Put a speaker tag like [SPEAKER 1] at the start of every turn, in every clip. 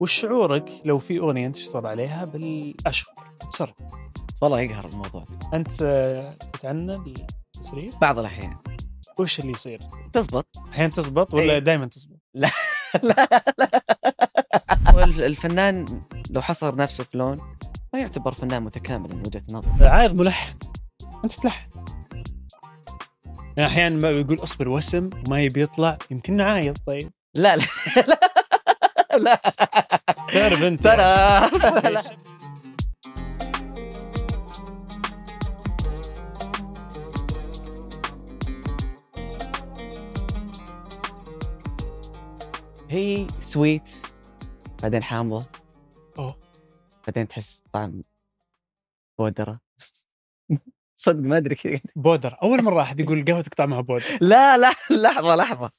[SPEAKER 1] وش شعورك لو في اغنيه انت تشتغل عليها بالاشهر بسرعه
[SPEAKER 2] والله يقهر الموضوع
[SPEAKER 1] انت آه، تتعنى بالتسريب
[SPEAKER 2] بعض الاحيان
[SPEAKER 1] وش اللي يصير؟
[SPEAKER 2] تزبط
[SPEAKER 1] الحين تزبط ولا
[SPEAKER 2] إيه.
[SPEAKER 1] دائما تزبط؟
[SPEAKER 2] والف- الفنان لو حصر نفسه في لون ما يعتبر فنان متكامل من وجهه نظري
[SPEAKER 1] عايض ملحن انت تلحن يعني احيانا ما يقول اصبر وسم وما يبي يطلع يمكن عايض طيب
[SPEAKER 2] لا لا لا
[SPEAKER 1] تعرف انت
[SPEAKER 2] ترى
[SPEAKER 1] لا.
[SPEAKER 2] هي سويت بعدين حامضه
[SPEAKER 1] أوه.
[SPEAKER 2] بعدين تحس طعم بودره صدق ما ادري كذا
[SPEAKER 1] بودر اول مره احد يقول قهوتك طعمها بودر
[SPEAKER 2] لا لا لحظه لحظه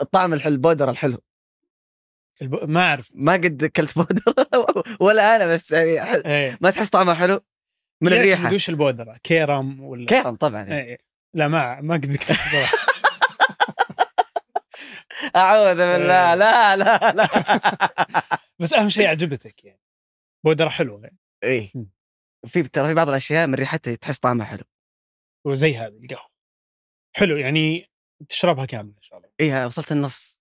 [SPEAKER 2] الطعم الحلو البودره الحلو
[SPEAKER 1] الب... ما اعرف
[SPEAKER 2] ما قد اكلت بودره ولا انا بس يعني ح-
[SPEAKER 1] ايه
[SPEAKER 2] ما تحس طعمها حلو من
[SPEAKER 1] يعني
[SPEAKER 2] الريحه
[SPEAKER 1] وش البودره كيرم ولا
[SPEAKER 2] كرم طبعا
[SPEAKER 1] ايه لا ما ما قد قلت صراحة.
[SPEAKER 2] اعوذ بالله
[SPEAKER 1] إيه.
[SPEAKER 2] لا لا لا
[SPEAKER 1] بس اهم شيء عجبتك يعني بودره حلوه يعني.
[SPEAKER 2] ايه
[SPEAKER 1] مم.
[SPEAKER 2] في ترى في بعض الاشياء من ريحتها تحس طعمها حلو
[SPEAKER 1] وزي هذه القهوه حلو يعني تشربها كامله ان شاء الله
[SPEAKER 2] ايه وصلت النص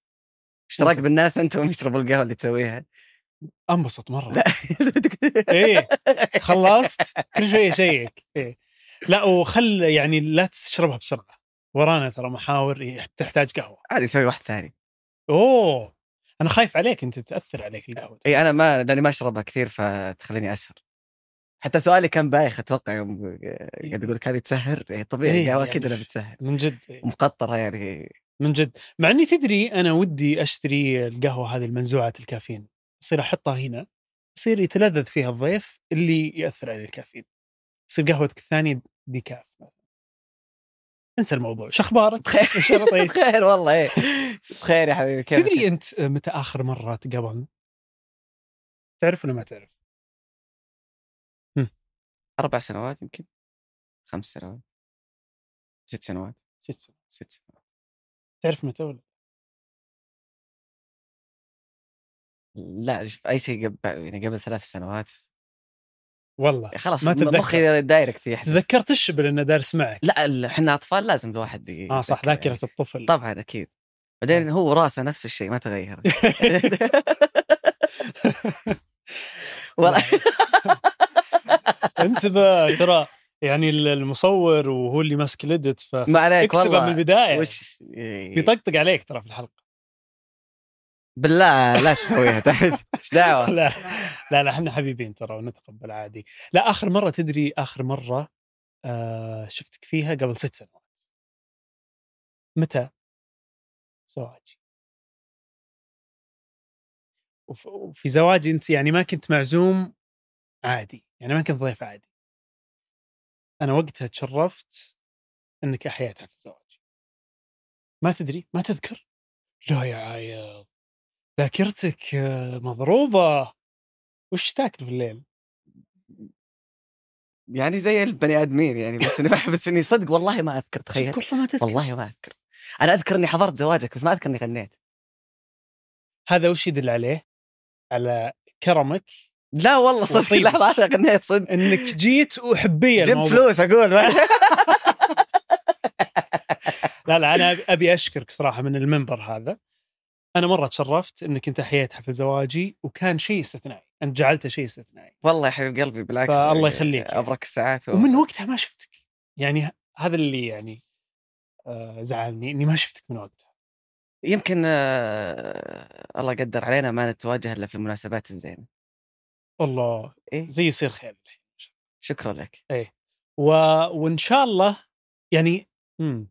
[SPEAKER 2] اشتراك بالناس انتم يشربوا القهوه اللي تسويها
[SPEAKER 1] انبسط مره
[SPEAKER 2] لا.
[SPEAKER 1] ايه خلصت كل شويه شيك إيه. لا وخل يعني لا تشربها بسرعه ورانا ترى محاور إيه، تحتاج قهوه
[SPEAKER 2] عادي يسوي واحد ثاني
[SPEAKER 1] اوه انا خايف عليك انت تاثر عليك القهوه
[SPEAKER 2] اي انا إيه، ما لاني ما اشربها كثير فتخليني اسهر حتى سؤالي كان بايخ اتوقع يوم إيه، قاعد اقول لك هذه تسهر إيه طبيعي
[SPEAKER 1] إيه،
[SPEAKER 2] قهوه
[SPEAKER 1] يعني
[SPEAKER 2] اكيد انها بتسهر
[SPEAKER 1] من جد إيه.
[SPEAKER 2] مقطره يعني
[SPEAKER 1] من جد مع اني تدري انا ودي اشتري القهوه هذه المنزوعه الكافيين يصير احطها هنا يصير يتلذذ فيها الضيف اللي ياثر عليه الكافيين يصير قهوتك الثانيه ديكاف مثلا انسى الموضوع شو اخبارك؟ إن شاء الله طيب.
[SPEAKER 2] بخير والله ايه بخير يا حبيبي كيف
[SPEAKER 1] تدري انت متى اخر مره تقابلنا؟ تعرف ولا ما تعرف؟
[SPEAKER 2] اربع سنوات يمكن خمس سنوات ست سنوات
[SPEAKER 1] ست سنين
[SPEAKER 2] ست سنوات
[SPEAKER 1] تعرف متى ولا؟
[SPEAKER 2] لا شوف اي شيء قبل يعني قبل ثلاث سنوات
[SPEAKER 1] والله
[SPEAKER 2] خلاص
[SPEAKER 1] ما
[SPEAKER 2] ما
[SPEAKER 1] تتذكر.
[SPEAKER 2] مخي دايركت يحدث
[SPEAKER 1] تذكرت الشبل انه دارس معك
[SPEAKER 2] لا ال- احنا اطفال لازم الواحد ي-
[SPEAKER 1] اه صح آه.
[SPEAKER 2] يتذكر يعني.
[SPEAKER 1] ذاكره الطفل
[SPEAKER 2] طبعا اكيد بعدين هو راسه نفس الشيء ما تغير والله
[SPEAKER 1] انتبه ترى يعني ال- المصور وهو اللي ماسك الادت
[SPEAKER 2] ما عليك
[SPEAKER 1] فاكسبه من
[SPEAKER 2] والله
[SPEAKER 1] البدايه
[SPEAKER 2] وش
[SPEAKER 1] يطقطق عليك ترى في الحلقه
[SPEAKER 2] بالله لا تسويها تحت ايش دعوه
[SPEAKER 1] لا لا لا احنا حبيبين ترى ونتقبل عادي لا اخر مره تدري اخر مره آه شفتك فيها قبل ست سنوات متى زواجي وف- وفي زواجي انت يعني ما كنت معزوم عادي يعني ما كنت ضيف عادي انا وقتها تشرفت انك احييتها في زواجي ما تدري ما تذكر لا يا عايض ذاكرتك آه، مضروبه وش تاكل في الليل؟
[SPEAKER 2] يعني زي البني ادمين يعني بس اني بس اني صدق والله ما اذكر تخيل
[SPEAKER 1] والله ما تذكر
[SPEAKER 2] والله ما اذكر انا اذكر اني حضرت زواجك بس ما اذكر اني غنيت
[SPEAKER 1] هذا وش يدل عليه؟ على كرمك
[SPEAKER 2] لا والله صدق
[SPEAKER 1] وطيبة.
[SPEAKER 2] لحظه انا غنيت صدق
[SPEAKER 1] انك جيت وحبيه
[SPEAKER 2] جيب
[SPEAKER 1] طيب. الموضوع.
[SPEAKER 2] فلوس اقول
[SPEAKER 1] لا لا انا أبي- ابي اشكرك صراحه من المنبر هذا انا مره تشرفت انك انت حييت حفل زواجي وكان شيء استثنائي انت جعلته شيء استثنائي
[SPEAKER 2] والله يا حبيب قلبي بالعكس
[SPEAKER 1] فالله يخليك.
[SPEAKER 2] ابرك الساعات و...
[SPEAKER 1] ومن وقتها ما شفتك يعني هذا اللي يعني آه، زعلني اني ما شفتك من وقتها
[SPEAKER 2] يمكن آه... الله قدر علينا ما نتواجه الا في المناسبات الزينه
[SPEAKER 1] والله
[SPEAKER 2] إيه؟
[SPEAKER 1] زي يصير خير الحين
[SPEAKER 2] شكرا لك
[SPEAKER 1] و... وان شاء الله يعني
[SPEAKER 2] إمم.
[SPEAKER 1] امم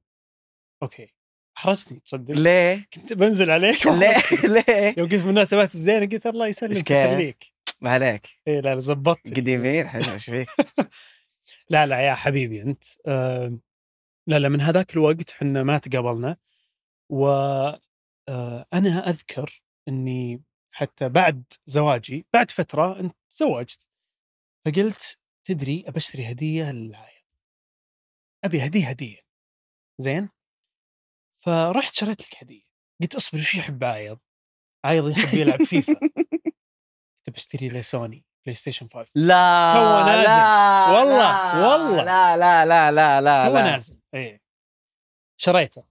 [SPEAKER 1] اوكي احرجتني تصدق
[SPEAKER 2] ليه؟
[SPEAKER 1] كنت بنزل عليك
[SPEAKER 2] ليه؟ ليه؟
[SPEAKER 1] يوم قلت في المناسبات الزينه قلت الله
[SPEAKER 2] إيش
[SPEAKER 1] يسلمك
[SPEAKER 2] كيف؟
[SPEAKER 1] يخليك
[SPEAKER 2] ما عليك
[SPEAKER 1] اي لا لا، زبطت
[SPEAKER 2] قديمين حلو ايش فيك؟
[SPEAKER 1] لا لا يا حبيبي انت آه لا لا من هذاك الوقت حنا ما تقابلنا و آه انا اذكر اني حتى بعد زواجي بعد فتره انت تزوجت فقلت تدري ابشتري هديه للعائله ابي هديه هديه زين فرحت شريت لك هديه قلت اصبر وش يحب عايض عايض يحب يلعب فيفا كنت بشتري له سوني بلاي ستيشن 5
[SPEAKER 2] لا
[SPEAKER 1] تو نازل.
[SPEAKER 2] لا،
[SPEAKER 1] والله،
[SPEAKER 2] لا،
[SPEAKER 1] والله.
[SPEAKER 2] لا لا لا لا لا
[SPEAKER 1] هو
[SPEAKER 2] لا.
[SPEAKER 1] نازل اي شريته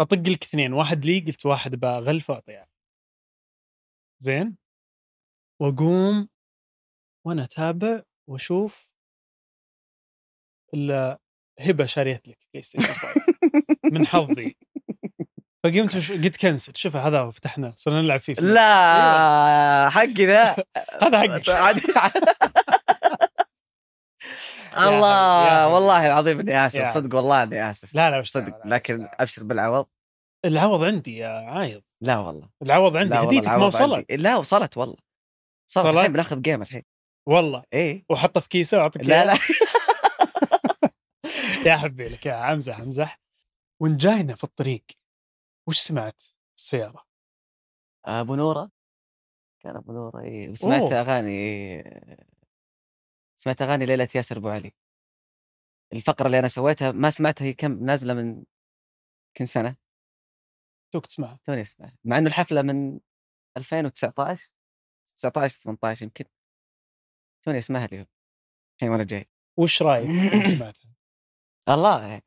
[SPEAKER 1] اطق لك اثنين واحد لي قلت واحد بغلفه واعطيه يعني. زين واقوم وانا اتابع واشوف الا هبه شاريت لك بلاي ستيشن 5 من حظي فقمت وش... قلت كنسل شوف هذا هو فتحناه صرنا نلعب فيه إيه؟
[SPEAKER 2] لا حقي ذا
[SPEAKER 1] هذا حقك
[SPEAKER 2] الله
[SPEAKER 1] حبيبي.
[SPEAKER 2] والله العظيم اني اسف
[SPEAKER 1] يا حبيبي.
[SPEAKER 2] صدق والله اني اسف
[SPEAKER 1] لا لا وش
[SPEAKER 2] صدق
[SPEAKER 1] تعمل؟
[SPEAKER 2] لكن ابشر بالعوض
[SPEAKER 1] العوض عندي يا عايض
[SPEAKER 2] لا والله
[SPEAKER 1] العوض عندي
[SPEAKER 2] لا والله
[SPEAKER 1] هديتك ما
[SPEAKER 2] العوض عندي.
[SPEAKER 1] وصلت
[SPEAKER 2] لا وصلت والله صارت
[SPEAKER 1] وصلت؟
[SPEAKER 2] الحين بناخذ جيم الحين
[SPEAKER 1] والله
[SPEAKER 2] ايه
[SPEAKER 1] واحطه في كيسه واعطيك
[SPEAKER 2] لا لا
[SPEAKER 1] يا حبي لك يا امزح امزح وان جاينا في الطريق وش سمعت في السياره؟
[SPEAKER 2] ابو نوره كان ابو نوره ايه وسمعت
[SPEAKER 1] أوه.
[SPEAKER 2] اغاني إيه. سمعت اغاني ليله ياسر ابو علي الفقره اللي انا سويتها ما سمعتها هي كم نازله من كم سنه
[SPEAKER 1] توك تسمعها
[SPEAKER 2] توني اسمعها مع انه الحفله من 2019 19 18 يمكن توني اسمعها اليوم الحين وانا جاي
[SPEAKER 1] وش رايك يوم سمعتها؟
[SPEAKER 2] الله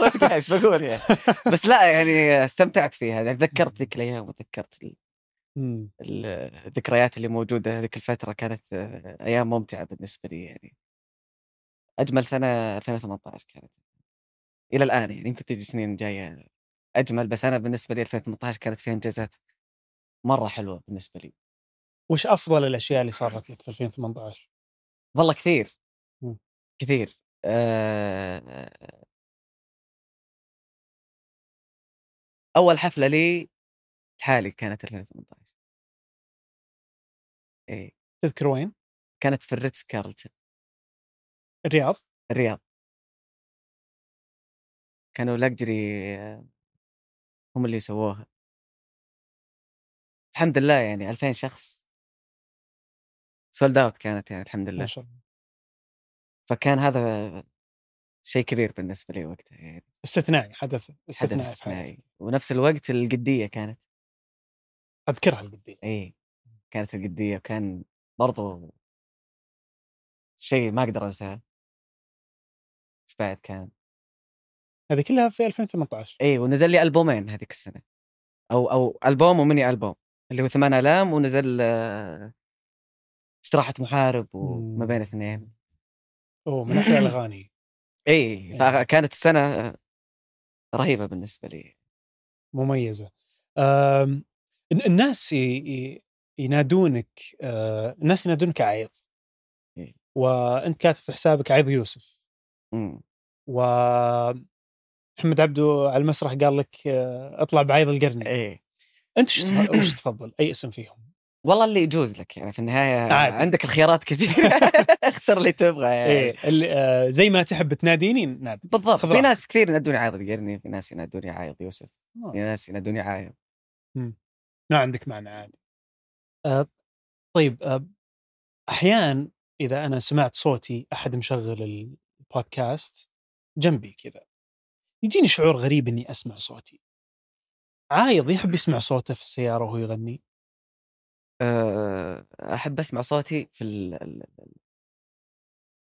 [SPEAKER 2] صدق ايش بقول يعني بس لا يعني استمتعت فيها يعني تذكرت ذيك الايام وتذكرت ال-
[SPEAKER 1] مم.
[SPEAKER 2] ال- الذكريات اللي موجوده هذيك الفتره كانت آه، ايام ممتعه بالنسبه لي يعني اجمل سنه 2018 كانت الى الان يعني يمكن تجي سنين جايه اجمل بس انا بالنسبه لي 2018 كانت فيها انجازات مره حلوه بالنسبه لي
[SPEAKER 1] وش افضل الاشياء اللي صارت لك في 2018؟
[SPEAKER 2] والله كثير
[SPEAKER 1] مم.
[SPEAKER 2] كثير آه، اول حفله لي لحالي كانت 2018 اي
[SPEAKER 1] تذكر وين؟
[SPEAKER 2] كانت في الريتز كارلتون
[SPEAKER 1] الرياض
[SPEAKER 2] الرياض كانوا لكجري هم اللي سووها الحمد لله يعني 2000 شخص سولد اوت كانت يعني الحمد لله
[SPEAKER 1] ما شاء الله
[SPEAKER 2] فكان هذا شيء كبير بالنسبه لي وقتها يعني
[SPEAKER 1] استثنائي حدث
[SPEAKER 2] حدث
[SPEAKER 1] استثنائي في حياتي
[SPEAKER 2] استثنائي ونفس الوقت القديه كانت
[SPEAKER 1] اذكرها القديه
[SPEAKER 2] اي كانت القديه وكان برضو شيء ما اقدر انساه ايش بعد كان
[SPEAKER 1] هذه كلها في 2018
[SPEAKER 2] اي ونزل لي البومين هذيك السنه او او البوم وميني البوم اللي هو 8000 ونزل آه، استراحه محارب وما
[SPEAKER 1] مم.
[SPEAKER 2] بين اثنين
[SPEAKER 1] اوه من احلى الاغاني
[SPEAKER 2] اي فكانت السنه آه، رهيبه بالنسبه لي
[SPEAKER 1] مميزه أم... ال- الناس ي... ي... ينادونك أه... الناس ينادونك عايض
[SPEAKER 2] إيه.
[SPEAKER 1] وانت كاتب في حسابك عايض يوسف
[SPEAKER 2] مم.
[SPEAKER 1] و محمد عبدو على المسرح قال لك آه، اطلع بعيض القرني
[SPEAKER 2] اي
[SPEAKER 1] انت وش تف- وش تفضل اي اسم فيهم
[SPEAKER 2] والله اللي يجوز لك يعني في النهايه
[SPEAKER 1] عادي.
[SPEAKER 2] عندك الخيارات كثيره اختر اللي تبغى يعني
[SPEAKER 1] إيه اللي آه، زي ما تحب تناديني نادي
[SPEAKER 2] بالضبط
[SPEAKER 1] خذ
[SPEAKER 2] في
[SPEAKER 1] راحتك.
[SPEAKER 2] ناس كثير ينادوني عايض القرني في ناس ينادوني عايض يوسف في ناس ينادوني عايض
[SPEAKER 1] ما آه. نعم، عندك معنى عادي آه، طيب آه، احيان اذا انا سمعت صوتي احد مشغل البودكاست جنبي كذا يجيني شعور غريب اني اسمع صوتي عايض يحب يسمع صوته في السياره وهو يغني
[SPEAKER 2] أه، احب اسمع صوتي في ال... ال... ال-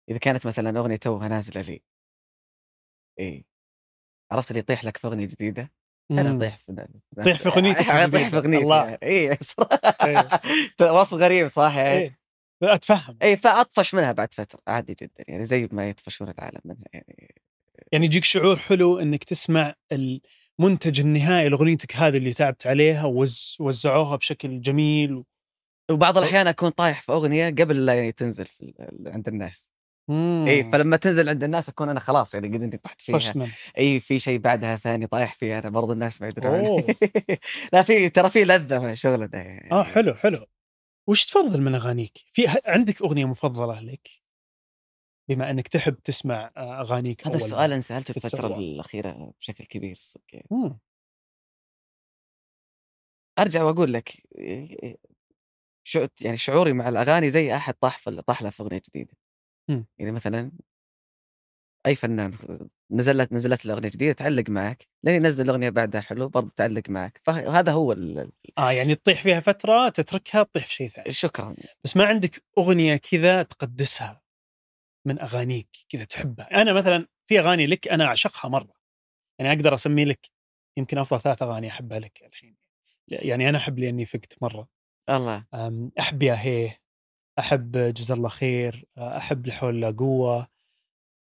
[SPEAKER 2] اذا كانت مثلا اغنيه توها نازله لي اي عرفت اللي يطيح لك في اغنيه جديده انا
[SPEAKER 1] مم.
[SPEAKER 2] اطيح في
[SPEAKER 1] طيح في أغنيتك
[SPEAKER 2] اطيح
[SPEAKER 1] الجديدة.
[SPEAKER 2] في اغنيتي
[SPEAKER 1] الله.
[SPEAKER 2] الله اي صراحة.
[SPEAKER 1] إيه.
[SPEAKER 2] وصف غريب صح يعني
[SPEAKER 1] إيه. اتفهم
[SPEAKER 2] اي فاطفش إيه، منها بعد فتره عادي جدا يعني زي ما يطفشون العالم منها يعني
[SPEAKER 1] يعني يجيك شعور حلو انك تسمع المنتج النهائي لاغنيتك هذه اللي تعبت عليها ووز وزعوها بشكل جميل
[SPEAKER 2] وبعض
[SPEAKER 1] طيب.
[SPEAKER 2] الاحيان اكون طايح في اغنيه قبل لا يعني تنزل في ال- عند الناس
[SPEAKER 1] إمم.
[SPEAKER 2] اي فلما تنزل عند الناس اكون انا خلاص يعني قد اني طحت إيه، فيها
[SPEAKER 1] فيها
[SPEAKER 2] اي في شيء بعدها ثاني طايح فيه انا برضه الناس ما يدرون
[SPEAKER 1] أوه.
[SPEAKER 2] لا في ترى في لذه من الشغل ده يعني
[SPEAKER 1] اه حلو حلو وش تفضل من اغانيك؟ في ه- عندك اغنيه مفضله لك؟ بما انك تحب تسمع آه، اغانيك
[SPEAKER 2] هذا
[SPEAKER 1] أول
[SPEAKER 2] السؤال
[SPEAKER 1] ما.
[SPEAKER 2] انسالته الفتره
[SPEAKER 1] تتسوى.
[SPEAKER 2] الاخيره بشكل كبير صدق يعني.
[SPEAKER 1] مم.
[SPEAKER 2] ارجع واقول لك إيه، شو يعني شعوري مع الاغاني زي احد طاح في طاح له في اغنيه جديده
[SPEAKER 1] مم.
[SPEAKER 2] يعني مثلا اي فنان نزلت نزلت الاغنيه جديده تعلق معك لين ينزل الاغنيه بعدها حلو برضه تعلق معك فهذا هو ال-
[SPEAKER 1] اه يعني تطيح فيها فتره تتركها تطيح في شيء ثاني
[SPEAKER 2] شكرا
[SPEAKER 1] بس ما عندك اغنيه كذا تقدسها من اغانيك كذا تحبها انا مثلا في اغاني لك انا اعشقها مره يعني اقدر اسمي لك يمكن افضل ثلاث اغاني احبها لك الحين يعني انا احب لاني فقت مره
[SPEAKER 2] الله
[SPEAKER 1] أم، احب يا هيه احب جزا الله خير احب لحول لا قوه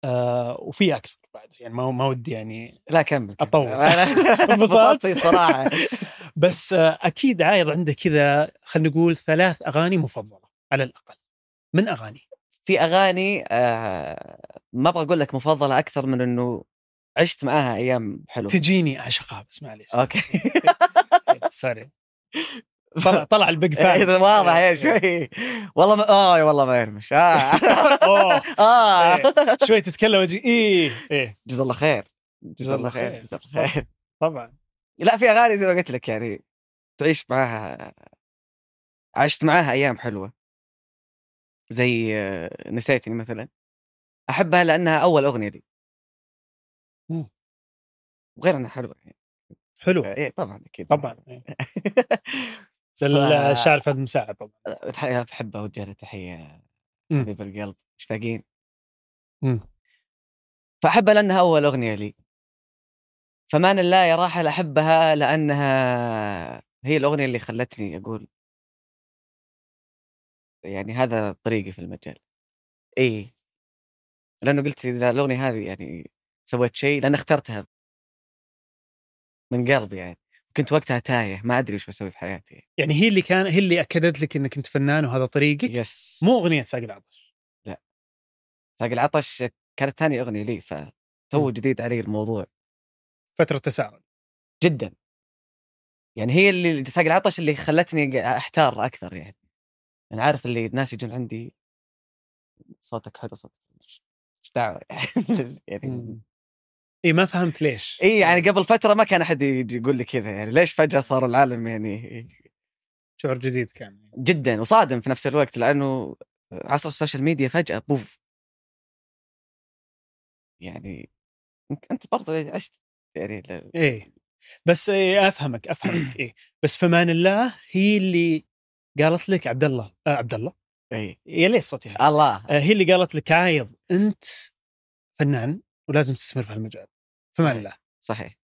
[SPEAKER 1] أه، وفي اكثر بعد يعني ما ما ودي يعني
[SPEAKER 2] لا كمل كمل.
[SPEAKER 1] أطول.
[SPEAKER 2] أنا
[SPEAKER 1] انبسطت؟
[SPEAKER 2] انبسطت صراحه
[SPEAKER 1] بس أه، اكيد عايض عنده كذا خلينا نقول ثلاث اغاني مفضله على الاقل من اغاني
[SPEAKER 2] في اغاني آه، ما ابغى اقول لك مفضله اكثر من انه عشت معاها ايام حلوه
[SPEAKER 1] تجيني اعشقها بس معليش
[SPEAKER 2] اوكي
[SPEAKER 1] إيه، سوري طلع طلع البيج فان إيه.
[SPEAKER 2] اذا إيه، واضح يا شوي والله ما... اه والله ما يرمش اه
[SPEAKER 1] أوه. إيه.
[SPEAKER 2] اه
[SPEAKER 1] شوي تتكلم اجي ايه ايه
[SPEAKER 2] جزا الله خير جزا الله خير جزا الله خير
[SPEAKER 1] طبعا
[SPEAKER 2] لا في اغاني زي ما قلت لك يعني تعيش معاها عشت معاها ايام حلوه زي آه، نسيتني مثلا احبها لانها اول اغنيه لي
[SPEAKER 1] مم.
[SPEAKER 2] وغير انها حلوه يعني
[SPEAKER 1] حلو
[SPEAKER 2] إيه، طبعا اكيد
[SPEAKER 1] طبعا إيه.
[SPEAKER 2] ف-
[SPEAKER 1] الشاعر فهد مساعد طبعا
[SPEAKER 2] الحقيقه بحب اوجه له تحيه
[SPEAKER 1] مم.
[SPEAKER 2] حبيب القلب مشتاقين
[SPEAKER 1] مم.
[SPEAKER 2] فاحبها لانها اول اغنيه لي فمان الله يا راحل احبها لانها هي الاغنيه اللي خلتني اقول يعني هذا طريقي في المجال اي لانه قلت اذا الاغنيه هذه يعني سويت شيء لان اخترتها من قلبي يعني كنت وقتها تايه ما ادري وش بسوي في حياتي
[SPEAKER 1] يعني هي اللي كان هي اللي اكدت لك انك انت فنان وهذا طريقك
[SPEAKER 2] يس
[SPEAKER 1] مو اغنيه ساق العطش
[SPEAKER 2] ساق العطش كانت ثاني اغنيه لي فتو
[SPEAKER 1] مم.
[SPEAKER 2] جديد علي الموضوع
[SPEAKER 1] فتره تساؤل
[SPEAKER 2] جدا يعني هي اللي ساق العطش اللي خلتني قا- احتار اكثر يعني انا عارف اللي الناس يجون عندي صوتك حلو صوتك ايش دعوه يعني,
[SPEAKER 1] إمم.
[SPEAKER 2] يعني
[SPEAKER 1] اي إيه، ما فهمت ليش
[SPEAKER 2] اي يعني قبل فتره ما كان احد يجي يقول لي كذا يعني ليش فجاه صار العالم يعني
[SPEAKER 1] شعور جديد كان
[SPEAKER 2] جدا وصادم في نفس الوقت لانه عصر السوشيال ميديا فجاه بوف يعني أنت- انت برضه عشت يعني ل-
[SPEAKER 1] ايه بس إيه افهمك افهمك ايه بس فمان الله هي اللي قالت لك عبد الله آه عبد الله
[SPEAKER 2] اي
[SPEAKER 1] يا ليش صوتي هذا؟
[SPEAKER 2] الله
[SPEAKER 1] آه هي اللي قالت لك عايض انت فنان ولازم تستثمر في هالمجال فمان الله
[SPEAKER 2] صحيح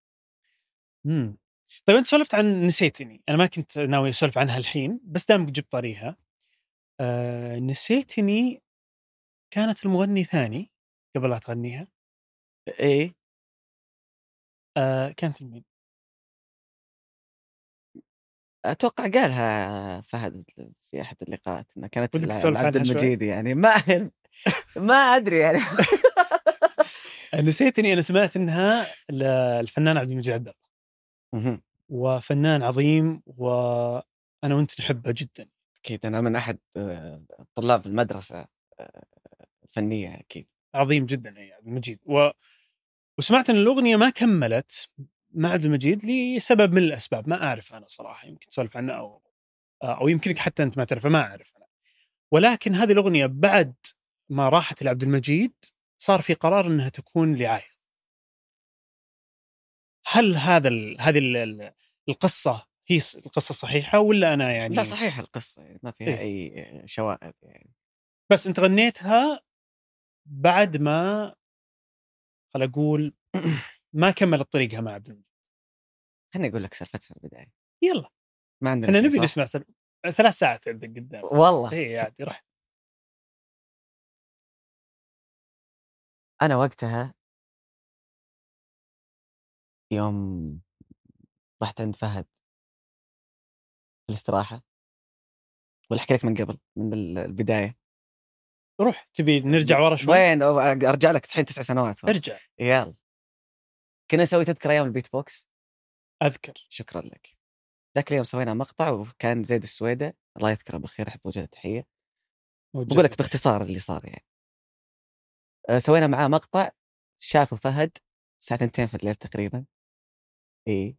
[SPEAKER 1] مم. طيب انت سولفت عن نسيتني انا ما كنت ناوي اسولف عنها الحين بس دامك جبت طاريها آه نسيتني كانت المغني ثاني قبل لا تغنيها
[SPEAKER 2] اي
[SPEAKER 1] آه كانت المين
[SPEAKER 2] اتوقع قالها فهد في احد اللقاءات انها كانت
[SPEAKER 1] ودك
[SPEAKER 2] لا-
[SPEAKER 1] تسولف
[SPEAKER 2] عبد
[SPEAKER 1] عنها شوي؟
[SPEAKER 2] المجيد يعني ما ما ادري يعني
[SPEAKER 1] آه، نسيتني انا سمعت انها الفنان عبد المجيد عبد الله
[SPEAKER 2] مهم.
[SPEAKER 1] وفنان عظيم وانا وانت نحبه جدا
[SPEAKER 2] اكيد انا من احد آه، طلاب المدرسه آه، الفنيه اكيد
[SPEAKER 1] عظيم جدا يعني عبد المجيد و... وسمعت ان الاغنيه ما كملت مع عبد المجيد لسبب من الاسباب ما اعرف انا صراحه يمكن تسولف عنه او او يمكنك حتى انت ما تعرفه ما اعرف انا ولكن هذه الاغنيه بعد ما راحت لعبد المجيد صار في قرار انها تكون لعايض هل هذا ال... هذه ال... ال- القصه هي س- القصه الصحيحه ولا انا يعني
[SPEAKER 2] لا صحيح القصه يعني ما فيها
[SPEAKER 1] إيه.
[SPEAKER 2] اي شوائب يعني
[SPEAKER 1] بس انت غنيتها بعد ما خل اقول ما كملت طريقها مع عبد المجيد
[SPEAKER 2] خليني اقول لك سالفتها في البدايه
[SPEAKER 1] يلا
[SPEAKER 2] ما عندنا
[SPEAKER 1] احنا
[SPEAKER 2] شيء،
[SPEAKER 1] نبي
[SPEAKER 2] صح؟
[SPEAKER 1] نسمع سل... ثلاث ساعات عندك قدام
[SPEAKER 2] والله
[SPEAKER 1] اي عادي راح
[SPEAKER 2] انا وقتها يوم رحت عند فهد في الاستراحه ولا احكي لك من قبل من ال- البدايه
[SPEAKER 1] روح تبي نرجع ورا شوي
[SPEAKER 2] وين أو- ارجع لك الحين تسع سنوات ورا.
[SPEAKER 1] ارجع
[SPEAKER 2] يلا كنا نسوي تذكر ايام البيت بوكس
[SPEAKER 1] اذكر
[SPEAKER 2] شكرا لك ذاك اليوم سوينا مقطع وكان زيد السويدة الله يذكره بالخير احب وجهه تحيه بقول لك باختصار اللي صار يعني أه، سوينا معاه مقطع شافه فهد الساعه 2 في الليل تقريبا اي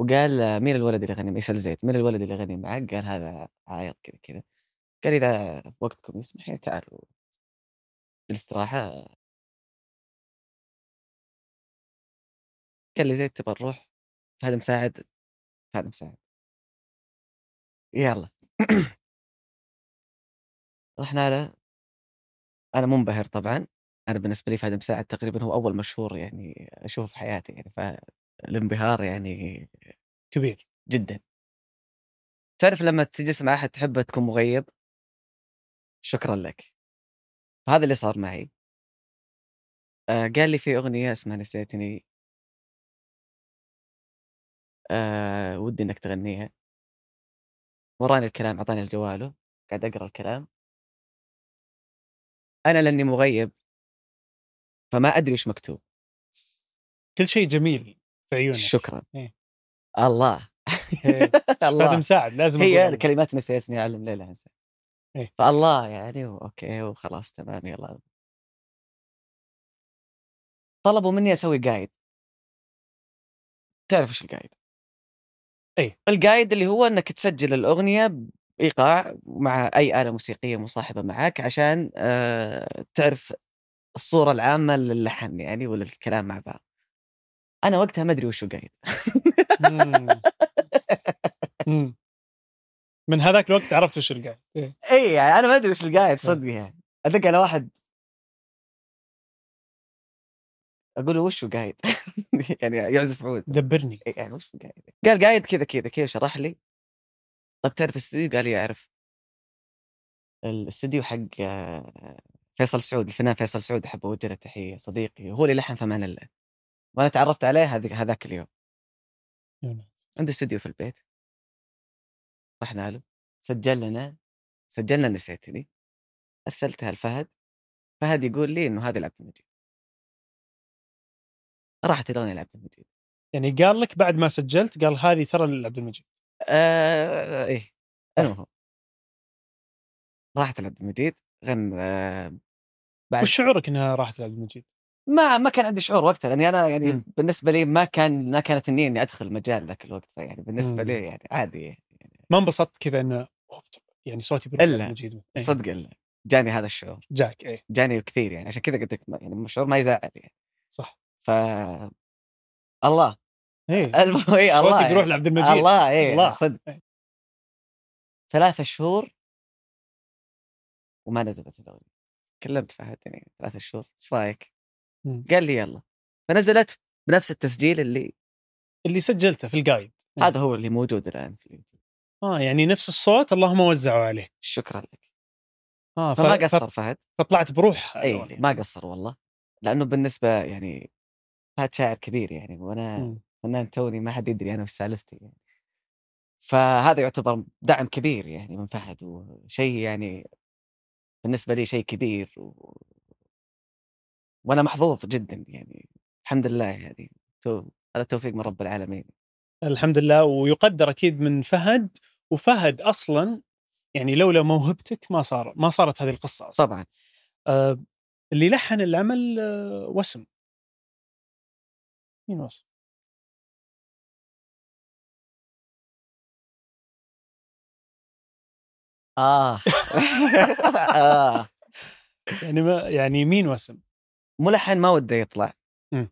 [SPEAKER 2] وقال أه، مين الولد اللي غني يسال زيد مين الولد اللي غني معك قال هذا عايض كذا كذا قال اذا وقتكم يسمح يعني تعالوا الاستراحه كان اللي زي تبغى نروح فهد مساعد فهد مساعد يلا رحنا له انا منبهر طبعا انا بالنسبه لي فهد مساعد تقريبا هو اول مشهور يعني اشوفه في حياتي يعني فالانبهار يعني
[SPEAKER 1] كبير
[SPEAKER 2] جدا تعرف لما تجلس مع احد تحبه تكون مغيب شكرا لك فهذا اللي صار معي آه قال لي في اغنيه اسمها نسيتني آه ودي انك تغنيها وراني الكلام اعطاني جواله قاعد اقرا الكلام انا لاني مغيب فما ادري وش مكتوب
[SPEAKER 1] كل شيء جميل في عيونك
[SPEAKER 2] شكرا
[SPEAKER 1] إيه.
[SPEAKER 2] الله
[SPEAKER 1] إيه. هذا
[SPEAKER 2] الله
[SPEAKER 1] مساعد لازم
[SPEAKER 2] هي
[SPEAKER 1] أقولها.
[SPEAKER 2] الكلمات نسيتني اعلم ليلى انسى
[SPEAKER 1] إيه.
[SPEAKER 2] فالله يعني اوكي وخلاص تمام يلا طلبوا مني اسوي جايد تعرف ايش الجايد؟
[SPEAKER 1] إيه.
[SPEAKER 2] الجايد اللي هو انك تسجل الاغنيه بايقاع مع اي اله موسيقيه مصاحبه معك عشان آه تعرف الصوره العامه للحن يعني وللكلام مع بعض. انا وقتها ما ادري وش هو جايد
[SPEAKER 1] مم. مم. من هذاك الوقت عرفت وش القاعد إيه.
[SPEAKER 2] اي يعني انا ما ادري وش القاعد صدق يعني ادق على واحد اقول له وش هو قايد يعني يعزف عود
[SPEAKER 1] دبرني
[SPEAKER 2] إيه يعني وش هو قايد قال قايد كذا كذا كذا شرح لي طب تعرف الاستوديو قال لي اعرف الاستوديو حق آه، فيصل سعود الفنان فيصل سعود احب اوجه له تحيه صديقي هو اللي لحن فمان الله وانا تعرفت عليه هذيك هذاك اليوم عنده استوديو في البيت رحنا له سجل لنا سجلنا نسيتني ارسلتها لفهد فهد يقول لي انه هذه لعبه المجيد راحت الاغنيه لعبه المجيد
[SPEAKER 1] يعني قال لك بعد ما سجلت قال هذه ترى لعبد المجيد
[SPEAKER 2] آه ايه المهم راحت لعبد المجيد غن آه بعد
[SPEAKER 1] وش شعورك انها راحت لعبد المجيد؟
[SPEAKER 2] ما ما كان عندي شعور وقتها لاني انا يعني
[SPEAKER 1] مم.
[SPEAKER 2] بالنسبه لي ما كان ما كانت النيه اني ادخل مجال ذاك الوقت فيعني بالنسبه
[SPEAKER 1] مم. إيه.
[SPEAKER 2] لي يعني عادي يعني
[SPEAKER 1] ما انبسطت كذا انه أوه، يعني صوتي بيروح
[SPEAKER 2] إلا.
[SPEAKER 1] لعبد المجيد إيه.
[SPEAKER 2] صدق إلا جاني هذا الشعور
[SPEAKER 1] جاك ايه
[SPEAKER 2] جاني كثير يعني عشان كذا قلت لك ما- يعني شعور ما يزعل يعني
[SPEAKER 1] صح
[SPEAKER 2] ف الله
[SPEAKER 1] ايه
[SPEAKER 2] المهم إيه، الله
[SPEAKER 1] صوتي
[SPEAKER 2] يعني.
[SPEAKER 1] بيروح لعبد المجيد
[SPEAKER 2] الله ايه
[SPEAKER 1] الله.
[SPEAKER 2] الله. صدق
[SPEAKER 1] إيه.
[SPEAKER 2] ثلاثة شهور وما نزلت الاغنيه كلمت فهد يعني ثلاثة شهور ايش رايك؟
[SPEAKER 1] مم.
[SPEAKER 2] قال لي يلا فنزلت بنفس التسجيل اللي
[SPEAKER 1] اللي سجلته في القايد إيه.
[SPEAKER 2] هذا هو اللي موجود الان في اليوتيوب
[SPEAKER 1] اه يعني نفس الصوت اللهم وزعوا عليه
[SPEAKER 2] شكرا لك
[SPEAKER 1] اه ف-
[SPEAKER 2] فما
[SPEAKER 1] ف-
[SPEAKER 2] قصر فهد أيوة.
[SPEAKER 1] فطلعت يعني. بروح
[SPEAKER 2] اي ما قصر والله لانه بالنسبه يعني فهد شاعر كبير يعني وانا
[SPEAKER 1] مم.
[SPEAKER 2] فنان توني ما حد يدري انا وش سالفتي يعني فهذا يعتبر دعم كبير يعني من فهد وشيء يعني بالنسبه لي شيء كبير و... وانا محظوظ جدا يعني الحمد لله يعني تو... هذا توفيق من رب العالمين
[SPEAKER 1] الحمد لله ويقدر اكيد من فهد وفهد اصلا يعني لولا موهبتك ما صار ما صارت هذه القصه اصلا
[SPEAKER 2] طبعا
[SPEAKER 1] آه اللي لحن العمل آه وسم مين وسم؟
[SPEAKER 2] اه, آه.
[SPEAKER 1] يعني ما يعني مين وسم؟
[SPEAKER 2] ملحن ما وده يطلع
[SPEAKER 1] مم.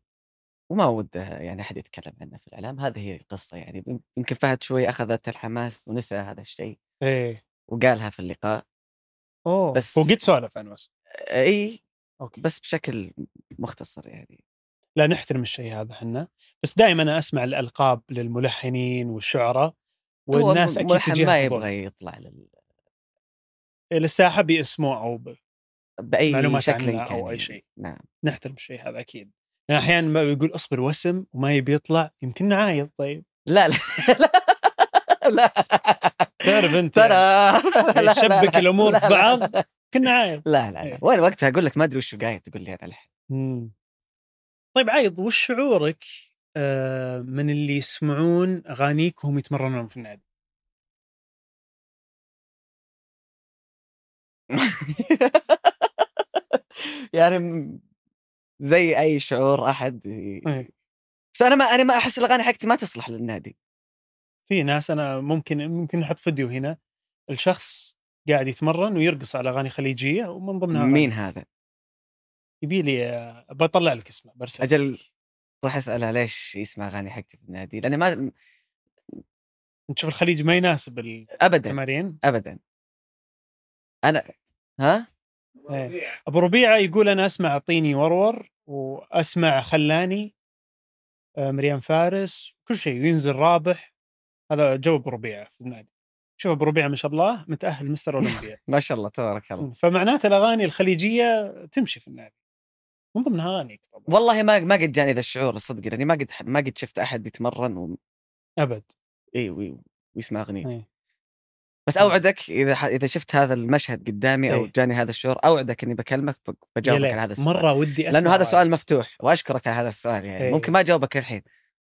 [SPEAKER 2] وما وده يعني احد يتكلم عنه في الاعلام هذه هي القصه يعني يم- يمكن فهد شوي اخذت الحماس ونسى هذا الشيء
[SPEAKER 1] ايه
[SPEAKER 2] وقالها في اللقاء
[SPEAKER 1] اوه
[SPEAKER 2] بس-
[SPEAKER 1] بس وقد سولف عن وسم
[SPEAKER 2] اي
[SPEAKER 1] اوكي بس
[SPEAKER 2] بس بشكل مختصر يعني
[SPEAKER 1] لا نحترم الشيء هذا احنا بس دائما انا اسمع الالقاب للملحنين والشعراء
[SPEAKER 2] هو
[SPEAKER 1] والناس
[SPEAKER 2] م-
[SPEAKER 1] اكيد
[SPEAKER 2] ملحن
[SPEAKER 1] تجيها
[SPEAKER 2] ما
[SPEAKER 1] قبول.
[SPEAKER 2] يبغى يطلع لل...
[SPEAKER 1] للساحه باسمه او ب...
[SPEAKER 2] باي
[SPEAKER 1] معلومات
[SPEAKER 2] شكل
[SPEAKER 1] عنه
[SPEAKER 2] كان
[SPEAKER 1] أو أي
[SPEAKER 2] يعني.
[SPEAKER 1] شيء.
[SPEAKER 2] نعم
[SPEAKER 1] نحترم الشيء هذا اكيد لان احيانا ما يقول اصبر وسم وما يبي يطلع يمكن عايض طيب
[SPEAKER 2] لا لا لا لا
[SPEAKER 1] تعرف انت
[SPEAKER 2] ترى
[SPEAKER 1] يعني.
[SPEAKER 2] لا، لا،
[SPEAKER 1] يشبك
[SPEAKER 2] لا،
[SPEAKER 1] الأمور
[SPEAKER 2] لا،
[SPEAKER 1] في
[SPEAKER 2] لا.
[SPEAKER 1] بعض. كنا عايض
[SPEAKER 2] لا لا لا
[SPEAKER 1] إيه.
[SPEAKER 2] وين وقتها اقول لك ما ادري وش قاعد تقول لي انا الحين
[SPEAKER 1] مم. طيب عايض وش شعورك آه، من اللي يسمعون اغانيك وهم يتمرنون في النادي
[SPEAKER 2] يعني م- زي اي شعور احد ي-
[SPEAKER 1] إيه.
[SPEAKER 2] بس انا ما انا ما احس الاغاني حقتي ما تصلح للنادي
[SPEAKER 1] في ناس انا ممكن ممكن نحط فيديو هنا الشخص قاعد يتمرن ويرقص على اغاني خليجيه ومن ضمنها أغاني.
[SPEAKER 2] مين هذا
[SPEAKER 1] يبي لي آه، بطلع لك اسمه برسل
[SPEAKER 2] اجل راح اساله ليش يسمع اغاني حقتي في النادي لاني ما
[SPEAKER 1] نشوف الخليج ما يناسب
[SPEAKER 2] ابدا
[SPEAKER 1] التمارين
[SPEAKER 2] ابدا انا ها
[SPEAKER 1] ابو ربيعه إيه. يقول انا اسمع اعطيني ورور واسمع خلاني آه، مريم فارس كل شيء وينزل رابح هذا جو ابو ربيعه في النادي شوف ابو ربيعه ما شاء الله متاهل مستر اولمبيا
[SPEAKER 2] ما شاء الله تبارك
[SPEAKER 1] إمم.
[SPEAKER 2] الله
[SPEAKER 1] فمعناته الاغاني الخليجيه تمشي في النادي من ضمن اغانيك طبعا
[SPEAKER 2] والله ما ما قد جاني ذا الشعور الصدق لاني ما قد ما قد شفت احد يتمرن و...
[SPEAKER 1] ابد
[SPEAKER 2] إي وي- ويسمع اغنيتي
[SPEAKER 1] إي. إيه.
[SPEAKER 2] بس اوعدك اذا ح... اذا شفت هذا المشهد قدامي او
[SPEAKER 1] إي.
[SPEAKER 2] جاني هذا الشعور اوعدك اني بكلمك ب-
[SPEAKER 1] إيه. يا
[SPEAKER 2] بجاوبك
[SPEAKER 1] ليت.
[SPEAKER 2] على هذا السؤال
[SPEAKER 1] مره ودي اسمع
[SPEAKER 2] لانه هذا
[SPEAKER 1] رأيك.
[SPEAKER 2] سؤال مفتوح واشكرك على هذا السؤال يعني
[SPEAKER 1] إي.
[SPEAKER 2] ممكن ما اجاوبك الحين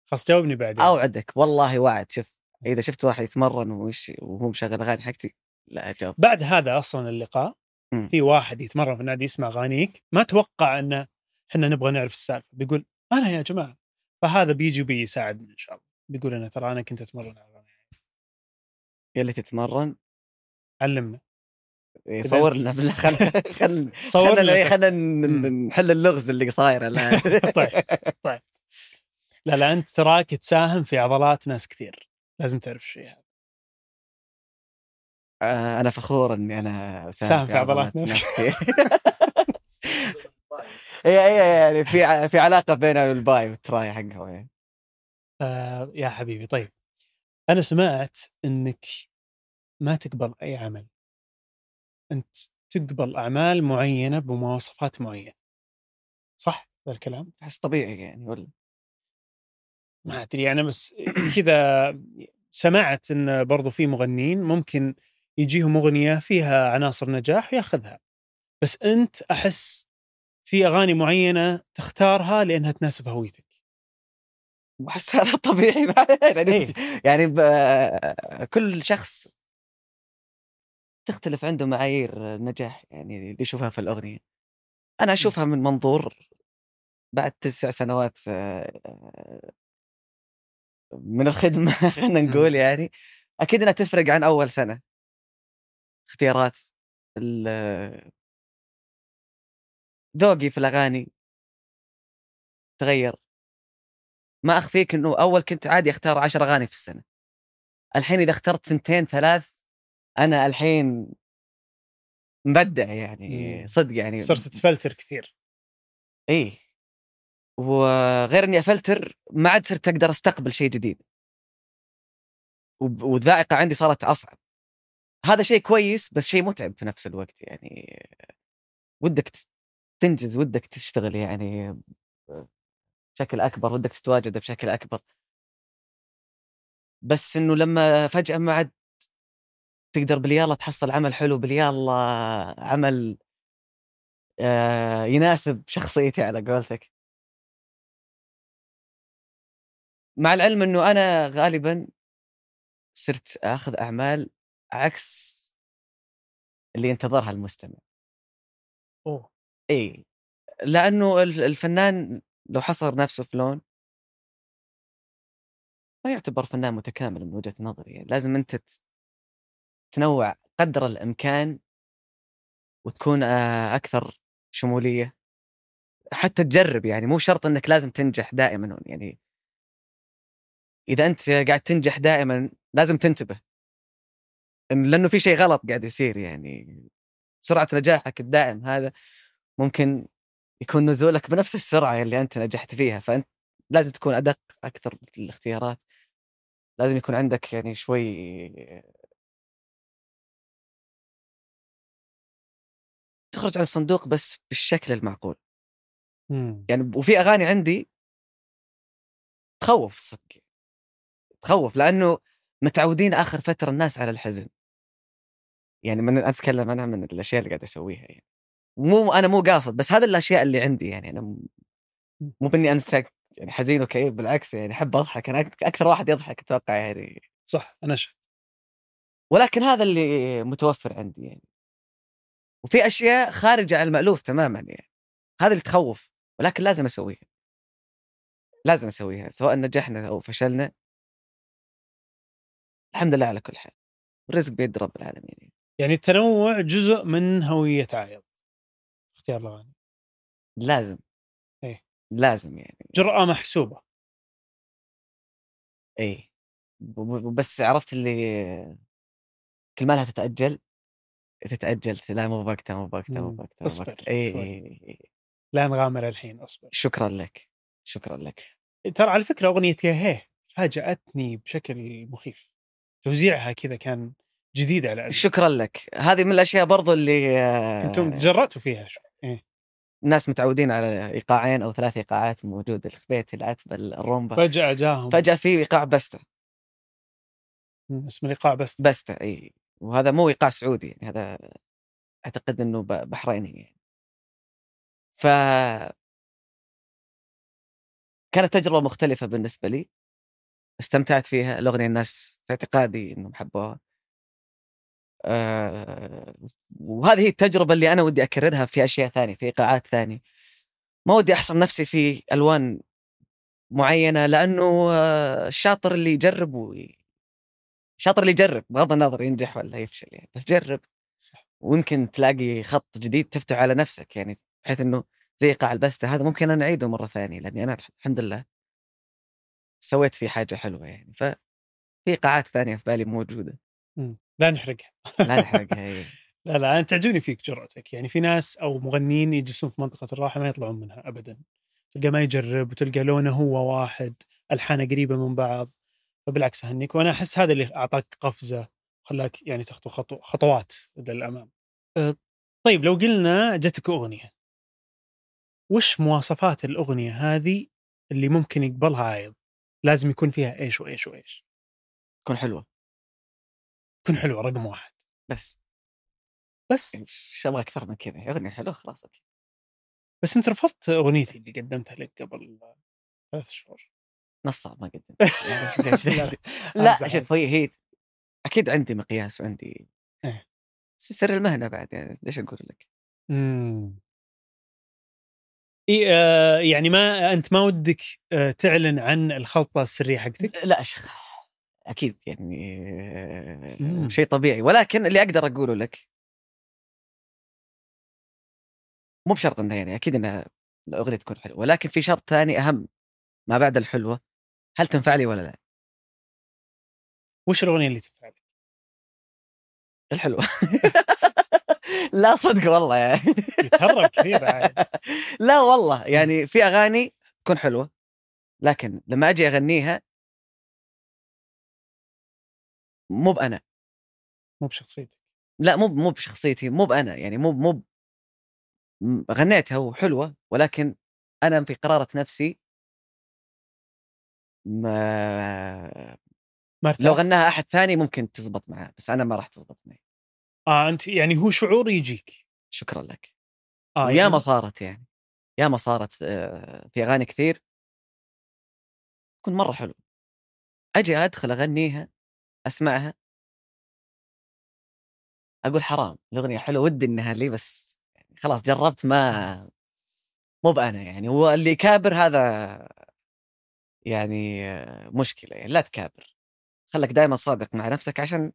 [SPEAKER 1] خلاص جاوبني بعدين
[SPEAKER 2] اوعدك والله وعد شوف
[SPEAKER 1] إيه.
[SPEAKER 2] اذا شفت واحد يتمرن وش وهو مشغل اغاني حقتي لا اجاوب
[SPEAKER 1] بعد هذا اصلا اللقاء
[SPEAKER 2] مم.
[SPEAKER 1] في واحد يتمرن في النادي يسمع اغانيك ما توقع انه احنا نبغى نعرف السالفه بيقول انا يا جماعه فهذا بيجي بيساعدني ان شاء الله بيقول انا ترى انا كنت اتمرن على أغاني.
[SPEAKER 2] يا اللي تتمرن
[SPEAKER 1] علمنا
[SPEAKER 2] إي،
[SPEAKER 1] إذا
[SPEAKER 2] صور
[SPEAKER 1] أنت- إمم.
[SPEAKER 2] لنا بالله خلنا خلنا
[SPEAKER 1] صور
[SPEAKER 2] خلنا-
[SPEAKER 1] لنا
[SPEAKER 2] خلنا ن-
[SPEAKER 1] مم.
[SPEAKER 2] نحل اللغز اللي صاير الآن.
[SPEAKER 1] طيب طيب لا لا انت تراك تساهم في عضلات ناس كثير لازم تعرف الشيء هذا
[SPEAKER 2] آه، انا فخور اني انا
[SPEAKER 1] ساهم في عضلات ناس.
[SPEAKER 2] كثير. هي هي يعني في ع- في علاقه بين الباي والتراي حقهم يعني.
[SPEAKER 1] آه يا حبيبي طيب انا سمعت انك ما تقبل اي عمل انت تقبل اعمال معينه بمواصفات معينه صح هذا الكلام
[SPEAKER 2] احس طبيعي يعني ولا
[SPEAKER 1] ما ادري انا بس كذا سمعت ان برضو في مغنيين ممكن يجيهم اغنيه فيها عناصر نجاح وياخذها بس انت احس في اغاني معينه تختارها لانها تناسب هويتك
[SPEAKER 2] واحس هذا طبيعي يعني
[SPEAKER 1] إيه.
[SPEAKER 2] يعني ب- كل شخص تختلف عنده معايير النجاح يعني اللي يشوفها في الاغنيه انا اشوفها من منظور بعد تسع سنوات آه، من الخدمه خلينا نقول يعني اكيد انها تفرق عن اول سنه اختيارات ال- ذوقي في الاغاني تغير ما اخفيك انه اول كنت عادي اختار عشر اغاني في السنه الحين اذا اخترت ثنتين ثلاث انا الحين مبدع يعني
[SPEAKER 1] مم.
[SPEAKER 2] صدق يعني
[SPEAKER 1] صرت تفلتر كثير
[SPEAKER 2] ايه وغير اني افلتر ما عاد صرت اقدر استقبل شيء جديد وب- والذائقه عندي صارت اصعب هذا شيء كويس بس شيء متعب في نفس الوقت يعني ودك ت- تنجز ودك تشتغل يعني بشكل اكبر ودك تتواجد بشكل اكبر بس انه لما فجاه ما عاد تقدر باليالله تحصل عمل حلو باليالله عمل آه، يناسب شخصيتي على قولتك مع العلم انه انا غالبا صرت اخذ اعمال عكس اللي ينتظرها المستمع
[SPEAKER 1] اوه
[SPEAKER 2] اي لانه إيه، ال- الفنان لو حصر نفسه في لون ما يعتبر فنان متكامل من وجهه نظري يعني لازم انت ت- تنوع قدر الامكان وتكون آه، اكثر شموليه حتى تجرب يعني مو شرط انك لازم تنجح دائما يعني اذا انت قاعد تنجح دائما لازم تنتبه إن- لانه في شيء غلط قاعد يصير يعني سرعه نجاحك الدائم هذا ممكن يكون نزولك بنفس السرعه اللي انت نجحت فيها فانت لازم تكون ادق اكثر في الاختيارات لازم يكون عندك يعني شوي تخرج عن الصندوق بس بالشكل المعقول
[SPEAKER 1] مم.
[SPEAKER 2] يعني وفي اغاني عندي تخوف الصدق تخوف لانه متعودين اخر فتره الناس على الحزن يعني من اتكلم انا من الاشياء اللي قاعد اسويها يعني مو انا مو قاصد بس هذا الاشياء اللي عندي يعني انا م- مو باني انا ساك- يعني حزين وكئيب بالعكس يعني احب اضحك انا أك- اكثر واحد يضحك اتوقع يعني
[SPEAKER 1] صح انا شايف
[SPEAKER 2] ولكن هذا اللي متوفر عندي يعني وفي اشياء خارجه عن المالوف تماما يعني هذا اللي تخوف ولكن لازم اسويها لازم اسويها سواء نجحنا او فشلنا الحمد لله على كل حال الرزق بيد رب العالمين يعني.
[SPEAKER 1] يعني التنوع جزء من هويه عايض اختيار الاغاني
[SPEAKER 2] لازم
[SPEAKER 1] إيه.
[SPEAKER 2] لازم يعني
[SPEAKER 1] جرأة محسوبة
[SPEAKER 2] اي إيه. ب- ب- بس عرفت اللي كل ما لها تتاجل تتاجل لا مو بوقتها مو بوقتها مو
[SPEAKER 1] مم.
[SPEAKER 2] بوقتها مو
[SPEAKER 1] اصبر
[SPEAKER 2] بوقتها. إيه، اي
[SPEAKER 1] شوي.
[SPEAKER 2] اي اي
[SPEAKER 1] لا نغامر الحين اصبر
[SPEAKER 2] شكرا لك شكرا لك
[SPEAKER 1] ترى على فكرة أغنية يا هيه فاجأتني بشكل مخيف توزيعها كذا كان جديد على قلبي
[SPEAKER 2] شكرا لك هذه من الاشياء برضو اللي آه،
[SPEAKER 1] كنتم تجرأتوا فيها شوي
[SPEAKER 2] الناس متعودين على ايقاعين او ثلاث ايقاعات موجوده الخبيت العتبه الرومبا
[SPEAKER 1] فجأة جاهم
[SPEAKER 2] فجاه في ايقاع بسته
[SPEAKER 1] مم، اسم الإيقاع بس
[SPEAKER 2] بسته اي وهذا مو ايقاع سعودي يعني هذا اعتقد انه ب- بحريني يعني ف كانت تجربه مختلفه بالنسبه لي استمتعت فيها الاغنيه الناس في اعتقادي انهم حبوها آه، وهذه هي التجربه اللي انا ودي اكررها في اشياء ثانيه في ايقاعات ثانيه ما ودي احصر نفسي في الوان معينه لانه آه، الشاطر اللي يجرب وي- الشاطر اللي يجرب بغض النظر ينجح ولا يفشل يعني بس جرب
[SPEAKER 1] صح
[SPEAKER 2] ويمكن تلاقي خط جديد تفتح على نفسك يعني بحيث انه زي قاع البسته هذا ممكن انا اعيده مره ثانيه لاني انا الح- الحمد لله سويت فيه حاجه حلوه يعني ففي قاعات ثانيه في بالي موجوده
[SPEAKER 1] مم. لا نحرقها
[SPEAKER 2] لا نحرقها إيه، هي.
[SPEAKER 1] لا لا أنا تعجبني فيك جرأتك يعني في ناس أو مغنيين يجلسون في منطقة الراحة ما يطلعون منها أبدا تلقى ما يجرب وتلقى لونه هو واحد ألحانه قريبة من بعض فبالعكس أهنيك وأنا أحس هذا اللي أعطاك قفزة خلاك يعني تخطو خطو خطوات للأمام أه، طيب لو قلنا جتك أغنية وش مواصفات الأغنية هذه اللي ممكن يقبلها عايض لازم يكون فيها إيش وإيش وإيش
[SPEAKER 2] تكون حلوه
[SPEAKER 1] تكون حلوة رقم واحد
[SPEAKER 2] بس
[SPEAKER 1] بس
[SPEAKER 2] ايش ابغى اكثر من كذا اغنيه حلوه خلاص اوكي
[SPEAKER 1] بس أنت رفضت أغنيتي اللي قدمتها لك قبل ثلاث شهور
[SPEAKER 2] نصها ما قدمت يعني إيش-
[SPEAKER 1] لا،
[SPEAKER 2] لا
[SPEAKER 1] أزعل.
[SPEAKER 2] شوف هي هي اكيد عندي مقياس وعندي
[SPEAKER 1] إيه.
[SPEAKER 2] سر المهنه بعد يعني ليش اقول لك
[SPEAKER 1] امم إي آه يعني ما انت ما ودك آه تعلن عن الخلطه السريه حقتك
[SPEAKER 2] لا شيخ اكيد يعني
[SPEAKER 1] مم.
[SPEAKER 2] آه، شيء طبيعي ولكن اللي اقدر اقوله لك مو بشرط انه يعني اكيد انها الاغنيه تكون حلوه ولكن في شرط ثاني اهم ما بعد الحلوه هل تنفع لي ولا لا؟
[SPEAKER 1] وش الاغنيه اللي تنفع لك؟
[SPEAKER 2] الحلوه لا صدق والله يعني
[SPEAKER 1] يتهرب كثير عاد.
[SPEAKER 2] لا والله يعني في اغاني تكون حلوه لكن لما اجي اغنيها مو بانا
[SPEAKER 1] مو بشخصيتك
[SPEAKER 2] لا مو مو بشخصيتي مو بانا يعني مو مو ب- م- غنيتها وحلوه ولكن انا في قراره نفسي ما
[SPEAKER 1] ما ارتحت؟
[SPEAKER 2] لو غناها احد ثاني ممكن تزبط معاه بس انا ما راح تزبط معي
[SPEAKER 1] اه انت يعني هو شعور يجيك
[SPEAKER 2] شكرا لك
[SPEAKER 1] اه
[SPEAKER 2] ويا
[SPEAKER 1] يعني
[SPEAKER 2] ما صارت يعني يا ما صارت آه، في اغاني كثير تكون مره حلو اجي ادخل اغنيها اسمعها اقول حرام الاغنيه حلوه ودي انها لي بس يعني خلاص جربت ما مو بانا يعني واللي كابر هذا يعني آه، مشكله يعني لا تكابر خلك دائما صادق مع نفسك عشان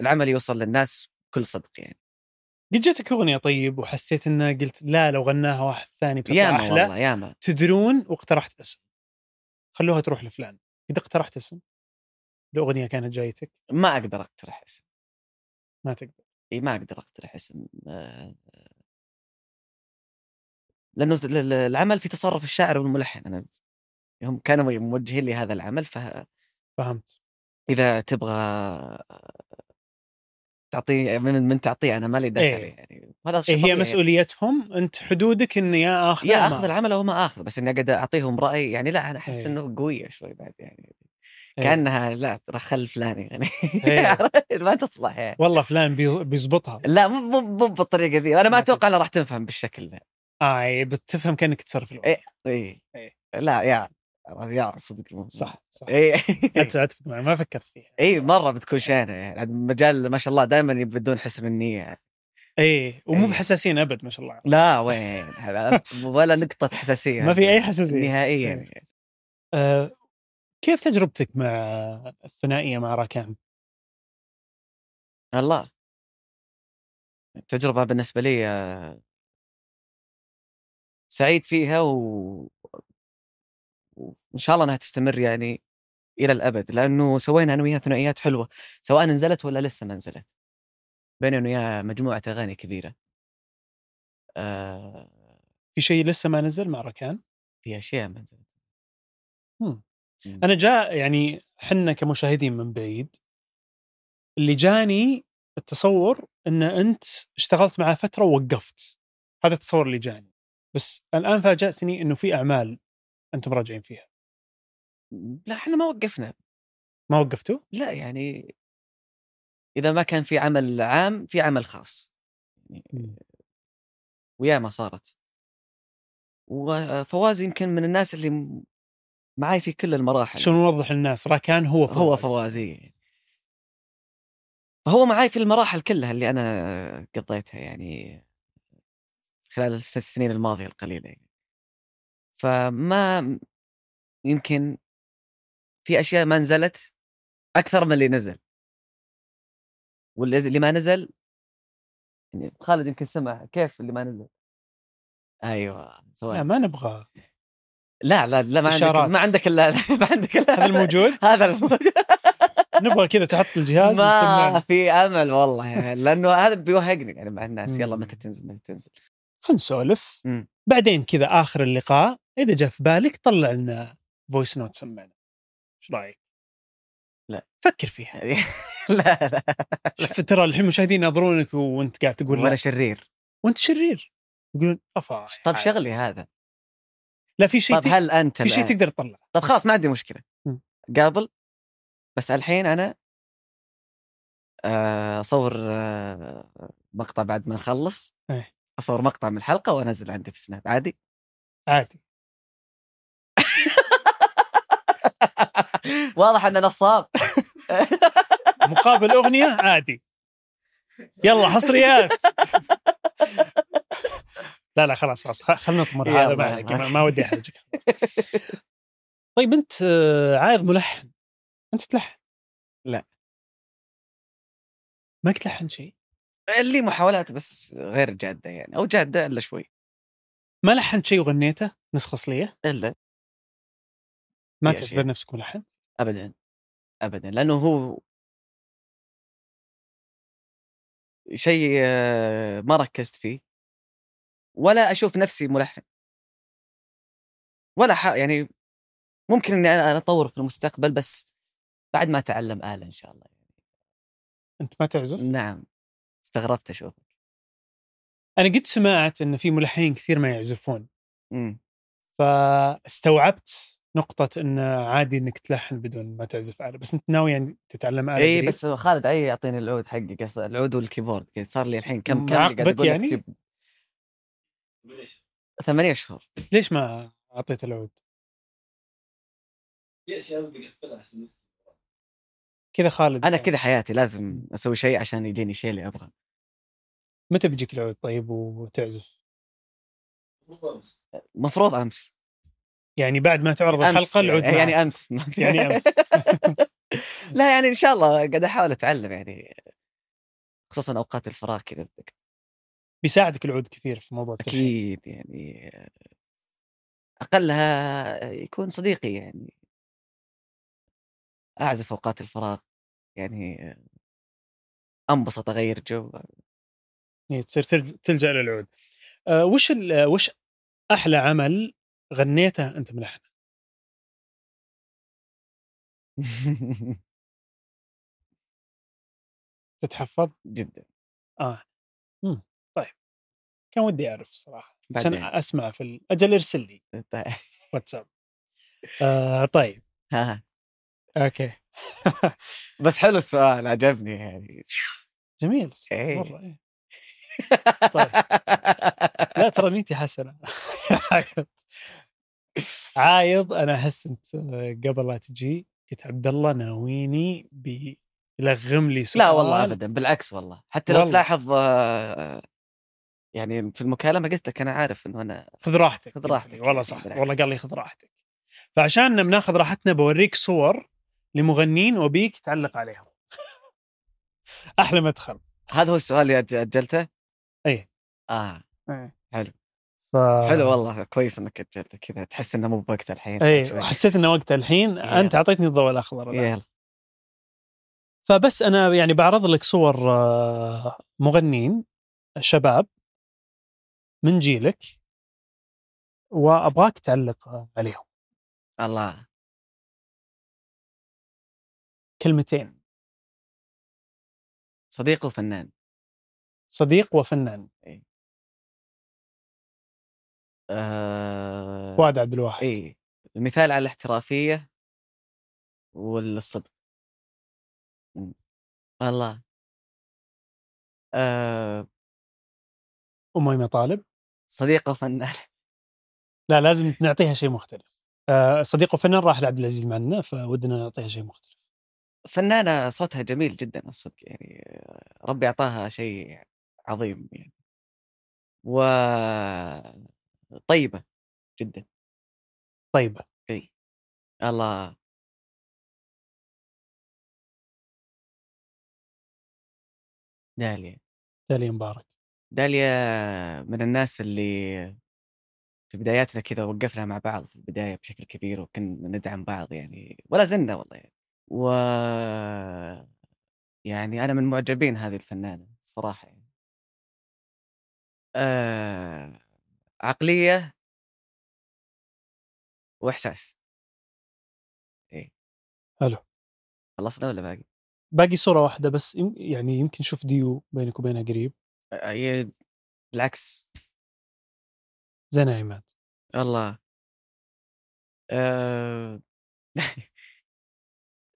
[SPEAKER 2] العمل يوصل للناس بكل صدق يعني
[SPEAKER 1] قد جاتك اغنيه طيب وحسيت انها قلت لا لو غناها واحد ثاني بتطلع
[SPEAKER 2] ياما
[SPEAKER 1] احلى
[SPEAKER 2] والله ياما
[SPEAKER 1] تدرون واقترحت اسم خلوها تروح لفلان اذا اقترحت اسم الاغنيه كانت جايتك
[SPEAKER 2] ما اقدر اقترح اسم
[SPEAKER 1] ما تقدر
[SPEAKER 2] اي ما اقدر اقترح اسم آه، لانه ال- ال- العمل في تصرف الشاعر والملحن انا هم كانوا موجهين لي هذا العمل فاذا
[SPEAKER 1] فهمت
[SPEAKER 2] تبغى تعطيه من, من تعطيه انا مالي دخل
[SPEAKER 1] إيه.
[SPEAKER 2] يعني وهذا شيء
[SPEAKER 1] إيه هي
[SPEAKER 2] طبيعي.
[SPEAKER 1] مسؤوليتهم انت حدودك ان يا اخذ
[SPEAKER 2] يا اخذ العمل او ما اخذ بس اني اقعد اعطيهم راي يعني لا انا
[SPEAKER 1] إيه.
[SPEAKER 2] احس انه قويه شوي بعد يعني
[SPEAKER 1] إيه.
[SPEAKER 2] كانها لا رخل فلاني يعني
[SPEAKER 1] إيه.
[SPEAKER 2] ما تصلح يعني
[SPEAKER 1] والله فلان بي- بيزبطها
[SPEAKER 2] لا مو مو مو بالطريقه ذي انا ما
[SPEAKER 1] ما تد-
[SPEAKER 2] اتوقع انها راح تنفهم بالشكل ذا
[SPEAKER 1] اه إيه، بتفهم كانك تصرف الوقت
[SPEAKER 2] إيه. اي
[SPEAKER 1] إيه.
[SPEAKER 2] لا يا يا صدق مو-
[SPEAKER 1] صح صح
[SPEAKER 2] اي
[SPEAKER 1] أت- اتفق معك ما فكرت فيها
[SPEAKER 2] اي مره بتكون شينه يعني عاد مجال ما شاء الله دائما يبدون حسن النيه يعني.
[SPEAKER 1] اي ومو
[SPEAKER 2] إيه.
[SPEAKER 1] بحساسين ابد ما شاء الله
[SPEAKER 2] لا وين هذا ولا نقطه حساسيه
[SPEAKER 1] ما في اي حساسيه
[SPEAKER 2] نهائيا
[SPEAKER 1] إيه.
[SPEAKER 2] يعني.
[SPEAKER 1] آه كيف تجربتك مع الثنائيه مع راكان؟
[SPEAKER 2] الله التجربه بالنسبه لي آه، سعيد فيها و... وان شاء الله انها تستمر يعني الى الابد لانه سوينا انا وياها ثنائيات حلوه سواء نزلت ولا لسه ما نزلت بيني انا وياها مجموعه اغاني كبيره آه...
[SPEAKER 1] في شيء لسه ما نزل مع ركان
[SPEAKER 2] في اشياء ما نزلت
[SPEAKER 1] مم.
[SPEAKER 2] مم.
[SPEAKER 1] انا جاء يعني حنا كمشاهدين من بعيد اللي جاني التصور ان انت اشتغلت معاه فتره ووقفت هذا التصور اللي جاني بس الان فاجاتني انه في اعمال انتم راجعين فيها
[SPEAKER 2] لا احنا ما وقفنا
[SPEAKER 1] ما وقفتوا
[SPEAKER 2] لا يعني اذا ما كان في عمل عام في عمل خاص يعني وياما صارت وفواز يمكن من الناس اللي م- معاي في كل المراحل
[SPEAKER 1] عشان نوضح للناس راكان هو فواز
[SPEAKER 2] هو فوازي فهو معاي في المراحل كلها اللي انا قضيتها يعني خلال الس- السنين الماضيه القليله يعني. فما يمكن في اشياء ما نزلت اكثر من اللي نزل واللي اللي ما نزل يعني خالد يمكن سمع كيف اللي ما نزل ايوه
[SPEAKER 1] لا
[SPEAKER 2] سواء
[SPEAKER 1] ما نبغى
[SPEAKER 2] لا لا, لا ما
[SPEAKER 1] إشارات.
[SPEAKER 2] عندك ما عندك الا ما عندك الا
[SPEAKER 1] هذا الموجود
[SPEAKER 2] هذا الموجود
[SPEAKER 1] نبغى كذا تحط الجهاز
[SPEAKER 2] ما
[SPEAKER 1] وتسمعنا.
[SPEAKER 2] في امل والله يعني لانه هذا بيوهقني يعني مع الناس يلا
[SPEAKER 1] مم.
[SPEAKER 2] متى تنزل متى تنزل
[SPEAKER 1] خلنا نسولف
[SPEAKER 2] مم.
[SPEAKER 1] بعدين كذا اخر اللقاء اذا جاء في بالك طلع لنا فويس نوت سمعنا ايش رايك؟
[SPEAKER 2] لا.
[SPEAKER 1] فكر فيها
[SPEAKER 2] لا لا
[SPEAKER 1] شوف ترى الحين المشاهدين ينظرونك وانت قاعد تقول
[SPEAKER 2] وانا
[SPEAKER 1] لا
[SPEAKER 2] شرير
[SPEAKER 1] وانت شرير يقولون افا
[SPEAKER 2] طب شغلي هذا
[SPEAKER 1] لا في شيء
[SPEAKER 2] طب
[SPEAKER 1] تق-
[SPEAKER 2] طيب، هل انت
[SPEAKER 1] في شيء
[SPEAKER 2] الآن-
[SPEAKER 1] تقدر تطلع
[SPEAKER 2] طب خلاص ما عندي مشكله
[SPEAKER 1] مم.
[SPEAKER 2] قابل بس الحين انا آه، اصور آه، مقطع بعد ما نخلص
[SPEAKER 1] إيه.
[SPEAKER 2] اصور مقطع من الحلقه وانزل عندي في سناب عادي
[SPEAKER 1] عادي
[SPEAKER 2] واضح انه نصاب
[SPEAKER 1] مقابل اغنيه عادي يلا حصريات لا لا خلاص خلاص خ- خلنا نطمر هذا
[SPEAKER 2] يلا،
[SPEAKER 1] ما عليك
[SPEAKER 2] يلا.
[SPEAKER 1] ما- ما ودي احرجك طيب انت آه، عايض ملحن انت تلحن
[SPEAKER 2] لا.
[SPEAKER 1] ما قلت لحن شيء
[SPEAKER 2] لي محاولات بس غير جاده يعني او جاده الا شوي
[SPEAKER 1] ما لحنت شيء وغنيته نسخه اصليه
[SPEAKER 2] الا
[SPEAKER 1] ما
[SPEAKER 2] في أشياء.
[SPEAKER 1] تعتبر نفسك ملحن
[SPEAKER 2] ابدا ابدا لانه هو شيء آه، ما ركزت فيه ولا اشوف نفسي ملحن ولا ح... يعني ممكن اني انا اطور في المستقبل بس بعد ما اتعلم آلة ان شاء الله
[SPEAKER 1] انت ما تعزف
[SPEAKER 2] نعم استغربت اشوفك
[SPEAKER 1] انا قد سمعت ان في ملحنين كثير ما يعزفون
[SPEAKER 2] امم
[SPEAKER 1] فاستوعبت نقطة انه عادي انك تلحن بدون ما تعزف آلة بس انت ناوي يعني تتعلم آلة
[SPEAKER 2] اي
[SPEAKER 1] قريب؟
[SPEAKER 2] إيه، بس خالد اي يعطيني العود حقي قص- العود والكيبورد قاعد صار لي الحين كم كم اللي
[SPEAKER 1] معاقبك
[SPEAKER 2] قاعد اقول لك
[SPEAKER 1] يعني؟
[SPEAKER 2] جيب ثمانية اشهر
[SPEAKER 1] ليش ما اعطيت العود؟
[SPEAKER 3] ليش قصدي قفلها عشان نس-
[SPEAKER 1] كذا خالد
[SPEAKER 2] انا كذا حياتي لازم اسوي شيء عشان يجيني شيء اللي ابغاه
[SPEAKER 1] متى بيجيك العود طيب وتعزف؟
[SPEAKER 3] والله بس.
[SPEAKER 2] المفروض امس
[SPEAKER 1] يعني بعد ما تعرض
[SPEAKER 2] امس
[SPEAKER 1] الحلقة العود
[SPEAKER 2] يعني,
[SPEAKER 1] يعني
[SPEAKER 2] يعني امس
[SPEAKER 1] يعني امس
[SPEAKER 2] لا يعني ان شاء الله قاعد احاول اتعلم يعني خصوصا اوقات الفراغ كذا بدك
[SPEAKER 1] بيساعدك العود كثير في موضوع التلحين.
[SPEAKER 2] اكيد يعني اقلها يكون صديقي يعني اعزف اوقات الفراغ يعني انبسط اغير جو
[SPEAKER 1] يعني تصير تلج- تلجأ للعود. أه وش ال- آه، وش احلى عمل غنيته انت ملحن؟ تتحفظ؟
[SPEAKER 2] جدا
[SPEAKER 1] اه امم طيب كان ودي اعرف الصراحة عشان
[SPEAKER 2] بعدين.
[SPEAKER 1] اسمع في ال... اجل ارسل لي
[SPEAKER 2] طيب.
[SPEAKER 1] واتساب. آه طيب
[SPEAKER 2] ها ها.
[SPEAKER 1] اوكي
[SPEAKER 2] بس حلو السؤال عجبني يعني
[SPEAKER 1] جميل
[SPEAKER 2] إيه.
[SPEAKER 1] مرة إيه. طيب لا ترى نيتي حسنه عايض انا احس انت قبل لا تجي قلت عبد الله ناويني بيلغم لي سؤال
[SPEAKER 2] لا والله ابدا بالعكس والله حتى لو
[SPEAKER 1] والله.
[SPEAKER 2] تلاحظ آه، يعني في المكالمه قلت لك انا عارف انه انا
[SPEAKER 1] خذ راحتك
[SPEAKER 2] خذ راحتك.
[SPEAKER 1] والله صح
[SPEAKER 2] بالعكس.
[SPEAKER 1] والله قال لي خذ راحتك فعشان بناخذ راحتنا بوريك صور لمغنين وبيك تعلق عليهم احلى مدخل
[SPEAKER 2] هذا هو السؤال اللي أج- اجلته؟
[SPEAKER 1] إيه.
[SPEAKER 2] اه
[SPEAKER 1] إيه.
[SPEAKER 2] حلو.
[SPEAKER 1] ف ف...
[SPEAKER 2] حلو والله كويس انك اجلت كذا تحس انه مو بوقت الحين
[SPEAKER 1] اي
[SPEAKER 2] شوي.
[SPEAKER 1] إيه، وحسيت انه وقت الحين انت اعطيتني الضوء الاخضر الآن.
[SPEAKER 2] إيه. يلا
[SPEAKER 1] فبس انا يعني بعرض لك صور آه، مغنين شباب من جيلك وابغاك تعلق آه، عليهم
[SPEAKER 2] الله
[SPEAKER 1] كلمتين
[SPEAKER 2] صديق وفنان
[SPEAKER 1] صديق وفنان
[SPEAKER 2] آه...
[SPEAKER 1] فؤاد عبد الواحد
[SPEAKER 2] اي المثال على الاحترافيه والصدق م. الله آه...
[SPEAKER 1] امي مطالب
[SPEAKER 2] صديق وفنان
[SPEAKER 1] لا لازم نعطيها شيء مختلف آه، صديق وفنان راح لعبد العزيز معنا فودنا نعطيها شيء مختلف
[SPEAKER 2] فنانه صوتها جميل جدا الصدق يعني آه، ربي اعطاها شيء عظيم يعني و طيبه جدا
[SPEAKER 1] طيبه
[SPEAKER 2] اي الله داليا
[SPEAKER 1] داليا مبارك
[SPEAKER 2] داليا من الناس اللي في بداياتنا كذا وقفنا مع بعض في البداية بشكل كبير وكنا ندعم بعض يعني ولا زلنا والله يعني و يعني أنا من معجبين هذه الفنانة الصراحة يعني آه... عقلية وإحساس إيه.
[SPEAKER 1] حلو
[SPEAKER 2] خلصنا ولا باقي؟
[SPEAKER 1] باقي صوره واحده بس يم- يعني يمكن نشوف ديو بينك وبينها قريب
[SPEAKER 2] آه... هي بالعكس
[SPEAKER 1] زين يا عماد
[SPEAKER 2] الله آه...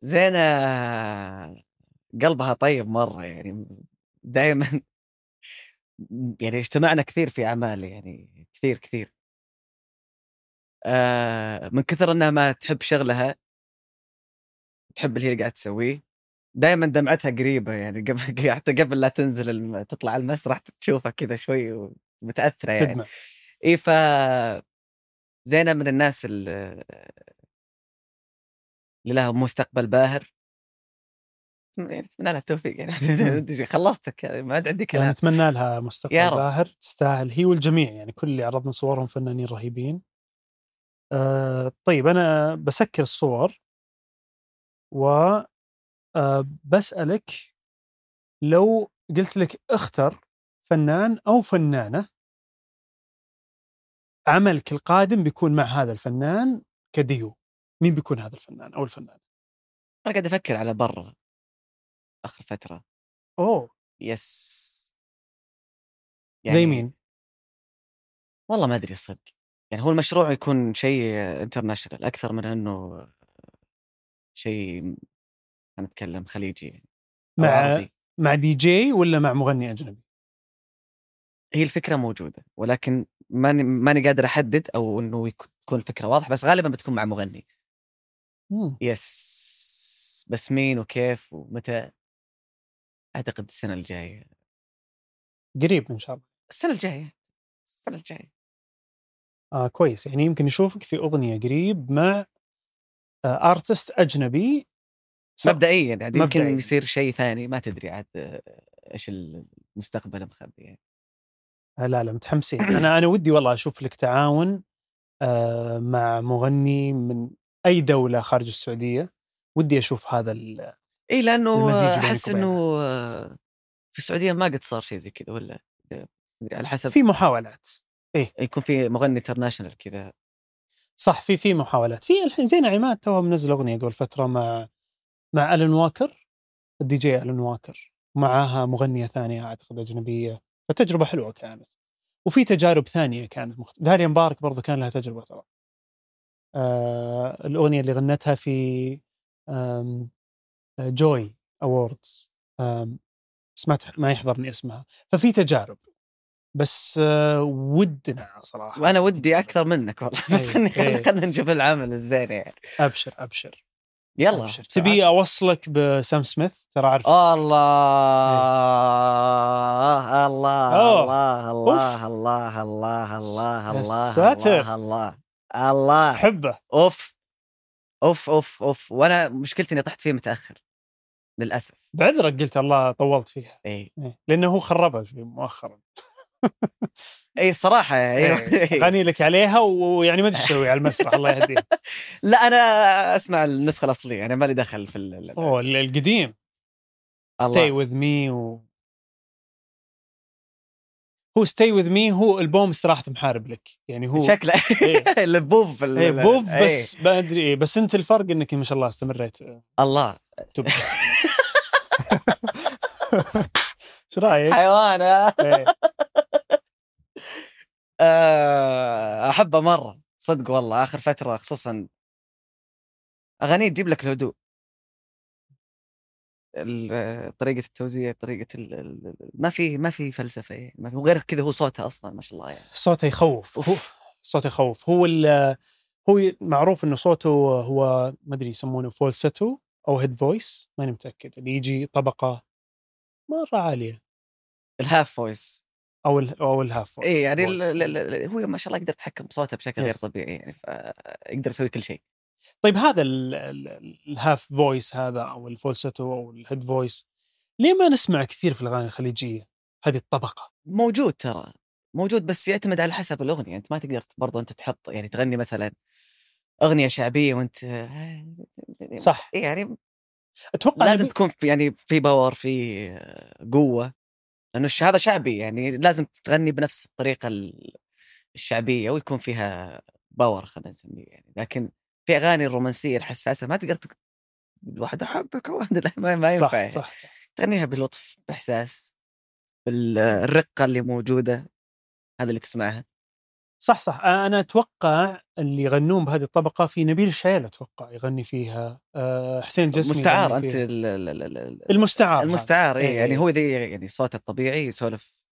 [SPEAKER 2] زينة قلبها طيب مرة يعني دائما يعني اجتمعنا كثير في أعمال يعني كثير كثير آه من كثر أنها ما تحب شغلها تحب اللي هي قاعد تسويه دائما دمعتها قريبة يعني قبل حتى قبل لا تنزل الم... تطلع على المسرح تشوفها كذا شوي متأثرة يعني
[SPEAKER 1] تدمع
[SPEAKER 2] اي ف زينة من الناس ال- اللي لها مستقبل باهر يعني اتمنى لها التوفيق يعني خلصتك يعني ما عاد عندي
[SPEAKER 1] يعني
[SPEAKER 2] كلام
[SPEAKER 1] نتمنى لها مستقبل
[SPEAKER 2] يا رب.
[SPEAKER 1] باهر تستاهل هي والجميع يعني كل اللي عرضنا صورهم فنانين رهيبين آه طيب انا بسكر الصور و آه بسالك لو قلت لك اختر فنان او فنانه عملك القادم بيكون مع هذا الفنان كديو مين بيكون هذا الفنان او الفنان
[SPEAKER 2] انا قاعد افكر على برا اخر فترة
[SPEAKER 1] اوه
[SPEAKER 2] يس
[SPEAKER 1] يعني زي مين
[SPEAKER 2] والله ما ادري الصدق يعني هو المشروع يكون شيء انترناشونال اكثر من انه شيء خلينا نتكلم خليجي يعني أو
[SPEAKER 1] مع
[SPEAKER 2] عربي.
[SPEAKER 1] مع دي جي ولا مع مغني اجنبي
[SPEAKER 2] هي الفكره موجوده ولكن ماني ماني قادر احدد او انه يك- تكون الفكره واضحه بس غالبا بتكون مع مغني
[SPEAKER 1] مم.
[SPEAKER 2] يس بس مين وكيف ومتى اعتقد السنه الجايه
[SPEAKER 1] قريب ان شاء الله
[SPEAKER 2] السنه الجايه السنه الجايه
[SPEAKER 1] آه كويس يعني يمكن نشوفك في اغنيه قريب مع آه ارتست اجنبي سواء
[SPEAKER 2] مبدئيا يعني
[SPEAKER 1] مبدئياً.
[SPEAKER 2] يمكن يصير شيء ثاني ما تدري عاد آه، ايش المستقبل مخبي يعني
[SPEAKER 1] آه لا لا متحمسين انا انا ودي والله اشوف لك تعاون آه مع مغني من اي دوله خارج السعوديه ودي اشوف هذا ال-
[SPEAKER 2] اي لانه
[SPEAKER 1] المزيج
[SPEAKER 2] آه،
[SPEAKER 1] بينك
[SPEAKER 2] احس
[SPEAKER 1] وبينها.
[SPEAKER 2] انه آه، في السعوديه ما قد صار شيء زي كذا ولا آه، على حسب
[SPEAKER 1] في محاولات
[SPEAKER 2] يكون في مغني انترناشونال كذا
[SPEAKER 1] صح في في محاولات في الحين زين عماد توها منزل اغنيه قبل فتره مع مع الن واكر الدي جي الن واكر معاها مغنيه ثانيه اعتقد اجنبيه فتجربه حلوه كانت وفي تجارب ثانيه كانت مخت... داريا مبارك برضو كان لها تجربه ترى آه الاغنيه اللي غنتها في آم جوي اووردز آم بس ما تح- ما يحضرني اسمها ففي تجارب بس آه ودنا صراحه
[SPEAKER 2] وانا ودي اكثر منك والله
[SPEAKER 1] أي-
[SPEAKER 2] بس خلني
[SPEAKER 1] أي.
[SPEAKER 2] خلينا خلينا نشوف العمل الزين يعني
[SPEAKER 1] ابشر ابشر
[SPEAKER 2] يلا آه.
[SPEAKER 1] أبشر. تبي اوصلك بسام سميث ترى اعرف
[SPEAKER 2] الله الله
[SPEAKER 1] إيه. أوه.
[SPEAKER 2] الله الله
[SPEAKER 1] أوف.
[SPEAKER 2] الله الله الله الله
[SPEAKER 1] يا
[SPEAKER 2] الله
[SPEAKER 1] ساتر.
[SPEAKER 2] الله الله الله
[SPEAKER 1] تحبه
[SPEAKER 2] اوف اوف اوف اوف وانا مشكلتي اني طحت فيه متاخر للاسف
[SPEAKER 1] بعذرك قلت الله طولت فيها
[SPEAKER 2] اي
[SPEAKER 1] إيه، لانه هو خربها شوي مؤخرا
[SPEAKER 2] اي الصراحه ايوه
[SPEAKER 1] إيه. غني لك عليها ويعني ما ادري ايش تسوي على المسرح الله يهديه
[SPEAKER 2] لا انا اسمع النسخه الاصليه انا يعني مالي دخل في ال- ال-
[SPEAKER 1] اوه ال- القديم ستي
[SPEAKER 2] الله.
[SPEAKER 1] وذ مي و هو ستي وذ مي هو البوم استراحه محارب لك يعني هو
[SPEAKER 2] شكله
[SPEAKER 1] إيه.
[SPEAKER 2] البوب في ال-
[SPEAKER 1] ايه بوف
[SPEAKER 2] إيه.
[SPEAKER 1] بس ما ادري إيه، بس انت الفرق انك ما شاء الله استمريت
[SPEAKER 2] الله
[SPEAKER 1] تب ايش رايك؟
[SPEAKER 2] حيوان آه.
[SPEAKER 1] إيه.
[SPEAKER 2] آه، احبه مره صدق والله اخر فتره خصوصا اغانيه تجيب لك الهدوء ال- آه، طريقه التوزيع طريقه ال... ال- ال- ما في ما في فلسفه يعني ما في- وغير كذا هو صوته اصلا ما شاء الله يعني
[SPEAKER 1] صوته يخوف هو
[SPEAKER 2] اوف
[SPEAKER 1] صوته يخوف هو ال- هو معروف انه صوته هو ما ادري يسمونه فولستو او هيد فويس ماني متاكد اللي يجي طبقه مره عاليه
[SPEAKER 2] الهاف فويس
[SPEAKER 1] او ال او الهاف فويس
[SPEAKER 2] اي يعني ال...
[SPEAKER 1] فويس.
[SPEAKER 2] ال... ال- هو ما شاء الله يقدر يتحكم بصوته بشكل غير
[SPEAKER 1] Yes.
[SPEAKER 2] طبيعي يعني فيقدر يسوي كل شيء
[SPEAKER 1] طيب هذا ال- ال- الهاف فويس هذا او الفولستو او الهيد فويس ليه ما نسمع كثير في الاغاني الخليجيه هذه الطبقه
[SPEAKER 2] موجود ترى موجود بس يعتمد على حسب الاغنيه انت ما تقدر برضه انت تحط يعني تغني مثلا اغنيه شعبيه وانت
[SPEAKER 1] صح
[SPEAKER 2] إيه يعني
[SPEAKER 1] اتوقع
[SPEAKER 2] لازم
[SPEAKER 1] نبي-
[SPEAKER 2] تكون في يعني في باور في قوه لانه الش- هذا شعبي يعني لازم تغني بنفس الطريقه ال- الشعبيه ويكون فيها باور خلينا نسميه يعني لكن في اغاني الرومانسيه الحساسه ما تقدر تك- الواحد احبك واحد لا، ما, ما ينفع
[SPEAKER 1] صح
[SPEAKER 2] يعني.
[SPEAKER 1] صح صح
[SPEAKER 2] تغنيها بلطف باحساس بالرقه اللي موجوده هذا اللي تسمعها
[SPEAKER 1] صح صح انا اتوقع اللي يغنون بهذه الطبقه في نبيل الشعيل اتوقع يغني فيها آه، حسين الجسمي
[SPEAKER 2] مستعار
[SPEAKER 1] يغني
[SPEAKER 2] انت
[SPEAKER 1] فيها.
[SPEAKER 2] ال- ال- ال-
[SPEAKER 1] المستعار
[SPEAKER 2] ال-
[SPEAKER 1] المستعار
[SPEAKER 2] المستعار إيه
[SPEAKER 1] إيه.
[SPEAKER 2] يعني هو ذي يعني صوته الطبيعي يسولف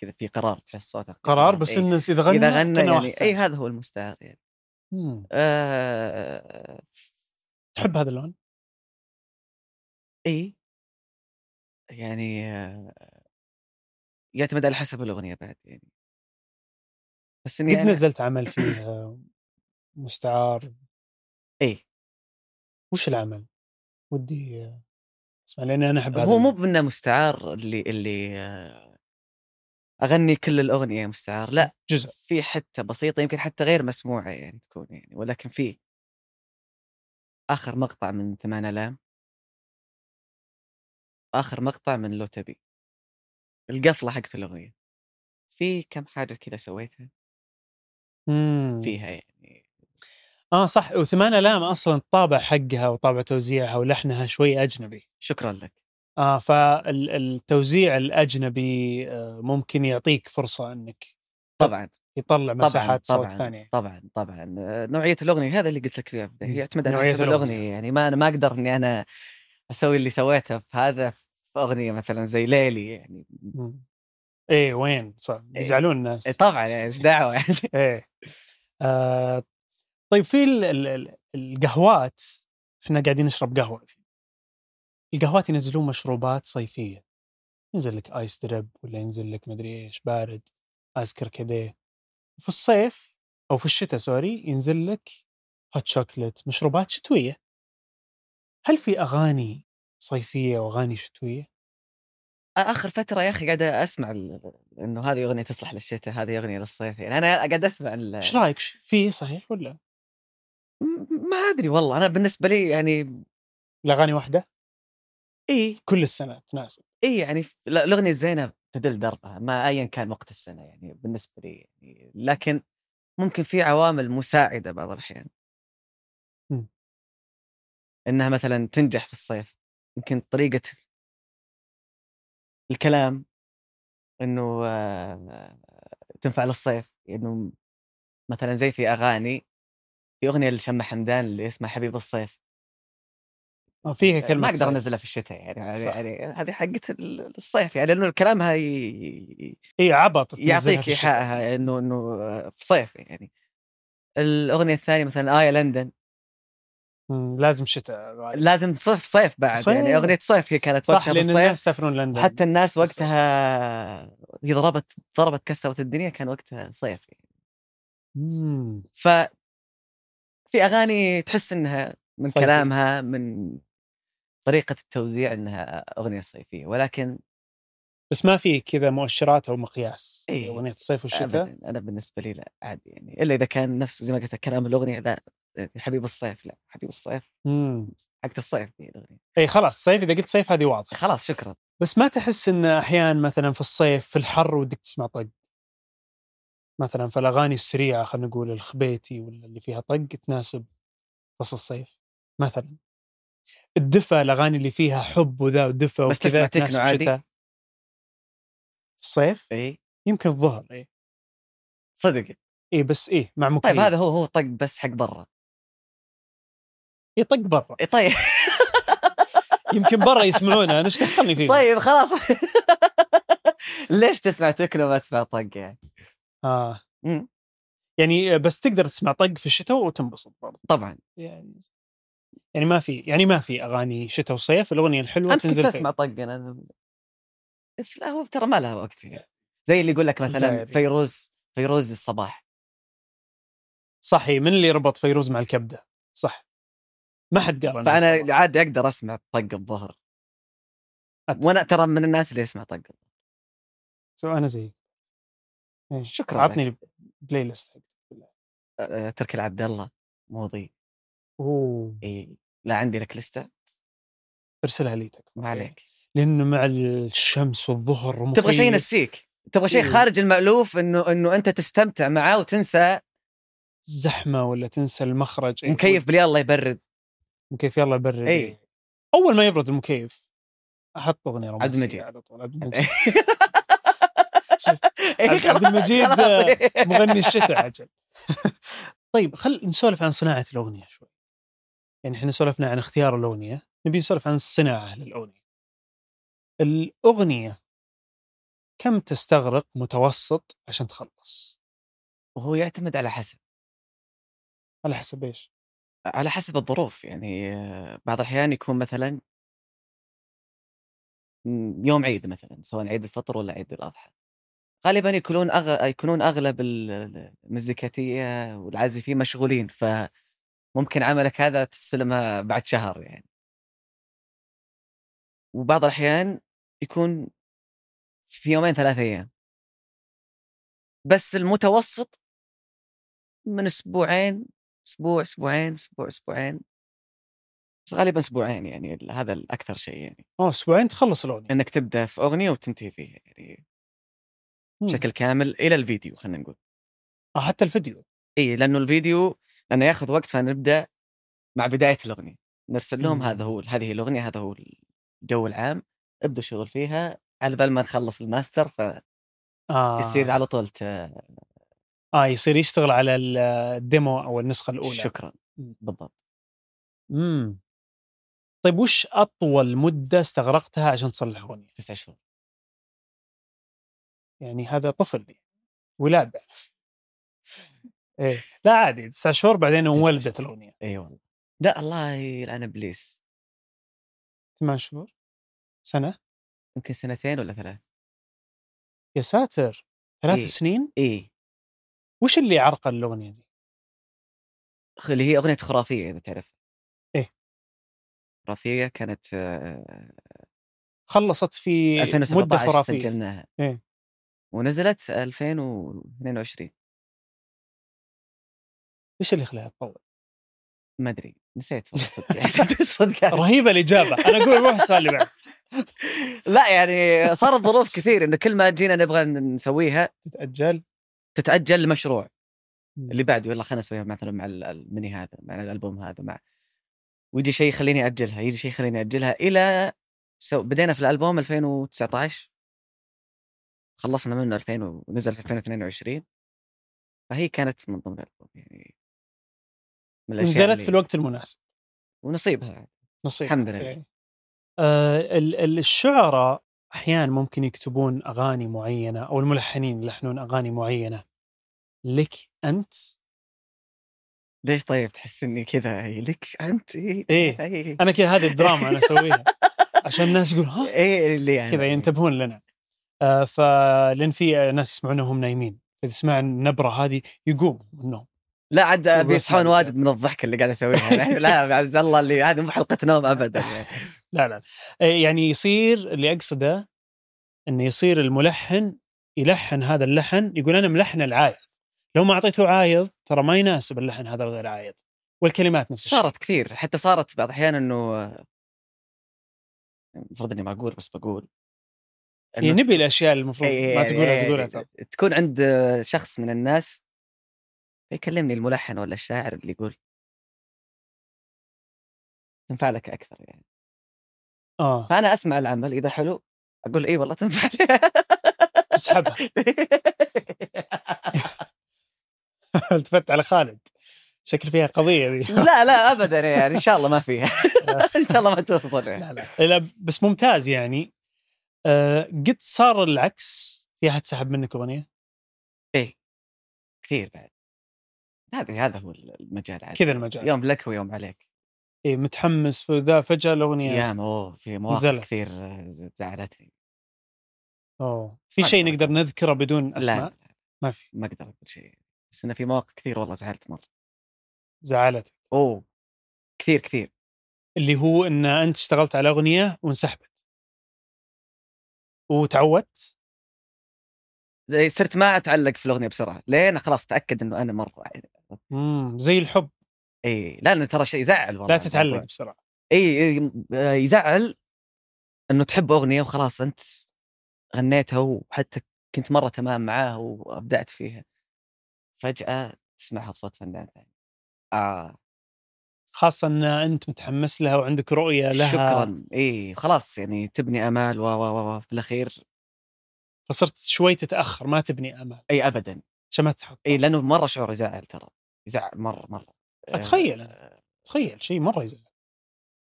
[SPEAKER 2] كذا في قرار تحس صوته
[SPEAKER 1] قرار بس
[SPEAKER 2] إيه.
[SPEAKER 1] انه اذا غنى
[SPEAKER 2] اذا غنى
[SPEAKER 1] كأنه
[SPEAKER 2] يعني
[SPEAKER 1] واحد
[SPEAKER 2] اي
[SPEAKER 1] ثاني.
[SPEAKER 2] هذا هو المستعار يعني
[SPEAKER 1] مم.
[SPEAKER 2] آه
[SPEAKER 1] تحب هذا اللون؟
[SPEAKER 2] اي إيه. يعني آه يعتمد على حسب الاغنيه بعد يعني بس اني
[SPEAKER 1] قد
[SPEAKER 2] يعني
[SPEAKER 1] نزلت عمل فيه مستعار
[SPEAKER 2] اي
[SPEAKER 1] وش العمل؟ ودي آه، اسمع لاني انا احب هذا
[SPEAKER 2] هو مو
[SPEAKER 1] اللون.
[SPEAKER 2] بانه مستعار اللي اللي آه، اغني كل الاغنيه مستعار لا
[SPEAKER 1] جزء
[SPEAKER 2] في حته بسيطه يمكن حتى غير مسموعه يعني تكون يعني ولكن في اخر مقطع من ثمان الام اخر مقطع من لو تبي القفله حقت الاغنيه في كم حاجه كذا سويتها
[SPEAKER 1] مم.
[SPEAKER 2] فيها يعني
[SPEAKER 1] اه صح وثمان الام اصلا الطابع حقها وطابع توزيعها ولحنها شوي اجنبي
[SPEAKER 2] شكرا لك
[SPEAKER 1] اه فالتوزيع الاجنبي آه، ممكن يعطيك فرصه انك
[SPEAKER 2] طبعا
[SPEAKER 1] يطلع
[SPEAKER 2] طبعا
[SPEAKER 1] مساحات صوت
[SPEAKER 2] طبعا
[SPEAKER 1] ثانيه
[SPEAKER 2] طبعا طبعا آه، نوعيه الاغنيه هذا اللي قلت لك اياه
[SPEAKER 1] مم.
[SPEAKER 2] يعتمد على
[SPEAKER 1] نوعية
[SPEAKER 2] حسب
[SPEAKER 1] الأغنية.
[SPEAKER 2] الاغنيه يعني ما انا ما اقدر اني انا اسوي اللي سويته في هذا في اغنيه مثلا زي ليلي يعني
[SPEAKER 1] مم. ايه وين صح بيزعلون الناس
[SPEAKER 2] إيه، طبعا يعني ايش دعوه يعني
[SPEAKER 1] ايه آه طيب في ال- ال- ال- القهوات احنا قاعدين نشرب قهوه الحين. القهوات ينزلون مشروبات صيفيه ينزل لك ايس درب ولا ينزل لك مدري ايش بارد ايس كركديه في الصيف او في الشتاء سوري ينزل لك هوت شوكلت مشروبات شتويه هل في اغاني صيفيه واغاني شتويه؟
[SPEAKER 2] اخر فتره يا اخي قاعد اسمع ال- انه هذه اغنيه تصلح للشتاء هذه اغنيه للصيف يعني انا قاعد اسمع ال-
[SPEAKER 1] ايش رايك؟ في صحيح ولا؟
[SPEAKER 2] م- ما ادري والله انا بالنسبه لي يعني
[SPEAKER 1] الاغاني واحده
[SPEAKER 2] اي
[SPEAKER 1] كل السنه تناسب
[SPEAKER 2] اي يعني ف- لا، الاغنيه الزينه تدل دربها ما ايا كان وقت السنه يعني بالنسبه لي يعني لكن ممكن في عوامل مساعده بعض الاحيان
[SPEAKER 1] مم.
[SPEAKER 2] انها مثلا تنجح في الصيف يمكن طريقه الكلام انه آه، تنفع للصيف انه مثلا زي في اغاني في اغنيه لشم حمدان اللي اسمها حبيب الصيف
[SPEAKER 1] ما فيها كلمه
[SPEAKER 2] يعني ما اقدر
[SPEAKER 1] صيف.
[SPEAKER 2] انزلها في الشتاء يعني
[SPEAKER 1] صح.
[SPEAKER 2] يعني هذه حقت ال- الصيف يعني لانه كلامها ي-
[SPEAKER 1] اي إيه، عبط تنزلها
[SPEAKER 2] يعطيك
[SPEAKER 1] في الشتاء.
[SPEAKER 2] ايحاءها انه انه في صيف يعني الاغنيه الثانيه مثلا ايا آية لندن
[SPEAKER 1] مم، لازم شتاء غالباً.
[SPEAKER 2] لازم صيف صيف بعد
[SPEAKER 1] صيف.
[SPEAKER 2] صيف. يعني اغنيه صيف هي كانت
[SPEAKER 1] صح
[SPEAKER 2] وقتها في
[SPEAKER 1] لان
[SPEAKER 2] الصيف
[SPEAKER 1] الناس يسافرون لندن
[SPEAKER 2] حتى الناس
[SPEAKER 1] الصيف.
[SPEAKER 2] وقتها هي ضربت ضربت كسرت الدنيا كان وقتها صيف يعني.
[SPEAKER 1] مم.
[SPEAKER 2] ف في اغاني تحس انها من
[SPEAKER 1] صيفية.
[SPEAKER 2] صيفي. كلامها من طريقه التوزيع انها اغنيه صيفيه ولكن
[SPEAKER 1] بس ما في كذا مؤشرات او مقياس
[SPEAKER 2] إيه.
[SPEAKER 1] اغنيه الصيف والشتاء
[SPEAKER 2] ابدا انا بالنسبه لي لا عادي يعني الا اذا كان نفس زي ما قلت لك كلام الاغنيه لا حبيب الصيف لا حبيب الصيف
[SPEAKER 1] امم
[SPEAKER 2] حقت الصيف دي الاغنيه
[SPEAKER 1] اي إيه، خلاص صيف اذا قلت صيف هذه واضحه
[SPEAKER 2] خلاص شكرا
[SPEAKER 1] بس ما تحس ان احيانا مثلا في الصيف في الحر ودك تسمع طق مثلا فالاغاني السريعه خلينا نقول الخبيتي ولا اللي فيها طق تناسب فصل الصيف مثلا الدفى الاغاني اللي فيها حب وذا ودفى
[SPEAKER 2] بس تسمع تكنو عادي؟ إيه.
[SPEAKER 1] في الصيف
[SPEAKER 2] اي
[SPEAKER 1] يمكن الظهر اي
[SPEAKER 2] صدق
[SPEAKER 1] إيه بس اي مع مكيف
[SPEAKER 2] إيه. طيب هذا هو هو طق بس حق برا
[SPEAKER 1] اي طق برا
[SPEAKER 2] إيه، طيب
[SPEAKER 1] يمكن برا يسمعونه انا ايش دخلني فيه
[SPEAKER 2] طيب خلاص ليش تسمع تكنو ما تسمع طق يعني
[SPEAKER 1] آه.
[SPEAKER 2] مم.
[SPEAKER 1] يعني بس تقدر تسمع طق في الشتاء وتنبسط برضه
[SPEAKER 2] طبعا
[SPEAKER 1] يعني يعني ما في يعني ما في اغاني شتاء وصيف الاغنيه الحلوه
[SPEAKER 2] امس
[SPEAKER 1] تنزل
[SPEAKER 2] كنت
[SPEAKER 1] في-
[SPEAKER 2] اسمع طق انا لا هو ترى ما لها وقت يعني زي اللي يقول لك مثلا
[SPEAKER 1] الدائري.
[SPEAKER 2] فيروز فيروز الصباح
[SPEAKER 1] صحي من اللي ربط فيروز مع الكبده صح ما حد قال
[SPEAKER 2] فانا عادي اقدر اسمع طق الظهر
[SPEAKER 1] أت-
[SPEAKER 2] وانا ترى من الناس اللي يسمع طق
[SPEAKER 1] سو انا زيك إيه.
[SPEAKER 2] شكرا
[SPEAKER 1] عطني البلاي ليست
[SPEAKER 2] آه، تركي العبد الله موضي
[SPEAKER 1] اوه
[SPEAKER 2] اي لا عندي لك لسته
[SPEAKER 1] ارسلها لي تكفى
[SPEAKER 2] ما عليك
[SPEAKER 1] لانه مع الشمس والظهر ومخيف.
[SPEAKER 2] تبغى شيء ينسيك تبغى شيء
[SPEAKER 1] إيه.
[SPEAKER 2] خارج المالوف انه انه انت تستمتع معاه وتنسى
[SPEAKER 1] زحمه ولا تنسى المخرج إيه.
[SPEAKER 2] مكيف إيه. بلي الله يبرد
[SPEAKER 1] مكيف يلا برد
[SPEAKER 2] اي
[SPEAKER 1] اول ما يبرد المكيف احط اغنيه
[SPEAKER 2] عبد المجيد.
[SPEAKER 1] رومانسيه على طول عبد المجيد
[SPEAKER 2] إيه،
[SPEAKER 1] عبد
[SPEAKER 2] خلاص-
[SPEAKER 1] المجيد، آه،
[SPEAKER 2] خلاص.
[SPEAKER 1] مغني الشتاء عجل طيب خل نسولف عن صناعه الاغنيه شوي يعني احنا سولفنا عن اختيار الاغنيه نبي نسولف عن الصناعه للاغنيه الاغنيه كم تستغرق متوسط عشان تخلص
[SPEAKER 2] وهو يعتمد على حسب
[SPEAKER 1] على حسب ايش
[SPEAKER 2] على حسب الظروف يعني آه، بعض الاحيان يكون مثلا م، يوم عيد مثلا سواء عيد الفطر ولا عيد الاضحى غالبا يكونون أغ... يكونون اغلب ال- المزيكاتيه والعازفين مشغولين فممكن عملك هذا تستلمها بعد شهر يعني وبعض الاحيان يكون في يومين ثلاثة ايام بس المتوسط من اسبوعين اسبوع اسبوعين اسبوع اسبوعين بس غالبا اسبوعين يعني ال- هذا الاكثر شيء يعني
[SPEAKER 1] اه اسبوعين تخلص الاغنيه
[SPEAKER 2] انك تبدا في اغنيه وتنتهي فيها يعني بشكل كامل الى الفيديو خلينا نقول
[SPEAKER 1] آه حتى الفيديو
[SPEAKER 2] اي لانه الفيديو لانه ياخذ وقت فنبدا مع بدايه الاغنيه نرسل لهم
[SPEAKER 1] مم.
[SPEAKER 2] هذا هو هذه الاغنيه هذا هو الجو العام ابدوا شغل فيها على بال ما نخلص الماستر فيصير
[SPEAKER 1] آه.
[SPEAKER 2] آه. على طول ت...
[SPEAKER 1] اه يصير يشتغل على ال- الديمو او النسخه الاولى
[SPEAKER 2] شكرا
[SPEAKER 1] مم.
[SPEAKER 2] بالضبط
[SPEAKER 1] امم طيب وش اطول مده استغرقتها عشان تصلح اغنيه؟
[SPEAKER 2] تسع شهور
[SPEAKER 1] يعني هذا طفل يعني. ولاده ايه لا عادي تسع شهور بعدين
[SPEAKER 2] تسع
[SPEAKER 1] ولدت
[SPEAKER 2] شهور.
[SPEAKER 1] الاغنيه
[SPEAKER 2] اي والله لا الله يلعن ابليس
[SPEAKER 1] ثمان شهور سنه
[SPEAKER 2] يمكن سنتين ولا ثلاث
[SPEAKER 1] يا ساتر ثلاث
[SPEAKER 2] إيه.
[SPEAKER 1] سنين
[SPEAKER 2] اي
[SPEAKER 1] وش اللي عرقل الاغنيه دي؟
[SPEAKER 2] اللي هي اغنيه خرافيه اذا تعرف
[SPEAKER 1] إيه.
[SPEAKER 2] خرافيه كانت آه،
[SPEAKER 1] خلصت في مده
[SPEAKER 2] 2017
[SPEAKER 1] خرافيه
[SPEAKER 2] سجلناها
[SPEAKER 1] إيه.
[SPEAKER 2] ونزلت 2022
[SPEAKER 1] ايش اللي خلاها تطول؟
[SPEAKER 2] ما ادري نسيت والله صدق يعني صدق يعني.
[SPEAKER 1] رهيبه الاجابه انا اقول روح السؤال اللي بعده
[SPEAKER 2] لا يعني صارت ظروف كثير انه كل ما جينا نبغى نسويها
[SPEAKER 1] تتاجل
[SPEAKER 2] يعني؟ تتاجل لمشروع اللي
[SPEAKER 1] اللي
[SPEAKER 2] بعده يلا خلينا نسويها مثلا مع ال- المني هذا مع الالبوم هذا مع ويجي شيء يخليني اجلها يجي شيء يخليني اجلها الى سو... بدينا في الالبوم 2019 خلصنا منه 2000 ونزل في 2022 فهي كانت من ضمن الالبوم يعني من الأشياء
[SPEAKER 1] نزلت
[SPEAKER 2] اللي-
[SPEAKER 1] في الوقت المناسب
[SPEAKER 2] ونصيبها
[SPEAKER 1] نصيب
[SPEAKER 2] الحمد لله.
[SPEAKER 1] إيه. آه ال- ال- الشعراء احيانا ممكن يكتبون اغاني معينه او الملحنين يلحنون اغاني معينه لك انت
[SPEAKER 2] ليش طيب تحس اني كذا إي لك انت اي
[SPEAKER 1] إيه.
[SPEAKER 2] اي
[SPEAKER 1] انا كذا هذه الدراما انا اسويها عشان الناس يقول ها
[SPEAKER 2] إيه اللي يعني
[SPEAKER 1] كذا ينتبهون لنا آه فلان في ناس يسمعونا وهم نايمين اذا سمع النبره هذه يقوم من النوم
[SPEAKER 2] لا عاد
[SPEAKER 1] يقول
[SPEAKER 2] بيصحون
[SPEAKER 1] اسمع
[SPEAKER 2] واجد من الضحك اللي قاعد اسويها يعني لا عز الله اللي هذه مو حلقه نوم ابدا يعني.
[SPEAKER 1] لا لا آه، يعني يصير اللي اقصده انه يصير الملحن يلحن هذا اللحن يقول انا ملحن العايض لو ما اعطيته عايض ترى ما يناسب اللحن هذا الغير عايض والكلمات نفس الشيء
[SPEAKER 2] صارت كثير حتى صارت بعض الاحيان انه آه، المفروض اني ما اقول بس بقول إنه
[SPEAKER 1] يعني نبي الاشياء اللي المفروض
[SPEAKER 2] إيه،
[SPEAKER 1] ما
[SPEAKER 2] يعني
[SPEAKER 1] تقولها
[SPEAKER 2] إيه،
[SPEAKER 1] تقولها ترى
[SPEAKER 2] تكون عند شخص من الناس يكلمني الملحن ولا الشاعر اللي يقول تنفع لك اكثر يعني
[SPEAKER 1] اه
[SPEAKER 2] فانا اسمع العمل اذا حلو اقول اي والله تنفع
[SPEAKER 1] تسحبها التفت على خالد شكل فيها قضيه ذي
[SPEAKER 2] لا لا ابدا يعني ان شاء الله ما فيها ان شاء الله ما توصل يعني.
[SPEAKER 1] لا لا لا، بس ممتاز يعني آه قد صار العكس في احد سحب منك اغنيه
[SPEAKER 2] كثير بعد هذا هذا هو المجال عاد.
[SPEAKER 1] كذا المجال.
[SPEAKER 2] يوم لك ويوم عليك
[SPEAKER 1] إيه متحمس وذا فجاه الاغنيه
[SPEAKER 2] يا اوه في مواقف
[SPEAKER 1] نزلت.
[SPEAKER 2] كثير ز- زعلتني
[SPEAKER 1] أوه. في
[SPEAKER 2] اسمع
[SPEAKER 1] شيء
[SPEAKER 2] الحركة.
[SPEAKER 1] نقدر نذكره بدون
[SPEAKER 2] لا,
[SPEAKER 1] اسماء
[SPEAKER 2] لا
[SPEAKER 1] ما في
[SPEAKER 2] ما اقدر اقول شيء بس انه في مواقف كثير والله زعلت مره
[SPEAKER 1] زعلت
[SPEAKER 2] اوه كثير كثير
[SPEAKER 1] اللي هو ان انت اشتغلت على اغنيه وانسحبت وتعودت
[SPEAKER 2] زي صرت ما اتعلق في الاغنيه بسرعه لين خلاص اتاكد انه انا مره
[SPEAKER 1] مم. زي الحب
[SPEAKER 2] اي إيه، لا لأنه ترى شيء يزعل والله
[SPEAKER 1] لا تتعلق بسرعه
[SPEAKER 2] اي إي، آه، يزعل انه تحب اغنيه وخلاص انت غنيتها وحتى كنت مره تمام معاها وابدعت فيها فجاه تسمعها بصوت فنان ثاني اه
[SPEAKER 1] خاصه ان انت متحمس لها وعندك رؤيه لها
[SPEAKER 2] شكرا اي خلاص يعني تبني امال و و و في الاخير
[SPEAKER 1] فصرت شوي تتاخر ما تبني امل
[SPEAKER 2] اي ابدا
[SPEAKER 1] عشان ما تحط
[SPEAKER 2] اي لانه مره شعور يزعل ترى يزعل مره مره
[SPEAKER 1] أتخيل أنا.
[SPEAKER 2] آه،
[SPEAKER 1] تخيل شيء مره يزعل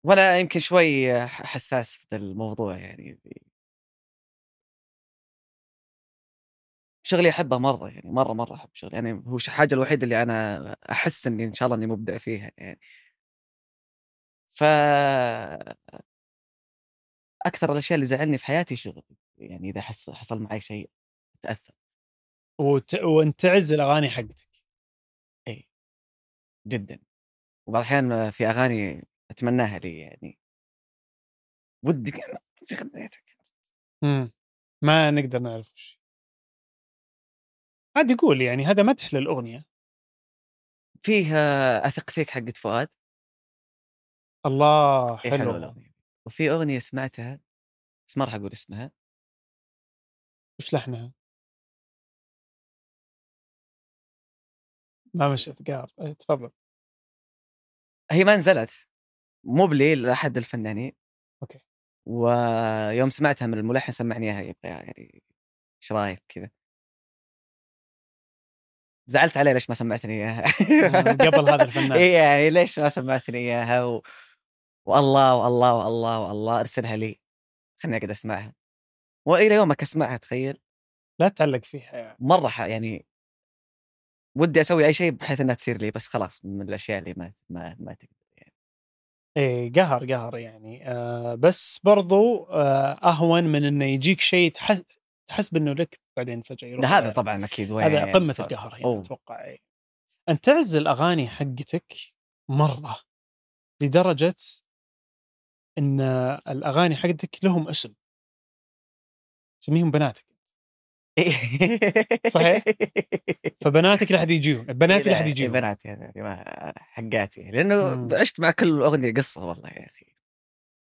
[SPEAKER 2] وانا يمكن شوي آه، حساس في ذا الموضوع يعني شغلي احبه مره يعني مره مره احب شغلي يعني هو ش- الحاجه الوحيده اللي انا احس اني ان شاء الله اني مبدع فيها يعني ف اكثر الاشياء اللي زعلني في حياتي شغلي يعني اذا حصل حصل معي شيء اتاثر
[SPEAKER 1] وت... وانت تعز الاغاني حقتك
[SPEAKER 2] جدا وبعض الاحيان في اغاني اتمناها لي يعني ودي غنيتك
[SPEAKER 1] مم. ما نقدر نعرف وش عاد يقول يعني هذا مدح للاغنيه
[SPEAKER 2] فيها اثق فيك حقت فؤاد
[SPEAKER 1] الله
[SPEAKER 2] إيه،
[SPEAKER 1] حلو,
[SPEAKER 2] الأغنية. وفي اغنيه سمعتها بس ما راح اقول اسمها
[SPEAKER 1] وش لحنها؟ ما مشيت قار إيه، تفضل
[SPEAKER 2] هي ما نزلت مو بلي لاحد الفنانين
[SPEAKER 1] أوكي.
[SPEAKER 2] ويوم سمعتها من الملحن سمعني اياها يبقى يعني ايش رايك كذا زعلت عليه ليش ما سمعتني اياها
[SPEAKER 1] مم، آه، قبل هذا الفنان
[SPEAKER 2] اي يعني ليش ما سمعتني اياها و... والله والله والله والله ارسلها لي خليني اقعد اسمعها والى يومك اسمعها تخيل
[SPEAKER 1] لا تعلق فيها يعني.
[SPEAKER 2] مره ح- يعني ودي اسوي اي شيء بحيث انها تصير لي بس خلاص من الاشياء اللي ما ما ما تقدر يعني
[SPEAKER 1] ايه قهر قهر يعني آه بس برضو آه اهون من انه يجيك شيء تحس تحس بانه لك بعدين فجاه يروح
[SPEAKER 2] لا، هذا طبعا اكيد وين
[SPEAKER 1] هذا قمه
[SPEAKER 2] ف-
[SPEAKER 1] القهر هنا
[SPEAKER 2] أوه.
[SPEAKER 1] اتوقع إيه. ان تعز الاغاني حقتك مره لدرجه ان الاغاني حقتك لهم اسم تسميهم بناتك صحيح؟ فبناتك لا حد يجيهم بناتي لا حد
[SPEAKER 2] لا،
[SPEAKER 1] يجيهم
[SPEAKER 2] بناتي هذا اللي ما- حقاتي لانه
[SPEAKER 1] مم.
[SPEAKER 2] عشت مع كل اغنيه قصه والله يا اخي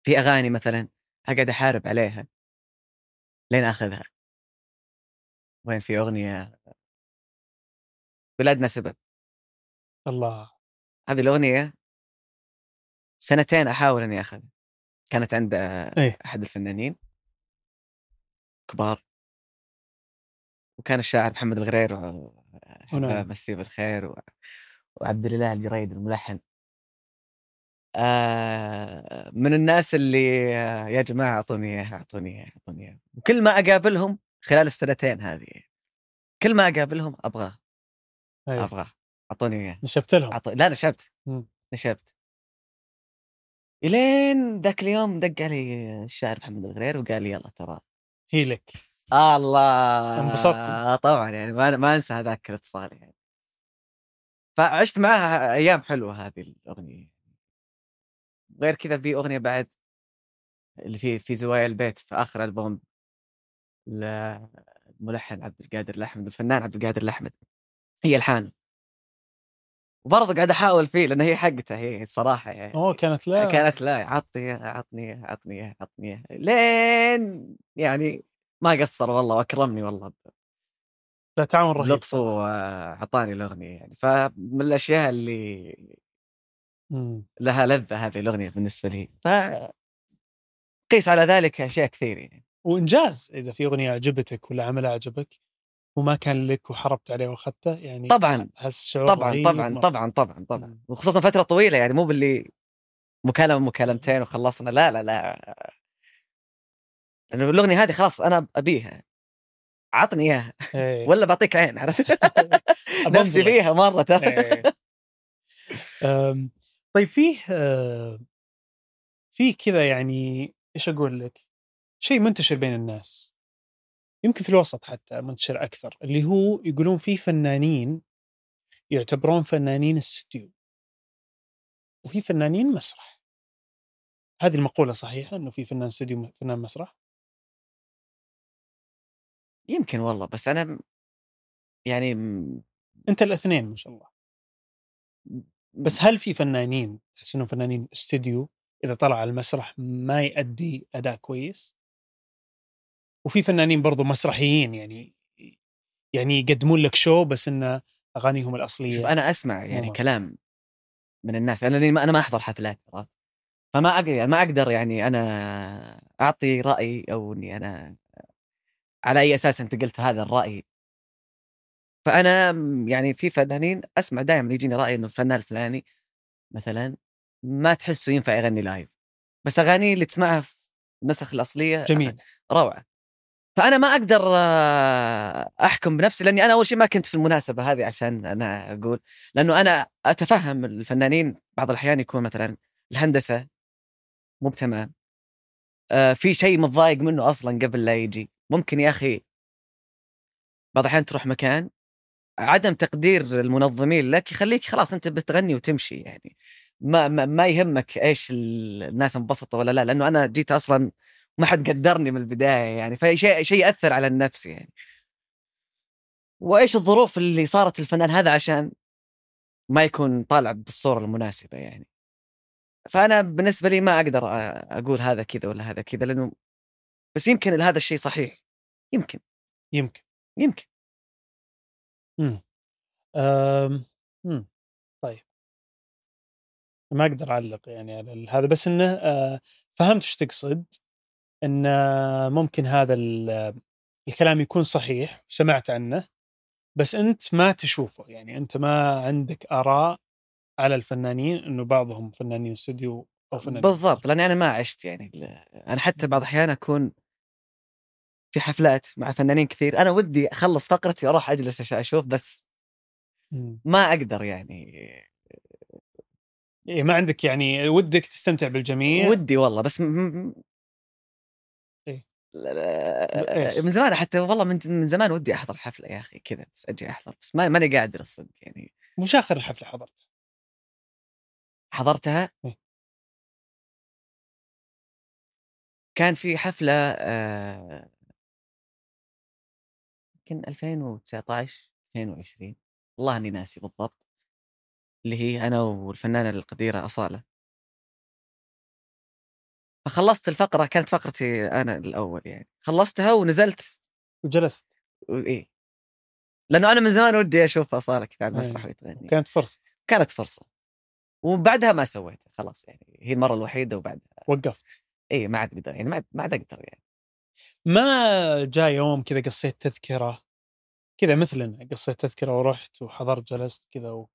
[SPEAKER 2] في اغاني مثلا اقعد احارب عليها لين اخذها وين في اغنيه بلادنا سبب
[SPEAKER 1] الله
[SPEAKER 2] هذه الاغنيه سنتين احاول اني اخذها كانت عند آه،
[SPEAKER 1] إيه.
[SPEAKER 2] احد الفنانين كبار وكان الشاعر محمد الغرير و- أحبه،
[SPEAKER 1] ونعم.
[SPEAKER 2] مسيه بالخير و... وعبد الاله الجريد الملحن آه من الناس اللي آه، يا جماعه اعطوني اياها اعطوني اياها اعطوني اياها وكل ما اقابلهم خلال السنتين هذه كل ما اقابلهم ابغاه
[SPEAKER 1] إيه.
[SPEAKER 2] ابغاه اعطوني اياها
[SPEAKER 1] نشبت لهم
[SPEAKER 2] عط... لا نشبت
[SPEAKER 1] مم.
[SPEAKER 2] نشبت الين ذاك اليوم دق علي الشاعر محمد الغرير وقال لي يلا ترى
[SPEAKER 1] هي لك
[SPEAKER 2] الله
[SPEAKER 1] انبسطت.
[SPEAKER 2] طبعا يعني ما, ما انسى هذاك الاتصال يعني فعشت معها ايام حلوه هذه الاغنيه غير كذا في اغنيه بعد اللي في في زوايا البيت في اخر البوم للملحن عبد القادر الاحمد الفنان عبد القادر الاحمد هي الحان وبرضه قاعد احاول فيه لان هي حقته هي الصراحه يعني
[SPEAKER 1] اوه كانت لا
[SPEAKER 2] كانت لا عطني إياها، عطني إياها، عطني إياها، عطني إياها. لين يعني ما قصر والله واكرمني والله
[SPEAKER 1] لا تعاون رهيب
[SPEAKER 2] بلطفه واعطاني الاغنيه يعني فمن الاشياء اللي
[SPEAKER 1] مم.
[SPEAKER 2] لها لذه هذه الاغنيه بالنسبه لي ف قيس على ذلك اشياء كثير يعني
[SPEAKER 1] وانجاز اذا في اغنيه عجبتك ولا عمل عجبك وما كان لك وحربت عليه واخذته يعني
[SPEAKER 2] طبعا
[SPEAKER 1] هالشعور
[SPEAKER 2] طبعا
[SPEAKER 1] رهيب إيه.
[SPEAKER 2] طبعا
[SPEAKER 1] مرة.
[SPEAKER 2] طبعا طبعا
[SPEAKER 1] مم.
[SPEAKER 2] طبعا وخصوصا فتره طويله يعني مو باللي مكالمه مكالمتين وخلصنا لا لا لا لانه الاغنيه هذه خلاص انا ابيها عطني اياها
[SPEAKER 1] إيه.
[SPEAKER 2] ولا بعطيك عين عرفت
[SPEAKER 1] أبنظرك.
[SPEAKER 2] نفسي فيها مره ترى
[SPEAKER 1] إيه. أم، طيب فيه آه، في كذا يعني ايش اقول لك؟ شيء منتشر بين الناس يمكن في الوسط حتى منتشر اكثر اللي هو يقولون في فنانين يعتبرون فنانين استوديو وفي فنانين مسرح هذه المقولة صحيحة انه في فنان استوديو فنان مسرح
[SPEAKER 2] يمكن والله بس انا م- يعني م-
[SPEAKER 1] انت الاثنين ما شاء الله بس هل في فنانين تحس انهم فنانين استوديو اذا طلع على المسرح ما يؤدي اداء كويس وفي فنانين برضو مسرحيين يعني يعني يقدمون لك شو بس انه اغانيهم الاصليه
[SPEAKER 2] شوف انا اسمع يعني
[SPEAKER 1] مم.
[SPEAKER 2] كلام من الناس انا لأني ما- انا ما احضر حفلات عرفت؟ فما اقدر ما اقدر يعني انا اعطي رايي او اني انا على اي اساس انت قلت هذا الراي فانا م- يعني في فنانين اسمع دائما يجيني راي انه الفنان الفلاني مثلا ما تحسه ينفع يغني لايف بس اغانيه اللي تسمعها في النسخ الاصليه
[SPEAKER 1] جميل
[SPEAKER 2] روعه فانا ما اقدر آه، احكم بنفسي لاني انا اول شيء ما كنت في المناسبه هذه عشان انا اقول لانه انا اتفهم الفنانين بعض الاحيان يكون مثلا الهندسه مو بتمام آه، في شيء متضايق منه اصلا قبل لا يجي ممكن يا اخي بعض الاحيان تروح مكان عدم تقدير المنظمين لك يخليك خلاص انت بتغني وتمشي يعني ما ما, ما يهمك ايش ال- الناس انبسطوا ولا لا لانه انا جيت اصلا ما حد قدرني من البدايه يعني فشيء شيء ياثر على النفس يعني وايش الظروف اللي صارت الفنان هذا عشان ما يكون طالع بالصوره المناسبه يعني فانا بالنسبه لي ما اقدر أ- اقول هذا كذا ولا هذا كذا لانه بس يمكن هذا الشيء صحيح يمكن
[SPEAKER 1] يمكن
[SPEAKER 2] يمكن
[SPEAKER 1] أم. مم. طيب ما اقدر اعلق يعني على ال- هذا بس انه آه، فهمت ايش تقصد ان آه، ممكن هذا ال- آه، الكلام يكون صحيح وسمعت عنه بس انت ما تشوفه يعني انت ما عندك اراء على الفنانين انه بعضهم فنانين استوديو او فنانين
[SPEAKER 2] بالضبط لاني انا ما عشت يعني ال- انا حتى بعض الاحيان اكون في حفلات مع فنانين كثير انا ودي اخلص فقرتي واروح اجلس أش- اشوف بس
[SPEAKER 1] مم.
[SPEAKER 2] ما اقدر يعني
[SPEAKER 1] إيه، ما عندك يعني ودك تستمتع بالجميع
[SPEAKER 2] ودي والله بس م- م-
[SPEAKER 1] إيه.
[SPEAKER 2] لا- لا-
[SPEAKER 1] إيش؟
[SPEAKER 2] من زمان حتى والله من من زمان ودي احضر حفله يا اخي كذا بس اجي احضر بس ما- ماني قادر الصدق يعني
[SPEAKER 1] وش اخر الحفله حضرتها؟
[SPEAKER 2] حضرتها
[SPEAKER 1] إيه.
[SPEAKER 2] كان في حفله آه، يمكن 2019 2020 والله اني ناسي بالضبط اللي هي انا والفنانه القديره اصاله فخلصت الفقره كانت فقرتي انا الاول يعني خلصتها ونزلت
[SPEAKER 1] وجلست
[SPEAKER 2] ايه لانه انا من زمان ودي اشوف اصاله كذا على المسرح
[SPEAKER 1] إيه.
[SPEAKER 2] وتغني
[SPEAKER 1] كانت فرصه
[SPEAKER 2] كانت فرصه وبعدها ما سويت خلاص يعني هي المره الوحيده وبعدها
[SPEAKER 1] وقفت
[SPEAKER 2] اي ما عاد اقدر يعني ما عاد- ما عاد اقدر يعني
[SPEAKER 1] ما جاء يوم كذا قصيت تذكره كذا مثلنا قصيت تذكره ورحت وحضرت جلست كذا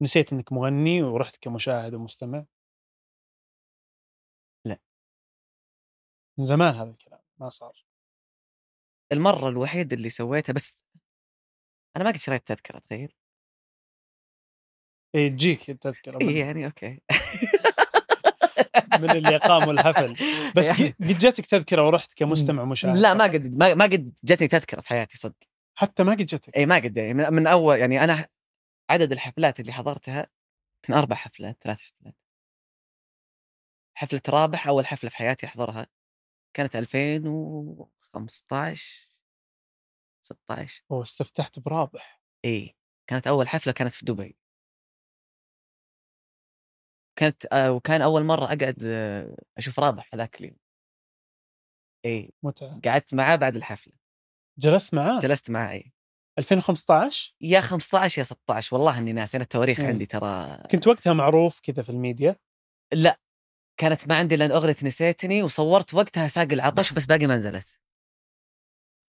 [SPEAKER 1] ونسيت انك مغني ورحت كمشاهد ومستمع
[SPEAKER 2] لا.
[SPEAKER 1] من زمان هذا الكلام ما صار
[SPEAKER 2] المره الوحيده اللي سويتها بس انا ما قد شريت تذكره تخيل
[SPEAKER 1] إيه تجيك التذكره
[SPEAKER 2] اي
[SPEAKER 1] من,
[SPEAKER 2] يعني اوكي
[SPEAKER 1] من اللي قاموا الحفل بس
[SPEAKER 2] يعني-
[SPEAKER 1] قد جاتك تذكره ورحت كمستمع مشاهد
[SPEAKER 2] لا ما قد ما, ما قد جتني تذكره في حياتي صدق
[SPEAKER 1] حتى ما قد جاتك
[SPEAKER 2] اي ما قد يعني من, من اول يعني انا عدد الحفلات اللي حضرتها كان اربع حفلات ثلاث حفلات حفله رابح اول حفله في حياتي احضرها كانت 2005 15 16
[SPEAKER 1] واستفتحت برابح
[SPEAKER 2] اي إيه، كانت اول حفله كانت في دبي كانت آه، وكان اول مره اقعد آه، اشوف رابح هذاك اليوم اي
[SPEAKER 1] متعه
[SPEAKER 2] قعدت معاه بعد الحفله
[SPEAKER 1] جلست معاه
[SPEAKER 2] جلست معاه اي
[SPEAKER 1] 2015
[SPEAKER 2] يا 15 يا 16 والله اني ناسي انا التواريخ
[SPEAKER 1] مم.
[SPEAKER 2] عندي ترى
[SPEAKER 1] كنت وقتها معروف كذا في الميديا
[SPEAKER 2] لا كانت ما عندي لان اغنيه نسيتني وصورت وقتها ساق العطش بس باقي ما نزلت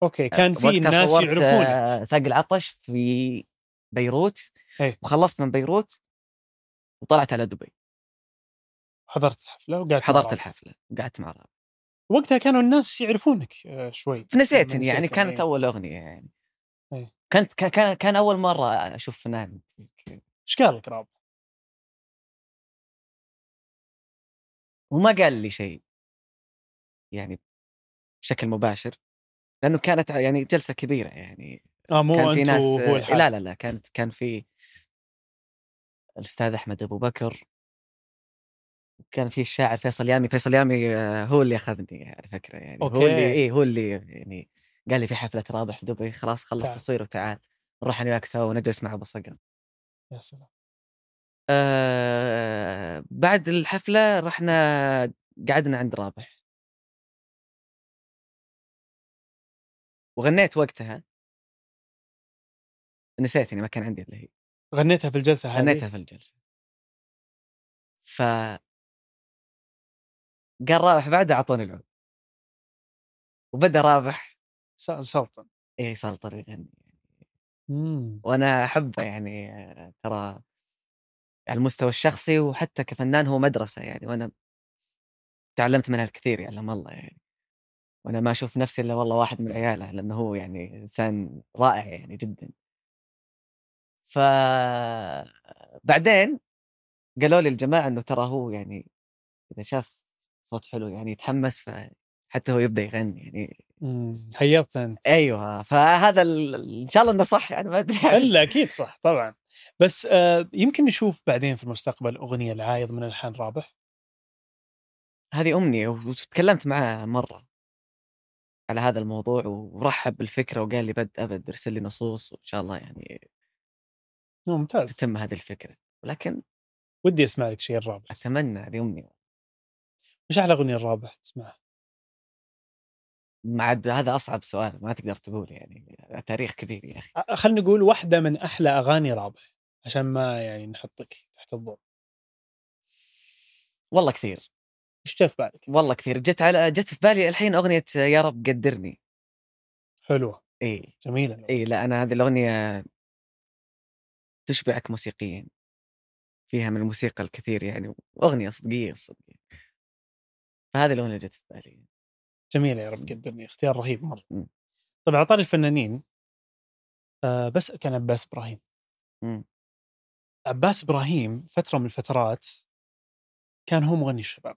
[SPEAKER 1] اوكي كان في
[SPEAKER 2] آه، وقتها
[SPEAKER 1] ناس
[SPEAKER 2] صورت،
[SPEAKER 1] يعرفونك
[SPEAKER 2] آه، ساق العطش في بيروت
[SPEAKER 1] إيه.
[SPEAKER 2] وخلصت من بيروت وطلعت على دبي
[SPEAKER 1] حضرت الحفله وقعدت
[SPEAKER 2] حضرت
[SPEAKER 1] معاه.
[SPEAKER 2] الحفله وقعدت مع رابح
[SPEAKER 1] وقتها كانوا الناس يعرفونك آه، شوي
[SPEAKER 2] نسيتني
[SPEAKER 1] نسيتني،
[SPEAKER 2] يعني كانت
[SPEAKER 1] إيه.
[SPEAKER 2] اول اغنيه يعني
[SPEAKER 1] إيه.
[SPEAKER 2] كانت كا- كان كان اول مره اشوف فنان
[SPEAKER 1] ايش قال لك رابح؟
[SPEAKER 2] وما قال لي شيء يعني بشكل مباشر لانه كانت يعني جلسه كبيره يعني
[SPEAKER 1] اه مو
[SPEAKER 2] كان في
[SPEAKER 1] انت
[SPEAKER 2] ناس
[SPEAKER 1] وهو الحال
[SPEAKER 2] لا لا لا كانت كان في الاستاذ احمد ابو بكر كان في الشاعر فيصل يامي فيصل يامي آه، هو اللي اخذني على فكره يعني هو
[SPEAKER 1] أوكي.
[SPEAKER 2] اللي ايه هو اللي يعني قال لي في حفله رابح دبي خلاص خلص
[SPEAKER 1] تعال.
[SPEAKER 2] تصوير وتعال نروح انا وياك سوا ونجلس مع ابو صقر
[SPEAKER 1] يا سلام
[SPEAKER 2] آه بعد الحفلة رحنا قعدنا عند رابح وغنيت وقتها نسيتني ما كان عندي اللي هي
[SPEAKER 1] غنيتها في الجلسه هذه
[SPEAKER 2] غنيتها في الجلسة ف قال رابح بعدها أعطوني العود وبدأ رابح
[SPEAKER 1] س- سلطن
[SPEAKER 2] إيه سلطة يغني
[SPEAKER 1] مم.
[SPEAKER 2] وأنا أحبه يعني آه، ترى على المستوى الشخصي وحتى كفنان هو مدرسة يعني وأنا تعلمت منها الكثير يعلم الله يعني وانا ما اشوف نفسي الا والله واحد من عياله لانه هو يعني انسان رائع يعني جدا ف بعدين قالوا لي الجماعه انه ترى هو يعني اذا شاف صوت حلو يعني يتحمس فحتى هو يبدا يغني يعني
[SPEAKER 1] مم. هيضت انت
[SPEAKER 2] ايوه فهذا ال- ان شاء الله انه صح يعني ما ادري يعني.
[SPEAKER 1] الا اكيد صح طبعا بس آه يمكن نشوف بعدين في المستقبل اغنيه العايض من الحان رابح
[SPEAKER 2] هذه امنيه وتكلمت معاه مره على هذا الموضوع ورحب بالفكره وقال لي بد ابد ارسل لي نصوص وان شاء الله يعني
[SPEAKER 1] نعم، ممتاز
[SPEAKER 2] تتم هذه الفكره ولكن
[SPEAKER 1] ودي اسمع لك شيء الرابح
[SPEAKER 2] اتمنى هذه امنيه
[SPEAKER 1] وش احلى اغنيه الرابح تسمعها؟
[SPEAKER 2] ما عاد هذا اصعب سؤال ما تقدر تقول يعني تاريخ كبير يا اخي
[SPEAKER 1] أ- خلينا نقول واحده من احلى اغاني رابح عشان ما يعني نحطك تحت الضوء
[SPEAKER 2] والله كثير
[SPEAKER 1] وش جاء في بالك؟
[SPEAKER 2] والله كثير جت على جت في بالي الحين اغنيه يا رب قدرني إيه.
[SPEAKER 1] حلوه
[SPEAKER 2] اي
[SPEAKER 1] جميله
[SPEAKER 2] اي لا انا هذه الاغنيه تشبعك موسيقيا فيها من الموسيقى الكثير يعني اغنيه صدقيه صدقيه فهذه الاغنيه جت في بالي
[SPEAKER 1] جميله يا رب قدرني اختيار رهيب مره
[SPEAKER 2] مم.
[SPEAKER 1] طبعا على طاري الفنانين آه بس كان عباس ابراهيم
[SPEAKER 2] مم.
[SPEAKER 1] عباس ابراهيم فتره من الفترات كان هو مغني الشباب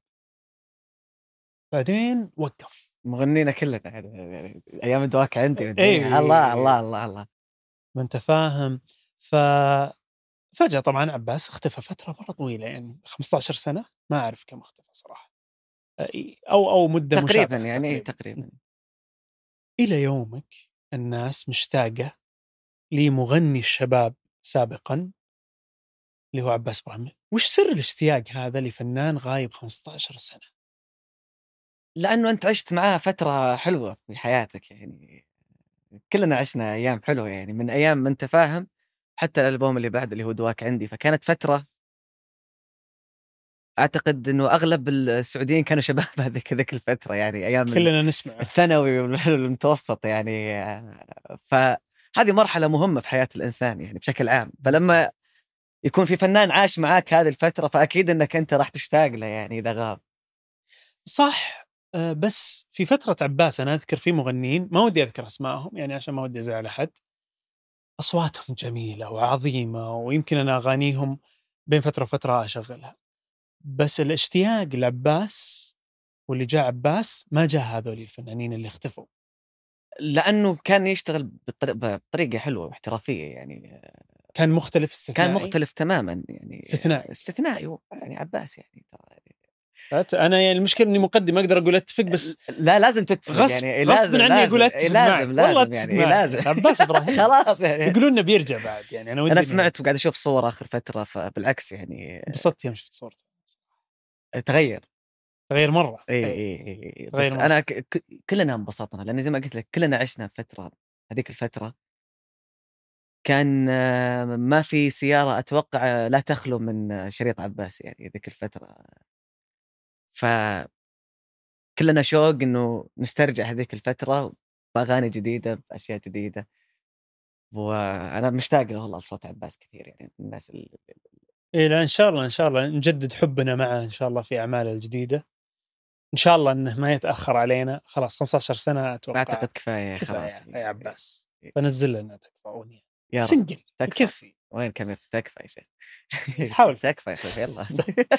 [SPEAKER 1] بعدين وقف
[SPEAKER 2] مغنينا كلنا يعني- يعني ايام الدواك عندي
[SPEAKER 1] إي.
[SPEAKER 2] والدنيا. الله الله الله الله
[SPEAKER 1] ما انت فاهم ف فجأة طبعا عباس اختفى فترة مرة طويلة يعني 15 سنة ما أعرف كم اختفى صراحة آه، أو أو مدة
[SPEAKER 2] تقريبا
[SPEAKER 1] مشابهة
[SPEAKER 2] يعني إي،
[SPEAKER 1] تقريباً.
[SPEAKER 2] تقريبا
[SPEAKER 1] إلى يومك الناس مشتاقة لمغني الشباب سابقا اللي هو عباس إبراهيم وش سر الاشتياق هذا لفنان غايب 15 سنة
[SPEAKER 2] لانه انت عشت معاه فتره حلوه في حياتك يعني كلنا عشنا ايام حلوه يعني من ايام ما انت فاهم حتى الالبوم اللي بعد اللي هو دواك عندي فكانت فتره اعتقد انه اغلب السعوديين كانوا شباب هذيك هذيك الفتره يعني ايام ال-
[SPEAKER 1] كلنا نسمع
[SPEAKER 2] الثانوي والمتوسط يعني فهذه مرحله مهمه في حياه الانسان يعني بشكل عام فلما يكون في فنان عاش معاك هذه الفتره فاكيد انك انت راح تشتاق له يعني اذا غاب
[SPEAKER 1] صح آه، بس في فترة عباس أنا أذكر في مغنيين ما ودي أذكر أسمائهم يعني عشان ما ودي أزعل أحد أصواتهم جميلة وعظيمة ويمكن أنا أغانيهم بين فترة وفترة أشغلها بس الاشتياق لعباس واللي جاء عباس ما جاء هذول الفنانين اللي اختفوا
[SPEAKER 2] لانه كان يشتغل بطر- بطريقه حلوه واحترافيه يعني
[SPEAKER 1] كان مختلف استثنائي
[SPEAKER 2] كان مختلف تماما يعني
[SPEAKER 1] استثنائي.
[SPEAKER 2] استثنائي هو، يعني عباس يعني ترى يعني
[SPEAKER 1] أت- انا يعني المشكله اني مقدم ما اقدر اقول اتفق بس
[SPEAKER 2] لا لازم تتفق
[SPEAKER 1] غصب
[SPEAKER 2] يعني
[SPEAKER 1] غصب عني اقول اتفق
[SPEAKER 2] لازم
[SPEAKER 1] معك.
[SPEAKER 2] لازم
[SPEAKER 1] والله
[SPEAKER 2] لازم
[SPEAKER 1] اتفق
[SPEAKER 2] يعني
[SPEAKER 1] معك.
[SPEAKER 2] لازم
[SPEAKER 1] عباس ابراهيم
[SPEAKER 2] خلاص يعني
[SPEAKER 1] يقولون انه بيرجع بعد يعني انا ودي
[SPEAKER 2] انا
[SPEAKER 1] إنه-
[SPEAKER 2] سمعت وقاعد اشوف صور اخر فتره فبالعكس يعني
[SPEAKER 1] انبسطت يوم شفت صورته
[SPEAKER 2] تغير
[SPEAKER 1] تغير إيه. مره
[SPEAKER 2] اي اي اي إي.
[SPEAKER 1] تغير
[SPEAKER 2] بس
[SPEAKER 1] مرة.
[SPEAKER 2] انا ك... ك- كلنا انبسطنا لان زي ما قلت لك كلنا عشنا فتره هذيك الفتره كان آه، ما في سياره اتوقع آه، لا تخلو من آه، شريط عباس يعني ذيك الفتره ف كلنا شوق انه نسترجع هذيك الفتره باغاني جديده باشياء جديده وانا مشتاق له والله لصوت عباس كثير يعني من الناس اللي
[SPEAKER 1] اي إيه، لا ان شاء الله ان شاء الله نجدد حبنا معه ان شاء الله في اعماله الجديده ان شاء الله انه ما يتاخر علينا خلاص 15 سنه اتوقع
[SPEAKER 2] اعتقد كفايه
[SPEAKER 1] كفاية
[SPEAKER 2] إيه، خلاص يعني.
[SPEAKER 1] يعني.
[SPEAKER 2] إيه.
[SPEAKER 1] يا عباس فنزل لنا تكفى اغنيه
[SPEAKER 2] يا رب
[SPEAKER 1] سنجل
[SPEAKER 2] تكفى.
[SPEAKER 1] يكفي
[SPEAKER 2] وين كاميرتي تكفى يا شيخ
[SPEAKER 1] حاول.
[SPEAKER 2] تكفى يا اخوي يلا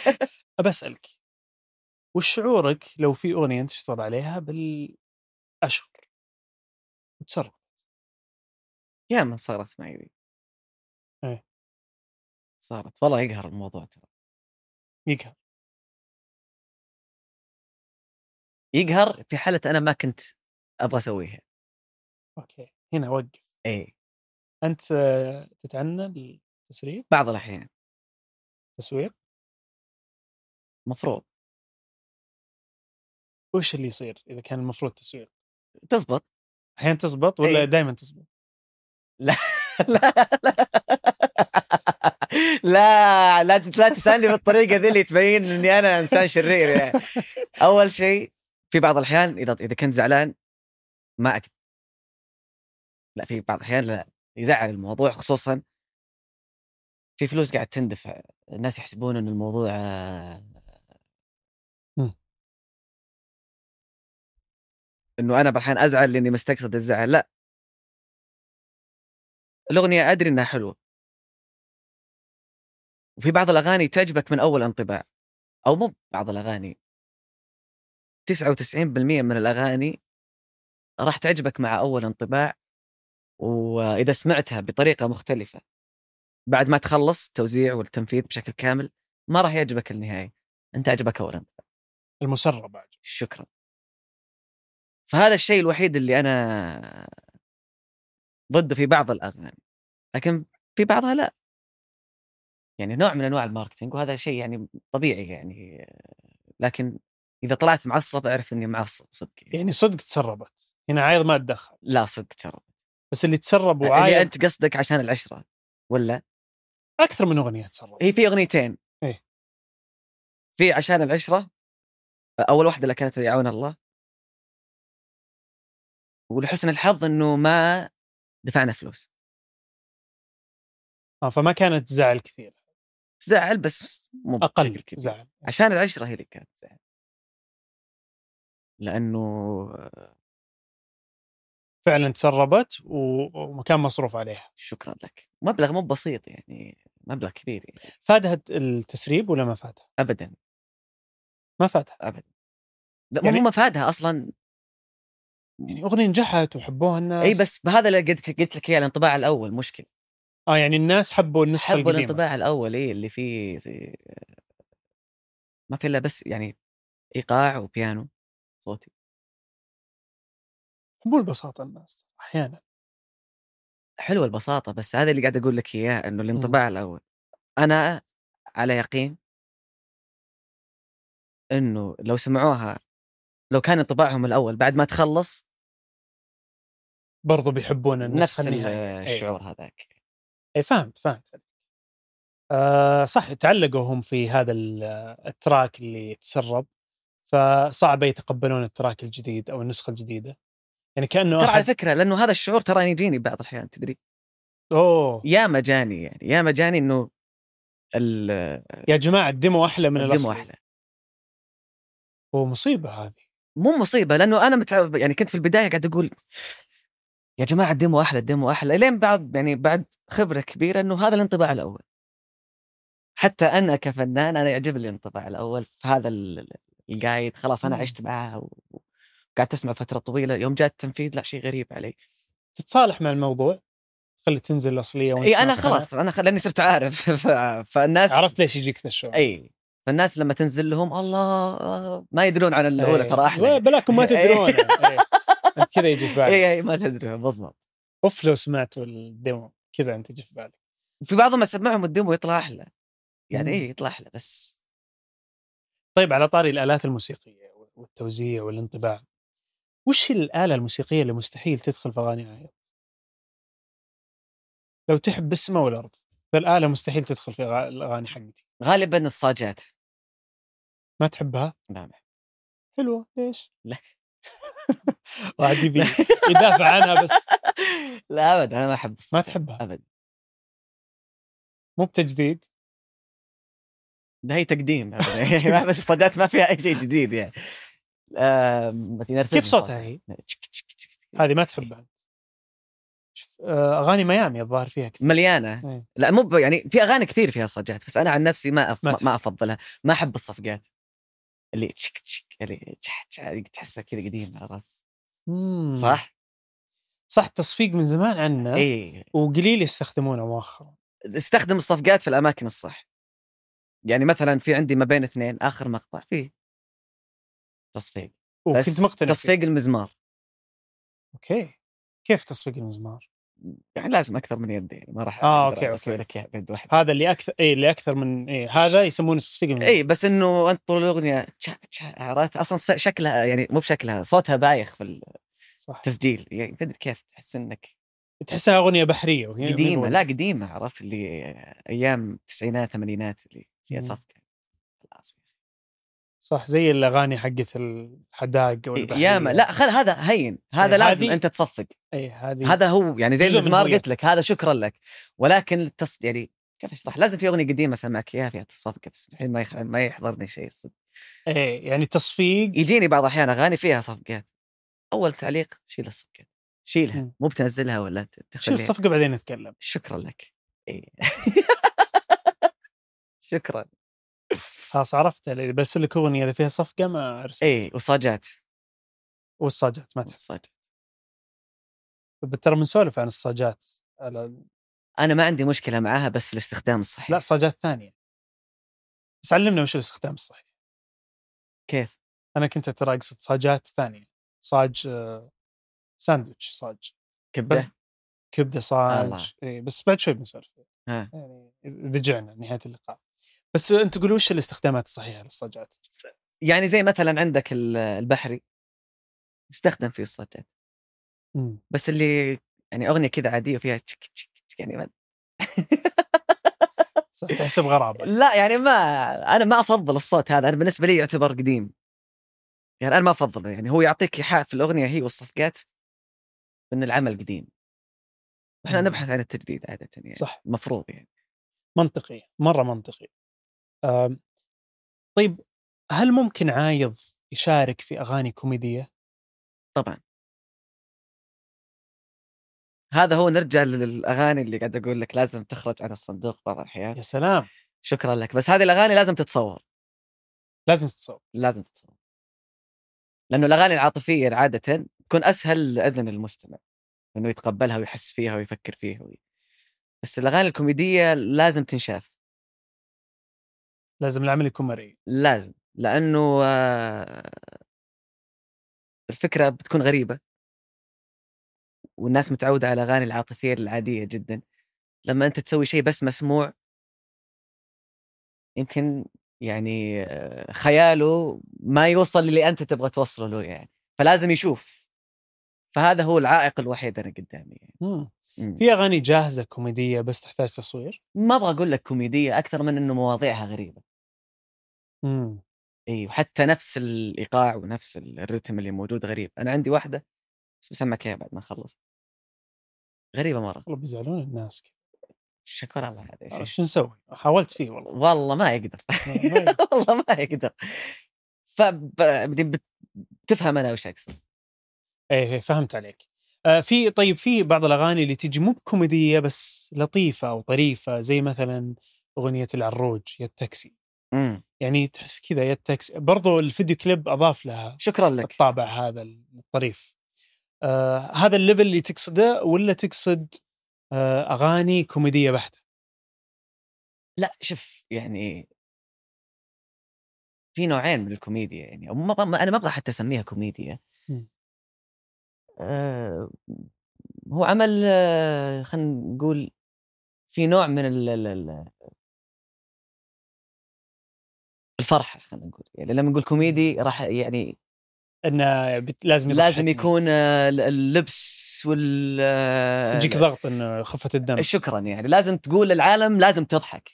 [SPEAKER 1] ابى اسالك وش شعورك لو في اغنيه انت تشتغل عليها بالاشهر وتسرب
[SPEAKER 2] يا ما صارت معي ذي
[SPEAKER 1] إيه.
[SPEAKER 2] صارت والله يقهر الموضوع ترى
[SPEAKER 1] يقهر
[SPEAKER 2] يقهر في حاله انا ما كنت ابغى اسويها
[SPEAKER 1] اوكي هنا وقف
[SPEAKER 2] اي
[SPEAKER 1] انت آه، تتعنى التسريب
[SPEAKER 2] بعض الاحيان
[SPEAKER 1] تسويق
[SPEAKER 2] مفروض
[SPEAKER 1] وش اللي يصير اذا كان المفروض تسويق
[SPEAKER 2] تزبط
[SPEAKER 1] احيانا تزبط ولا
[SPEAKER 2] إيه.
[SPEAKER 1] دائما تزبط
[SPEAKER 2] لا لا لا لا, تت- لا تسالني بالطريقه ذي اللي تبين اني انا انسان شرير يعني اول شيء في بعض الاحيان اذا اذا كنت زعلان ما اكذب لا في بعض الاحيان لا يزعل الموضوع خصوصا في فلوس قاعد تندفع الناس يحسبون ان الموضوع آه،
[SPEAKER 1] مم.
[SPEAKER 2] انه انا بحين ازعل لاني مستقصد الزعل لا الاغنيه ادري انها حلوه وفي بعض الاغاني تعجبك من اول انطباع او مو بعض الاغاني 99% من الاغاني راح تعجبك مع اول انطباع واذا سمعتها بطريقه مختلفه بعد ما تخلص التوزيع والتنفيذ بشكل كامل ما راح يعجبك النهايه انت عجبك اولا
[SPEAKER 1] المسرب بعد
[SPEAKER 2] شكرا فهذا الشيء الوحيد اللي انا ضده في بعض الاغاني لكن في بعضها لا يعني نوع من انواع الماركتينج وهذا شيء يعني طبيعي يعني لكن اذا طلعت معصب اعرف اني معصب صدق
[SPEAKER 1] يعني صدق تسربت هنا عايض ما تدخل
[SPEAKER 2] لا صدق ترى
[SPEAKER 1] بس اللي تسرب
[SPEAKER 2] اللي
[SPEAKER 1] وعايض
[SPEAKER 2] انت قصدك عشان العشره ولا
[SPEAKER 1] اكثر من اغنيه تسرب
[SPEAKER 2] هي في اغنيتين
[SPEAKER 1] إيه.
[SPEAKER 2] في عشان العشره اول واحده اللي كانت يعون الله ولحسن الحظ انه ما دفعنا فلوس
[SPEAKER 1] آه فما كانت زعل كثير
[SPEAKER 2] تزعل بس مو
[SPEAKER 1] اقل
[SPEAKER 2] بشكل كبير.
[SPEAKER 1] زعل
[SPEAKER 2] عشان العشره هي اللي كانت تزعل لانه
[SPEAKER 1] فعلا تسربت و- ومكان مصروف عليها
[SPEAKER 2] شكرا لك مبلغ مو بسيط يعني مبلغ كبير يعني.
[SPEAKER 1] فاتها التسريب ولا ما فاتها؟
[SPEAKER 2] ابدا
[SPEAKER 1] ما فاتها
[SPEAKER 2] لا
[SPEAKER 1] يعني-
[SPEAKER 2] يعني... مو مفادها اصلا
[SPEAKER 1] يعني اغنيه نجحت وحبوها الناس
[SPEAKER 2] اي بس بهذا اللي قلت قلت لك اياه الانطباع الاول مشكله
[SPEAKER 1] اه يعني الناس حبوا النسخه
[SPEAKER 2] حبوا
[SPEAKER 1] القديمه
[SPEAKER 2] الانطباع الاول إيه اللي فيه زي- ما في الا بس يعني ايقاع وبيانو صوتي
[SPEAKER 1] حبوا البساطه الناس احيانا
[SPEAKER 2] حلوه البساطه بس هذا اللي قاعد اقول لك اياه انه الانطباع الاول انا على يقين انه لو سمعوها لو كان انطباعهم الاول بعد ما تخلص
[SPEAKER 1] برضو بيحبون النسخه
[SPEAKER 2] نفس ال-
[SPEAKER 1] النهائيه
[SPEAKER 2] الشعور هذاك
[SPEAKER 1] اي فهمت فهمت آه صح تعلقوا هم في هذا ال- آه، التراك اللي تسرب فصعب يتقبلون التراك الجديد او النسخه الجديده يعني كانه
[SPEAKER 2] ترى على
[SPEAKER 1] أحد...
[SPEAKER 2] فكره لانه هذا الشعور ترى يجيني بعض الاحيان تدري
[SPEAKER 1] اوه
[SPEAKER 2] يا مجاني يعني يا مجاني انه ال-
[SPEAKER 1] يا جماعه الديمو احلى من
[SPEAKER 2] الدم
[SPEAKER 1] الاصل
[SPEAKER 2] احلى
[SPEAKER 1] هو مصيبه هذه
[SPEAKER 2] مو مصيبه لانه انا متعب يعني كنت في البدايه قاعد اقول يا جماعه الديمو احلى الديمو احلى لين بعد يعني بعد خبره كبيره انه هذا الانطباع الاول حتى انا كفنان انا يعجبني الانطباع الاول في هذا ال- ال- القايد خلاص انا
[SPEAKER 1] مم.
[SPEAKER 2] عشت معاه و- وقعدت تسمع فتره طويله يوم جاء التنفيذ لا شيء غريب علي
[SPEAKER 1] تتصالح مع الموضوع خلي تنزل الاصليه وأنت
[SPEAKER 2] اي
[SPEAKER 1] ما
[SPEAKER 2] انا
[SPEAKER 1] تقتنع.
[SPEAKER 2] خلاص انا خ- لاني صرت عارف ف- فالناس
[SPEAKER 1] عرفت ليش يجيك ذا الشعور
[SPEAKER 2] اي فالناس لما تنزل لهم الله ما يدرون عن الاولى ترى
[SPEAKER 1] لا،
[SPEAKER 2] احلى
[SPEAKER 1] بلاكم ما تدرون
[SPEAKER 2] إيه.
[SPEAKER 1] إيه. أنت كذا يجي في بالك
[SPEAKER 2] اي اي ما تدري بالضبط
[SPEAKER 1] اوف لو سمعت الديمو كذا انت يجي في بالك
[SPEAKER 2] في بعضهم اسمعهم الديمو يطلع احلى يعني
[SPEAKER 1] مم.
[SPEAKER 2] ايه يطلع احلى بس
[SPEAKER 1] طيب على طاري الالات الموسيقيه والتوزيع والانطباع وش الاله الموسيقيه اللي مستحيل تدخل في اغاني عايض؟ لو تحب السماء والارض ذا الاله مستحيل تدخل في أغا- الاغاني حقتي
[SPEAKER 2] غالبا الصاجات
[SPEAKER 1] ما تحبها
[SPEAKER 2] نعم
[SPEAKER 1] حلوه ليش؟
[SPEAKER 2] لا.
[SPEAKER 1] واحد يبي يدافع عنها بس
[SPEAKER 2] لا ابد انا ما احب
[SPEAKER 1] ما
[SPEAKER 2] الصاجات
[SPEAKER 1] تحبها
[SPEAKER 2] ابد
[SPEAKER 1] مو بتجديد
[SPEAKER 2] ده هي تقديم أبد. يعني ما- الصاجات ما فيها اي شيء جديد يعني آم، بس ينرفزني
[SPEAKER 1] كيف صوتها هي؟
[SPEAKER 2] تشك- تشك- تشك.
[SPEAKER 1] هذه ما تحبها شوف آه، اغاني ميامي الظاهر فيها كثير إيه.
[SPEAKER 2] مليانه لا مو ب- يعني في اغاني كثير فيها صاجات بس انا عن نفسي ما أف...
[SPEAKER 1] ما
[SPEAKER 2] ما,
[SPEAKER 1] تحب.
[SPEAKER 2] ما افضلها ما احب الصفقات اللي تشك تشك اللي تشح- تشح- تحسها كذا قديمه عرفت؟
[SPEAKER 1] مم.
[SPEAKER 2] صح؟ إيه.
[SPEAKER 1] صح تصفيق من زمان عنا
[SPEAKER 2] اي
[SPEAKER 1] وقليل يستخدمونه مؤخرا
[SPEAKER 2] استخدم الصفقات في الاماكن الصح يعني مثلا في عندي ما بين اثنين اخر مقطع فيه تصفيق بس
[SPEAKER 1] وكنت مقتنع فيه.
[SPEAKER 2] تصفيق المزمار
[SPEAKER 1] اوكي كيف تصفيق المزمار؟
[SPEAKER 2] يعني لازم اكثر من يدين يعني ما راح
[SPEAKER 1] آه،
[SPEAKER 2] أقدر
[SPEAKER 1] أوكي،
[SPEAKER 2] اسوي
[SPEAKER 1] أوكي.
[SPEAKER 2] لك يعني. اياها بيد واحده
[SPEAKER 1] هذا اللي اكثر اي اللي اكثر من إيه هذا يسمونه تصفيق المزمار
[SPEAKER 2] اي بس انه انت طول الاغنيه تشا- تشا- عرفت اصلا س- شكلها يعني مو بشكلها صوتها بايخ في
[SPEAKER 1] صح
[SPEAKER 2] التسجيل يعني تدري كيف تحس انك
[SPEAKER 1] تحسها اغنيه بحريه وهي من
[SPEAKER 2] قديمه
[SPEAKER 1] قبل.
[SPEAKER 2] لا قديمه عرفت اللي ايام التسعينات ثمانينات اللي فيها
[SPEAKER 1] مم.
[SPEAKER 2] صفقه خلاص
[SPEAKER 1] صح زي الاغاني حقت الحداق والبحريه
[SPEAKER 2] إيه، ياما لا خل هذا هين هذا
[SPEAKER 1] إيه،
[SPEAKER 2] لازم
[SPEAKER 1] هذه-
[SPEAKER 2] انت تصفق
[SPEAKER 1] اي إيه، هذه
[SPEAKER 2] هذا هو يعني زي
[SPEAKER 1] جزء من
[SPEAKER 2] المزمار
[SPEAKER 1] هوية.
[SPEAKER 2] قلت لك هذا شكرا لك ولكن التص... يعني كيف اشرح لازم في اغنيه قديمه اسمعك اياها فيها تصفقه بس الحين ما يخ... ما يحضرني شيء الصدق
[SPEAKER 1] اي يعني تصفيق
[SPEAKER 2] يجيني بعض الاحيان اغاني فيها صفقات اول تعليق شيل الصفقات شيلها
[SPEAKER 1] مم.
[SPEAKER 2] مو بتنزلها ولا ت-
[SPEAKER 1] شو
[SPEAKER 2] تخليها
[SPEAKER 1] الصفقه بعدين نتكلم
[SPEAKER 2] شكرا لك إيه. شكرا
[SPEAKER 1] خلاص عرفت اللي بس لك اغنيه اذا فيها صفقه ما ارسل
[SPEAKER 2] اي إيه، وصاجات
[SPEAKER 1] والصاجات ما تحب
[SPEAKER 2] الصاج
[SPEAKER 1] ترى بنسولف عن الصاجات على
[SPEAKER 2] انا ما عندي مشكله معاها بس في الاستخدام الصحيح
[SPEAKER 1] لا صاجات ثانيه بس علمنا وش الاستخدام الصحيح
[SPEAKER 2] كيف
[SPEAKER 1] انا كنت ترى اقصد صاجات ثانيه صاج آه، ساندويتش صاج بل-
[SPEAKER 2] كبده
[SPEAKER 1] كبده صاج
[SPEAKER 2] الله.
[SPEAKER 1] إيه بس بعد شوي بنسولف
[SPEAKER 2] ها.
[SPEAKER 1] يعني اذا جعنا نهايه اللقاء بس انت قول وش الاستخدامات الصحيحه للصاجات؟
[SPEAKER 2] يعني زي مثلا عندك ال- البحري يستخدم فيه الصاجات
[SPEAKER 1] مم.
[SPEAKER 2] بس اللي يعني اغنيه كذا عاديه فيها تشك تشك تشك يعني ما
[SPEAKER 1] صح، تحس بغرابه
[SPEAKER 2] لا يعني ما انا ما افضل الصوت هذا انا بالنسبه لي يعتبر قديم يعني انا ما افضله يعني هو يعطيك ايحاء في الاغنيه هي والصفقات ان العمل قديم احنا
[SPEAKER 1] مم.
[SPEAKER 2] نبحث عن التجديد عاده يعني
[SPEAKER 1] صح.
[SPEAKER 2] المفروض يعني
[SPEAKER 1] منطقي مره منطقي. أم. طيب هل ممكن عايض يشارك في اغاني كوميديه؟
[SPEAKER 2] طبعا هذا هو نرجع للاغاني اللي قاعد اقول لك لازم تخرج عن الصندوق بعض الاحيان
[SPEAKER 1] يا سلام
[SPEAKER 2] شكرا لك بس هذه الاغاني لازم تتصور
[SPEAKER 1] لازم تتصور
[SPEAKER 2] لازم تتصور لانه الاغاني العاطفيه عاده تكون اسهل لاذن المستمع انه يتقبلها ويحس فيها ويفكر فيها وي... بس الاغاني الكوميديه لازم تنشاف
[SPEAKER 1] لازم العمل يكون مرئي
[SPEAKER 2] لازم لانه آه، الفكره بتكون غريبه والناس متعوده على الاغاني العاطفيه العاديه جدا لما انت تسوي شيء بس مسموع يمكن يعني آه، خياله ما يوصل اللي انت تبغى توصله له يعني فلازم يشوف فهذا هو العائق الوحيد انا قدامي يعني.
[SPEAKER 1] مم.
[SPEAKER 2] مم.
[SPEAKER 1] في اغاني جاهزه كوميديه بس تحتاج تصوير؟
[SPEAKER 2] ما ابغى اقول لك كوميديه اكثر من انه مواضيعها غريبه
[SPEAKER 1] مم.
[SPEAKER 2] اي إيه، وحتى نفس الايقاع ونفس الريتم اللي موجود غريب انا عندي واحده بس بسمعك اياها بعد ما اخلص غريبه مره
[SPEAKER 1] والله بيزعلون الناس كذا.
[SPEAKER 2] شكرا الله هذا
[SPEAKER 1] عرفت
[SPEAKER 2] إيش-
[SPEAKER 1] آه، شو نسوي؟ حاولت فيه والله
[SPEAKER 2] والله ما يقدر
[SPEAKER 1] ما- ما-
[SPEAKER 2] والله ما يقدر فبتفهم انا وش اقصد
[SPEAKER 1] ايه إيه، فهمت عليك آه في طيب في بعض الاغاني اللي تجي مو بكوميديه بس لطيفه وطريفه زي مثلا اغنيه العروج يا التاكسي
[SPEAKER 2] أمم،
[SPEAKER 1] يعني تحس كذا يا التاكسي برضو الفيديو كليب اضاف لها
[SPEAKER 2] شكرا لك
[SPEAKER 1] الطابع هذا الطريف آه هذا الليفل اللي تقصده ولا تقصد آه اغاني كوميديه بحته
[SPEAKER 2] لا شوف يعني في نوعين من الكوميديا يعني أو ما ما- انا ما ابغى حتى اسميها كوميديا
[SPEAKER 1] مم.
[SPEAKER 2] آه، هو عمل آه، خلينا نقول في نوع من ال ال- ال- الفرحه خلينا نقول يعني لما نقول كوميدي راح يعني
[SPEAKER 1] انه بت- لازم
[SPEAKER 2] لازم
[SPEAKER 1] يضحكني.
[SPEAKER 2] يكون آه، ال- اللبس وال آه،
[SPEAKER 1] يجيك ضغط انه خفه الدم
[SPEAKER 2] شكرا يعني لازم تقول للعالم لازم تضحك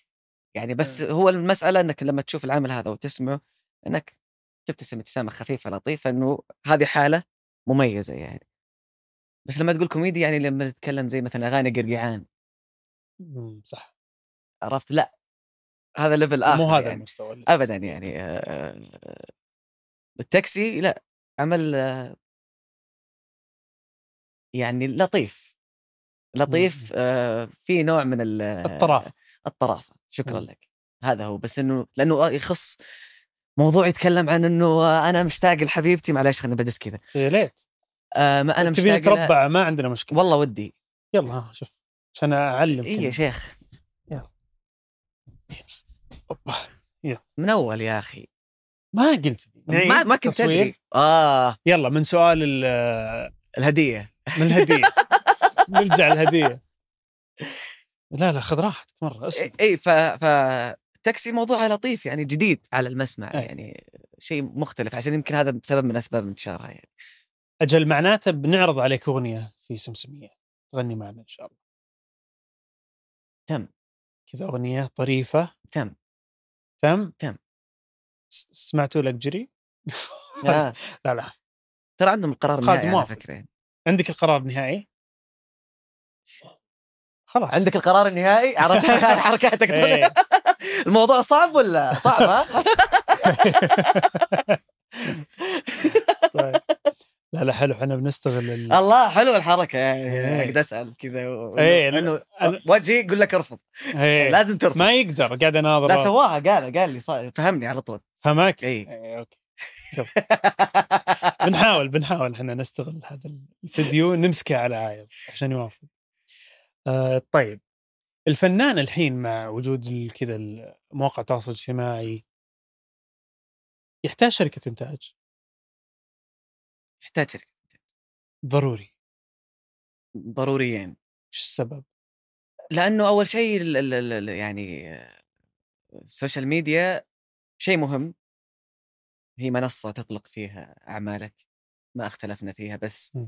[SPEAKER 2] يعني بس
[SPEAKER 1] إيه.
[SPEAKER 2] هو المساله انك لما تشوف العمل هذا وتسمعه انك تبتسم ابتسامه خفيفه لطيفه انه هذه حاله مميزه يعني بس لما تقول كوميدي يعني لما نتكلم زي مثلا اغاني قرقعان
[SPEAKER 1] مم، صح
[SPEAKER 2] عرفت لا هذا ليفل اخر
[SPEAKER 1] مو هذا
[SPEAKER 2] يعني.
[SPEAKER 1] المستوى اللي-
[SPEAKER 2] ابدا يعني آه، آه، آه، التاكسي لا عمل آه، يعني لطيف لطيف آه، في نوع من ال- آه.
[SPEAKER 1] الطرافه
[SPEAKER 2] الطرافه شكرا
[SPEAKER 1] مم.
[SPEAKER 2] لك هذا هو بس انه لانه يخص موضوع يتكلم عن انه انا مشتاق لحبيبتي معلش خليني بجلس كذا
[SPEAKER 1] يا ليت
[SPEAKER 2] آه ما انا
[SPEAKER 1] تبي
[SPEAKER 2] مشتاق لها.
[SPEAKER 1] نتربع ما عندنا مشكله
[SPEAKER 2] والله ودي
[SPEAKER 1] يلا ها شوف عشان اعلم
[SPEAKER 2] اي يا شيخ من اول يا اخي
[SPEAKER 1] ما قلت
[SPEAKER 2] ما ما كنت
[SPEAKER 1] إيه، تصوير.
[SPEAKER 2] تدري اه
[SPEAKER 1] يلا من سؤال ال-
[SPEAKER 2] الهديه
[SPEAKER 1] من الهديه نرجع الهديه لا لا خذ راحتك مره اسمع
[SPEAKER 2] اي إيه، ف ف تاكسي موضوع لطيف يعني جديد على المسمع
[SPEAKER 1] أي.
[SPEAKER 2] يعني شيء مختلف عشان يمكن هذا سبب من اسباب انتشارها يعني
[SPEAKER 1] اجل معناته بنعرض عليك اغنيه في سمسميه تغني معنا ان شاء الله
[SPEAKER 2] تم.
[SPEAKER 1] كذا اغنيه طريفه
[SPEAKER 2] تم
[SPEAKER 1] تم
[SPEAKER 2] تم.
[SPEAKER 1] س- سمعتوا لك جري
[SPEAKER 2] آه.
[SPEAKER 1] لا لا
[SPEAKER 2] ترى عندهم القرار
[SPEAKER 1] خالد
[SPEAKER 2] النهائي على
[SPEAKER 1] موافق.
[SPEAKER 2] فكره يعني.
[SPEAKER 1] عندك القرار النهائي خلاص
[SPEAKER 2] عندك القرار النهائي عرفت حركاتك
[SPEAKER 1] إيه.
[SPEAKER 2] الموضوع صعب ولا صعب ها؟
[SPEAKER 1] طيب لا لا حلو احنا بنستغل ال...
[SPEAKER 2] آه، الله حلو الحركه
[SPEAKER 1] إيه.
[SPEAKER 2] يعني اقدر اسال كذا و-
[SPEAKER 1] إيه،
[SPEAKER 2] انه
[SPEAKER 1] أنا-
[SPEAKER 2] وجهي يقول لك ارفض
[SPEAKER 1] إيه.
[SPEAKER 2] لازم ترفض
[SPEAKER 1] ما يقدر قاعد اناظر
[SPEAKER 2] لا سواها قال قال لي صار- فهمني على طول
[SPEAKER 1] فهمك؟
[SPEAKER 2] إيه.
[SPEAKER 1] إيه، اوكي شوف بنحاول بنحاول احنا نستغل هذا الفيديو نمسكه على عايض عشان يوافق. آه طيب الفنان الحين مع وجود ال- كذا ال- مواقع التواصل الاجتماعي يحتاج شركة إنتاج
[SPEAKER 2] يحتاج شركة.
[SPEAKER 1] ضروري
[SPEAKER 2] ضروريين
[SPEAKER 1] شو السبب؟
[SPEAKER 2] لانه اول شيء ال- ال- ال- ال- يعني آه، السوشيال ميديا شيء مهم هي منصه تطلق فيها اعمالك ما اختلفنا فيها بس
[SPEAKER 1] م.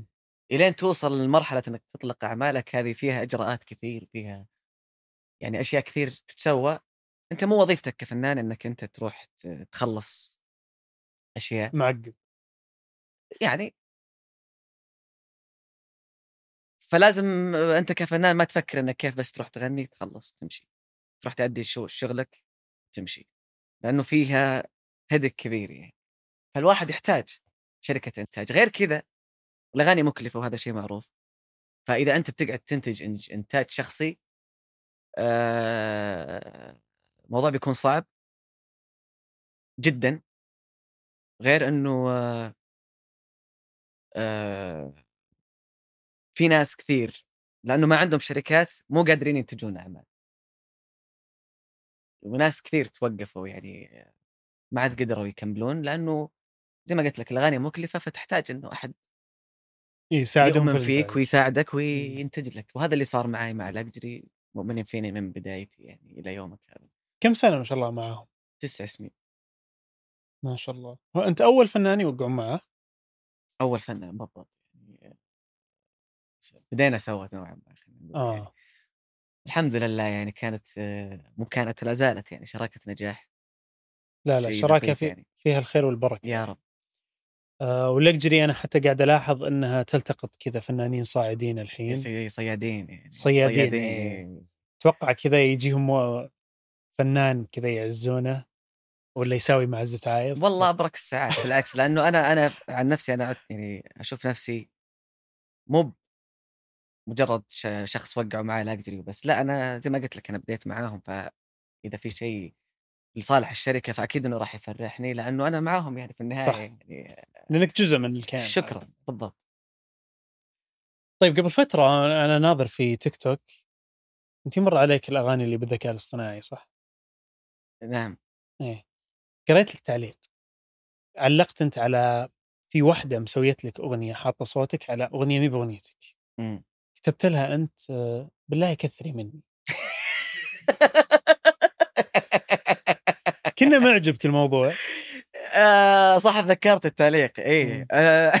[SPEAKER 2] الين توصل لمرحله انك تطلق اعمالك هذه فيها اجراءات كثير فيها يعني اشياء كثير تتسوى انت مو وظيفتك كفنان انك انت تروح ت- تخلص اشياء
[SPEAKER 1] معقد
[SPEAKER 2] يعني فلازم انت كفنان ما تفكر انك كيف بس تروح تغني تخلص تمشي تروح تأدي شو شغلك تمشي لانه فيها هدك كبير يعني فالواحد يحتاج شركه انتاج غير كذا الاغاني مكلفه وهذا شيء معروف فاذا انت بتقعد تنتج إنج- انتاج شخصي آه، الموضوع بيكون صعب جدا غير انه آه، آه، في ناس كثير لانه ما عندهم شركات مو قادرين ينتجون اعمال وناس كثير توقفوا يعني ما عاد قدروا يكملون لانه زي ما قلت لك الاغاني مكلفه فتحتاج انه احد
[SPEAKER 1] إيه، يساعدهم في
[SPEAKER 2] يؤمن فيك
[SPEAKER 1] الإنتاج. إمم.
[SPEAKER 2] ويساعدك وينتج لك وهذا اللي صار معي مع الاجري مؤمنين فيني من بدايتي يعني الى يومك هذا
[SPEAKER 1] كم سنة ما شاء الله معاهم؟
[SPEAKER 2] تسع سنين
[SPEAKER 1] ما شاء الله هو أنت أول فنان يوقعون معه
[SPEAKER 2] اول فنان بالضبط يعني بدينا سوا نوعا ما خلينا نقول يعني.
[SPEAKER 1] آه
[SPEAKER 2] الحمد لله يعني كانت آه، مو كانت لا زالت يعني شراكه نجاح
[SPEAKER 1] لا لا
[SPEAKER 2] شيء
[SPEAKER 1] شراكة
[SPEAKER 2] لطيف
[SPEAKER 1] في
[SPEAKER 2] يعني.
[SPEAKER 1] فيها الخير والبركة
[SPEAKER 2] يا رب
[SPEAKER 1] آه واللكجري انا حتى قاعد الاحظ انها تلتقط كذا فنانين صاعدين الحين
[SPEAKER 2] صي- صيادين يعني
[SPEAKER 1] صيادين، إيه.
[SPEAKER 2] يعني.
[SPEAKER 1] اتوقع كذا يجيهم و- فنان كذا يعزونه ولا يساوي معزه عايض
[SPEAKER 2] والله ابرك الساعات بالعكس لانه انا انا عن نفسي انا عد- يعني اشوف نفسي مو ب- مجرد ش- شخص وقعوا معي لا اجري وبس لا انا زي ما قلت لك انا بديت معاهم فاذا في شيء لصالح الشركه فاكيد انه راح يفرحني لانه انا معاهم يعني في النهايه
[SPEAKER 1] صح.
[SPEAKER 2] يعني
[SPEAKER 1] لانك جزء من الكيان
[SPEAKER 2] شكرا بالضبط
[SPEAKER 1] طيب قبل فتره انا ناظر في تيك توك انت مر عليك الاغاني اللي بالذكاء الاصطناعي صح؟
[SPEAKER 2] نعم
[SPEAKER 1] ايه قريت لك تعليق علقت انت على في واحده مسويت لك اغنيه حاطه صوتك على اغنيه مي باغنيتك
[SPEAKER 2] مم.
[SPEAKER 1] كتبت لها انت آه، بالله كثري مني كنا معجبك الموضوع
[SPEAKER 2] آه صح ذكرت التعليق اي
[SPEAKER 1] مم.
[SPEAKER 2] آه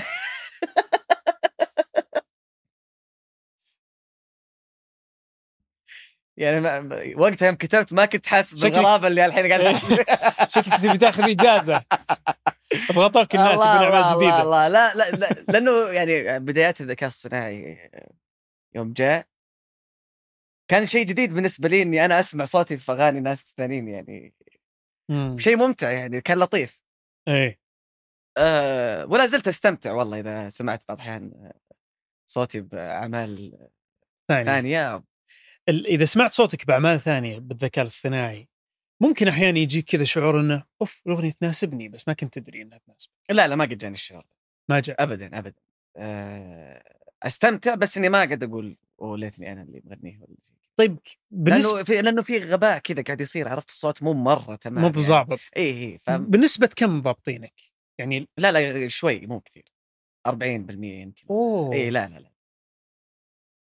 [SPEAKER 2] يعني ما ما- وقتها يوم كتبت ما كنت حاسس
[SPEAKER 1] شكلك- إيه،
[SPEAKER 2] بالغرابه اللي الحين قاعد أحس-
[SPEAKER 1] شكلك تبي تاخذ اجازه ابغى اطاك الناس
[SPEAKER 2] الله الله
[SPEAKER 1] بالاعمال
[SPEAKER 2] الله,
[SPEAKER 1] جديده
[SPEAKER 2] الله لا, لا لا لانه يعني بدايات الذكاء الصناعي يوم جاء كان شيء جديد بالنسبه لي اني انا اسمع صوتي في اغاني ناس ثانيين يعني شيء ممتع يعني كان لطيف
[SPEAKER 1] ايه
[SPEAKER 2] أه ولا زلت استمتع والله اذا سمعت بعض الاحيان صوتي باعمال
[SPEAKER 1] إيه. ثاني
[SPEAKER 2] ثانيه
[SPEAKER 1] ال- اذا سمعت صوتك باعمال ثانيه بالذكاء الاصطناعي ممكن احيانا يجيك كذا شعور انه اوف الاغنيه تناسبني بس ما كنت تدري انها تناسبك
[SPEAKER 2] لا لا ما قد جاني الشعور
[SPEAKER 1] ما جاء
[SPEAKER 2] ابدا ابدا أه استمتع بس اني ما قد اقول "أوه، ليتني انا اللي مغنيه ولا شيء
[SPEAKER 1] طيب بالنسبه
[SPEAKER 2] لانه في لانه في غباء كذا قاعد يصير عرفت الصوت مو مره تمام
[SPEAKER 1] مو بظابط
[SPEAKER 2] يعني. اي اي فم...
[SPEAKER 1] بالنسبه كم ضابطينك؟ يعني
[SPEAKER 2] لا لا شوي مو كثير 40% يمكن
[SPEAKER 1] اوه
[SPEAKER 2] اي لا لا لا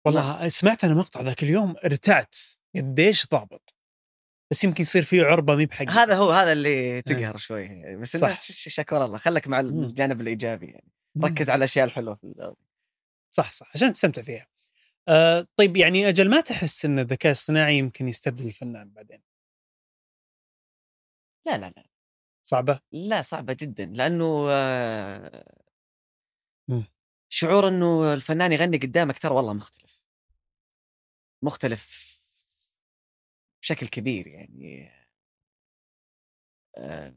[SPEAKER 1] والله سمعت انا مقطع ذاك اليوم ارتعت قديش ضابط بس يمكن يصير فيه عربه مي بحق
[SPEAKER 2] هذا هو هذا اللي تقهر شوي بس
[SPEAKER 1] إيه. صح.
[SPEAKER 2] انت ش- شكر الله خلك مع
[SPEAKER 1] مم.
[SPEAKER 2] الجانب الايجابي يعني ركز على الاشياء الحلوه في الأغنية.
[SPEAKER 1] صح صح عشان تستمتع فيها آه طيب يعني اجل ما تحس ان الذكاء الاصطناعي يمكن يستبدل الفنان بعدين
[SPEAKER 2] لا لا لا
[SPEAKER 1] صعبه
[SPEAKER 2] لا صعبة جدا لأنه آه،
[SPEAKER 1] مم.
[SPEAKER 2] شعور أنه الفنان يغني قدامك ترى والله مختلف مختلف بشكل كبير يعني آه،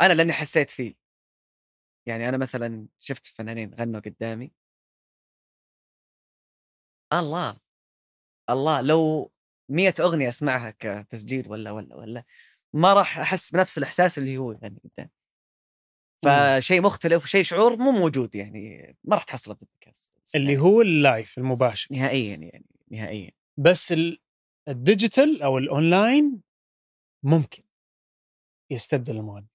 [SPEAKER 2] أنا لأني حسيت فيه يعني أنا مثلا شفت فنانين غنوا قدامي الله الله لو مية أغنية أسمعها كتسجيل ولا ولا ولا ما راح أحس بنفس الإحساس اللي هو يغني قدامي
[SPEAKER 1] إمم.
[SPEAKER 2] فشيء مختلف وشيء شعور مو موجود يعني ما راح تحصله في البودكاست
[SPEAKER 1] اللي هو اللايف المباشر
[SPEAKER 2] نهائيا يعني نهائيا
[SPEAKER 1] بس ال- الديجيتال او الاونلاين ممكن يستبدل المغني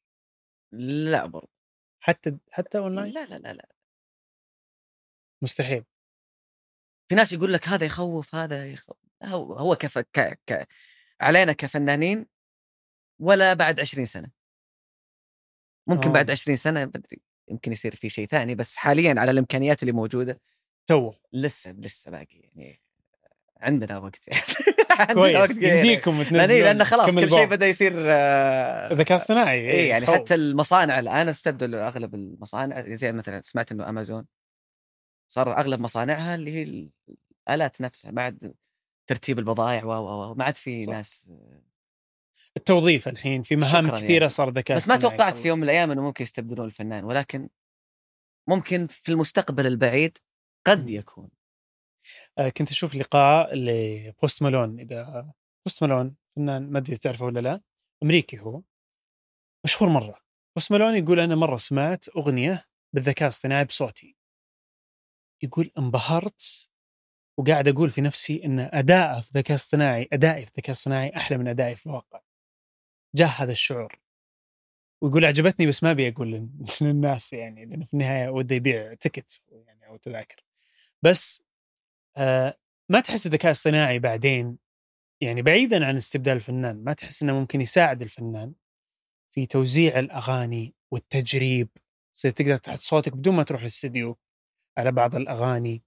[SPEAKER 2] لا برضو
[SPEAKER 1] حتى حتى اونلاين
[SPEAKER 2] لا لا لا لا
[SPEAKER 1] مستحيل
[SPEAKER 2] في ناس يقول لك هذا يخوف هذا يخوف هو هو كف ك... ك... علينا كفنانين ولا بعد 20 سنه ممكن
[SPEAKER 1] آه.
[SPEAKER 2] بعد 20 سنه بدري يمكن يصير في شيء ثاني بس حاليا على الامكانيات اللي موجوده
[SPEAKER 1] تو
[SPEAKER 2] لسه لسه باقي يعني عندنا وقت يعني عندنا
[SPEAKER 1] كويس
[SPEAKER 2] وقت يعني.
[SPEAKER 1] يمديكم
[SPEAKER 2] لأن-
[SPEAKER 1] تنزلون
[SPEAKER 2] لان خلاص
[SPEAKER 1] كم إيه،
[SPEAKER 2] كل شيء
[SPEAKER 1] البعض.
[SPEAKER 2] بدا يصير آه،
[SPEAKER 1] ذكاء اصطناعي
[SPEAKER 2] اي يعني
[SPEAKER 1] خوف.
[SPEAKER 2] حتى المصانع الان استبدلوا اغلب المصانع زي مثلا سمعت انه امازون صار اغلب مصانعها اللي هي الالات نفسها ما عاد ترتيب البضائع و و و ما عاد في
[SPEAKER 1] صح.
[SPEAKER 2] ناس
[SPEAKER 1] التوظيف الحين في مهام
[SPEAKER 2] شكراً
[SPEAKER 1] كثيره
[SPEAKER 2] يعني.
[SPEAKER 1] صار ذكاء
[SPEAKER 2] بس ما
[SPEAKER 1] اصطناعي
[SPEAKER 2] توقعت
[SPEAKER 1] يخلص.
[SPEAKER 2] في يوم من الايام انه ممكن يستبدلون الفنان ولكن ممكن في المستقبل البعيد قد
[SPEAKER 1] مم.
[SPEAKER 2] يكون
[SPEAKER 1] آه، كنت اشوف لقاء لبوست مالون اذا بوست مالون فنان ما ادري تعرفه ولا لا امريكي هو مشهور مره بوست مالون يقول انا مره سمعت اغنيه بالذكاء الاصطناعي بصوتي يقول انبهرت وقاعد اقول في نفسي ان اداءه في الذكاء الاصطناعي ادائي في الذكاء الاصطناعي احلى من ادائي في الواقع جاء هذا الشعور ويقول عجبتني بس ما ابي اقول لل- للناس يعني لانه في النهايه وده يبيع تكت يعني او تذاكر بس آه، ما تحس الذكاء الصناعي بعدين يعني بعيدا عن استبدال الفنان ما تحس انه ممكن يساعد الفنان في توزيع الاغاني والتجريب تصير تقدر تحط صوتك بدون ما تروح الاستديو على بعض الاغاني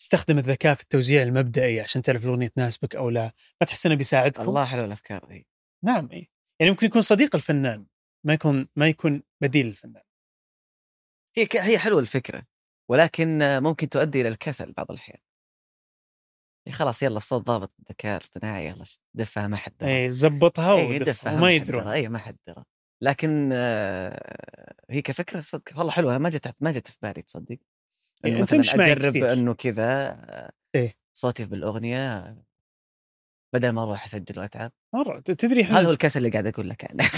[SPEAKER 1] تستخدم الذكاء في التوزيع المبدئي عشان تعرف الاغنيه تناسبك او لا ما تحس انه بيساعدكم
[SPEAKER 2] الله حلو الافكار ذي
[SPEAKER 1] نعم إيه. يعني ممكن يكون صديق الفنان ما يكون ما يكون بديل الفنان
[SPEAKER 2] هي ك- هي حلوه الفكره ولكن ممكن تؤدي الى الكسل بعض الاحيان يا خلاص يلا الصوت ضابط الذكاء الاصطناعي يلا دفها ما حد درى.
[SPEAKER 1] إيه، زبطها
[SPEAKER 2] اي
[SPEAKER 1] ودفها
[SPEAKER 2] دفها
[SPEAKER 1] وما
[SPEAKER 2] درى،
[SPEAKER 1] يدرون
[SPEAKER 2] اي ما حد درى لكن آه هي كفكره صدق والله حلوه أنا ما جت ما جت في بالي تصدق
[SPEAKER 1] إيه،
[SPEAKER 2] انه
[SPEAKER 1] أنت
[SPEAKER 2] مثلا
[SPEAKER 1] مش معي
[SPEAKER 2] اجرب
[SPEAKER 1] كثير.
[SPEAKER 2] انه كذا آه،
[SPEAKER 1] إيه.
[SPEAKER 2] صوتي بالاغنيه آه، بدل ما اروح اسجل واتعب
[SPEAKER 1] مره تدري
[SPEAKER 2] هذا هو
[SPEAKER 1] احنا
[SPEAKER 2] الكسل اللي قاعد اقول لك عنه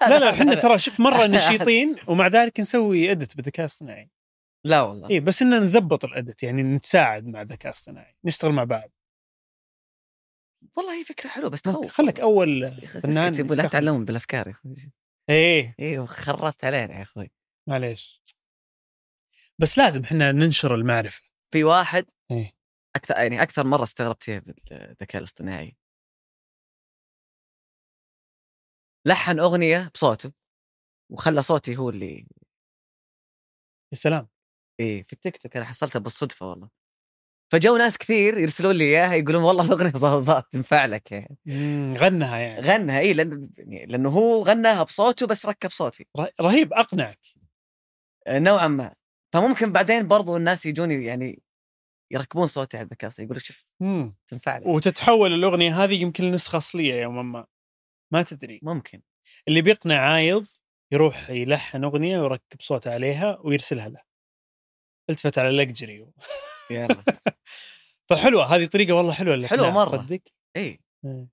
[SPEAKER 1] لا لا احنا
[SPEAKER 2] أنا-
[SPEAKER 1] ترى شوف مره نشيطين ومع ذلك نسوي ادت بالذكاء الاصطناعي
[SPEAKER 2] لا والله
[SPEAKER 1] اي إيه، بس ان نزبط الادت يعني نتساعد مع الذكاء الاصطناعي نشتغل مع بعض
[SPEAKER 2] والله هي فكره حلوه بس تخوف
[SPEAKER 1] خلك اول
[SPEAKER 2] يا أخي،
[SPEAKER 1] فنان
[SPEAKER 2] اسكت، لا
[SPEAKER 1] يستخدم.
[SPEAKER 2] تعلمون بالافكار يا اخوي
[SPEAKER 1] ايه
[SPEAKER 2] ايوه خربت علينا يا اخوي
[SPEAKER 1] معليش بس لازم احنا ننشر المعرفه
[SPEAKER 2] في واحد
[SPEAKER 1] ايه
[SPEAKER 2] اكثر يعني اكثر مره استغربت فيها بالذكاء الاصطناعي لحن اغنيه بصوته وخلى صوتي هو اللي
[SPEAKER 1] يا سلام
[SPEAKER 2] ايه في التيك توك انا حصلتها بالصدفه والله فجو ناس كثير يرسلون لي اياها يقولون والله الاغنيه صوت تنفعلك يعني
[SPEAKER 1] مم، غنها يعني
[SPEAKER 2] غنها اي لان يعني لانه هو غناها بصوته بس ركب صوتي
[SPEAKER 1] ر- رهيب اقنعك
[SPEAKER 2] آه، نوعا ما فممكن بعدين برضو الناس يجوني يعني يركبون صوتي على الذكاء الاصطناعي، يقولوا شوف
[SPEAKER 1] مم.
[SPEAKER 2] تنفع لي
[SPEAKER 1] وتتحول الاغنيه هذه يمكن لنسخه اصليه يوما ما ما تدري
[SPEAKER 2] ممكن
[SPEAKER 1] اللي بيقنع عايض يروح يلحن اغنيه ويركب صوته عليها ويرسلها له التفت على لكجري
[SPEAKER 2] يلا
[SPEAKER 1] فحلوه هذه طريقه والله حلوه اللي
[SPEAKER 2] حلوة مرة.
[SPEAKER 1] تصدق
[SPEAKER 2] اي
[SPEAKER 1] إيه.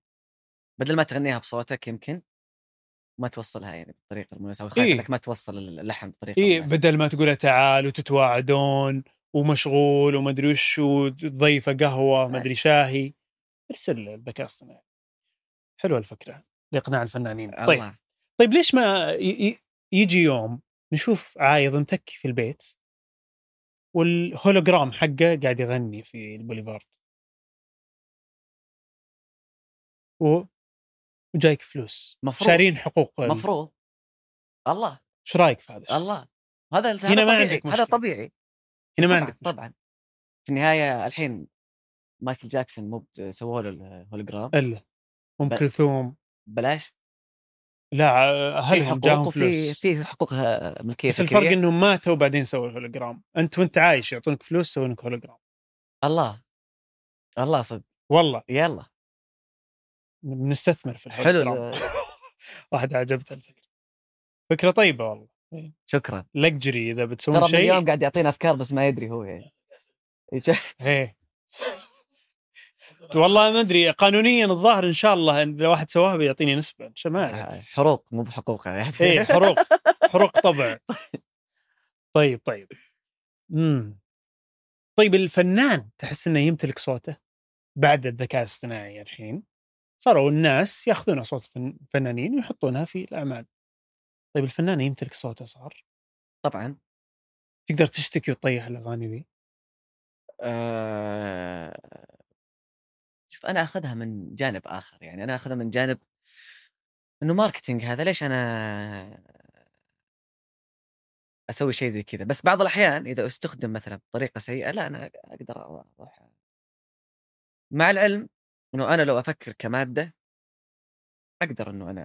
[SPEAKER 2] بدل ما تغنيها بصوتك يمكن ما توصلها يعني بالطريقه المناسبه او
[SPEAKER 1] إيه.
[SPEAKER 2] إيه؟ ما توصل اللحن بالطريقه
[SPEAKER 1] اي
[SPEAKER 2] المناسبة.
[SPEAKER 1] إيه، بدل ما تقول تعال وتتواعدون ومشغول وما ادري وش وتضيفه قهوه ما ادري
[SPEAKER 2] بس.
[SPEAKER 1] شاهي ارسل الذكاء الاصطناعي حلوه الفكره لاقناع الفنانين طيب
[SPEAKER 2] الله.
[SPEAKER 1] طيب ليش ما ي- ي- يجي يوم نشوف عايض متكي في البيت والهولوجرام حقه قاعد يغني في البوليفارد و... وجايك فلوس
[SPEAKER 2] مفروض.
[SPEAKER 1] شارين حقوق ال-
[SPEAKER 2] مفروض الله
[SPEAKER 1] ايش رايك في هذا الشيء؟
[SPEAKER 2] الله هذا هذا
[SPEAKER 1] هنا ما
[SPEAKER 2] طبيعي.
[SPEAKER 1] عندك مشكلة.
[SPEAKER 2] هذا طبيعي
[SPEAKER 1] هنا ما
[SPEAKER 2] طبعا,
[SPEAKER 1] عندك مشكلة.
[SPEAKER 2] طبعا في النهايه الحين مايكل جاكسون مو بت- سووا له الهولوجرام
[SPEAKER 1] الا ام
[SPEAKER 2] بل-
[SPEAKER 1] كلثوم
[SPEAKER 2] بلاش
[SPEAKER 1] لا
[SPEAKER 2] في
[SPEAKER 1] اهلهم
[SPEAKER 2] حقوق
[SPEAKER 1] جاهم
[SPEAKER 2] وفي
[SPEAKER 1] فلوس
[SPEAKER 2] في حقوق آه، ملكيه
[SPEAKER 1] بس الفرق
[SPEAKER 2] فكرية.
[SPEAKER 1] انهم ماتوا وبعدين سووا الهولوجرام انت وانت عايش يعطونك فلوس يسوون لك هولوجرام
[SPEAKER 2] الله الله صدق
[SPEAKER 1] والله
[SPEAKER 2] يلا
[SPEAKER 1] بنستثمر في الهولوجرام
[SPEAKER 2] حلو
[SPEAKER 1] واحد عجبته الفكره فكره طيبه والله
[SPEAKER 2] شكرا
[SPEAKER 1] لكجري اذا بتسوون
[SPEAKER 2] ترى من اليوم
[SPEAKER 1] شيء
[SPEAKER 2] قاعد يعطينا افكار بس ما يدري هو يعني
[SPEAKER 1] ايه والله ما ادري قانونيا الظاهر ان شاء الله إن اذا واحد سواها بيعطيني نسبه إن شاء الله ما أعرف.
[SPEAKER 2] حروق مو بحقوق يعني
[SPEAKER 1] ايه حروق حروق طبع طيب طيب امم طيب الفنان تحس انه يمتلك صوته بعد الذكاء الاصطناعي الحين صاروا الناس ياخذون اصوات الفن- الفنانين ويحطونها في الاعمال طيب الفنان يمتلك صوته صار
[SPEAKER 2] طبعا
[SPEAKER 1] تقدر تشتكي وتطيح الاغاني ذي
[SPEAKER 2] آه، شوف انا اخذها من جانب اخر يعني انا اخذها من جانب انه ماركتينج هذا ليش انا اسوي شيء زي كذا بس بعض الاحيان اذا استخدم مثلا بطريقه سيئه لا انا اقدر اروح مع العلم انه انا لو افكر كماده اقدر انه انا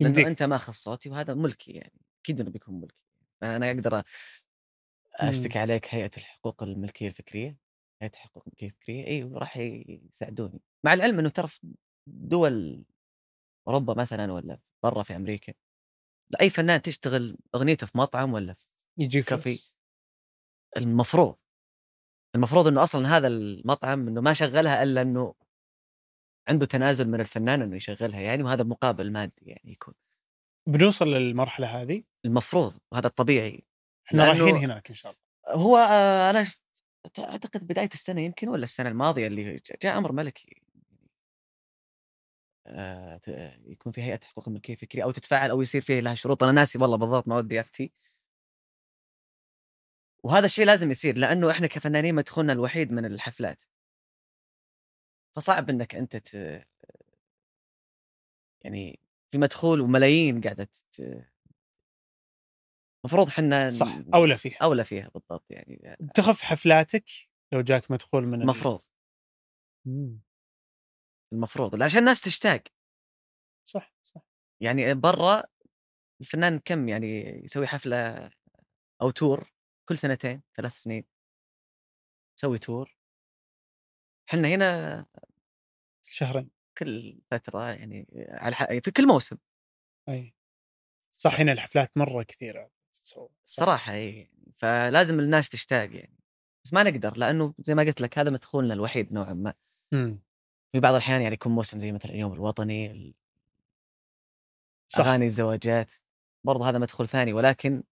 [SPEAKER 2] لانه
[SPEAKER 1] يمديك.
[SPEAKER 2] انت ماخذ صوتي وهذا ملكي يعني اكيد انه بيكون ملكي انا اقدر اشتكي عليك هيئه الحقوق الملكيه الفكريه هيئه الحقوق الملكيه الفكريه اي وراح يساعدوني مع العلم انه ترى في دول اوروبا مثلا ولا برا في امريكا لاي فنان تشتغل اغنيته في مطعم ولا في
[SPEAKER 1] يجي
[SPEAKER 2] كافي.
[SPEAKER 1] كافي
[SPEAKER 2] المفروض المفروض انه اصلا هذا المطعم انه ما شغلها الا انه عنده تنازل من الفنان انه يشغلها يعني وهذا مقابل مادي يعني يكون
[SPEAKER 1] بنوصل للمرحله هذه
[SPEAKER 2] المفروض وهذا الطبيعي
[SPEAKER 1] احنا
[SPEAKER 2] لأنه-
[SPEAKER 1] رايحين هناك ان شاء الله
[SPEAKER 2] هو آه، انا ش- اعتقد بدايه السنه يمكن ولا السنه الماضيه اللي ج- جاء امر ملكي آه، ت- يكون في هيئه حقوق الملكيه الفكريه او تتفاعل او يصير فيه لها شروط انا ناسي والله بالضبط ما ودي افتي وهذا الشيء لازم يصير لانه احنا كفنانين مدخولنا الوحيد من الحفلات فصعب انك انت ت... يعني في مدخول وملايين قاعده ت... المفروض احنا
[SPEAKER 1] صح اولى فيها
[SPEAKER 2] اولى فيها بالضبط يعني
[SPEAKER 1] تخف حفلاتك لو جاك مدخول من ال-
[SPEAKER 2] المفروض
[SPEAKER 1] مم.
[SPEAKER 2] المفروض عشان الناس تشتاق
[SPEAKER 1] صح صح
[SPEAKER 2] يعني برا الفنان كم يعني يسوي حفله او تور كل سنتين ثلاث سنين يسوي تور احنا هنا
[SPEAKER 1] شهرين
[SPEAKER 2] كل فتره يعني على ح- في كل موسم
[SPEAKER 1] اي صح هنا الحفلات مره كثيره تتسوى
[SPEAKER 2] الصراحه اي إيه يعني، فلازم الناس تشتاق يعني بس ما نقدر لانه زي ما قلت لك هذا مدخولنا الوحيد نوعا ما
[SPEAKER 1] مم.
[SPEAKER 2] في بعض الاحيان يعني يكون موسم زي مثلا اليوم الوطني ال-
[SPEAKER 1] صح
[SPEAKER 2] اغاني الزواجات برضه هذا مدخول ثاني ولكن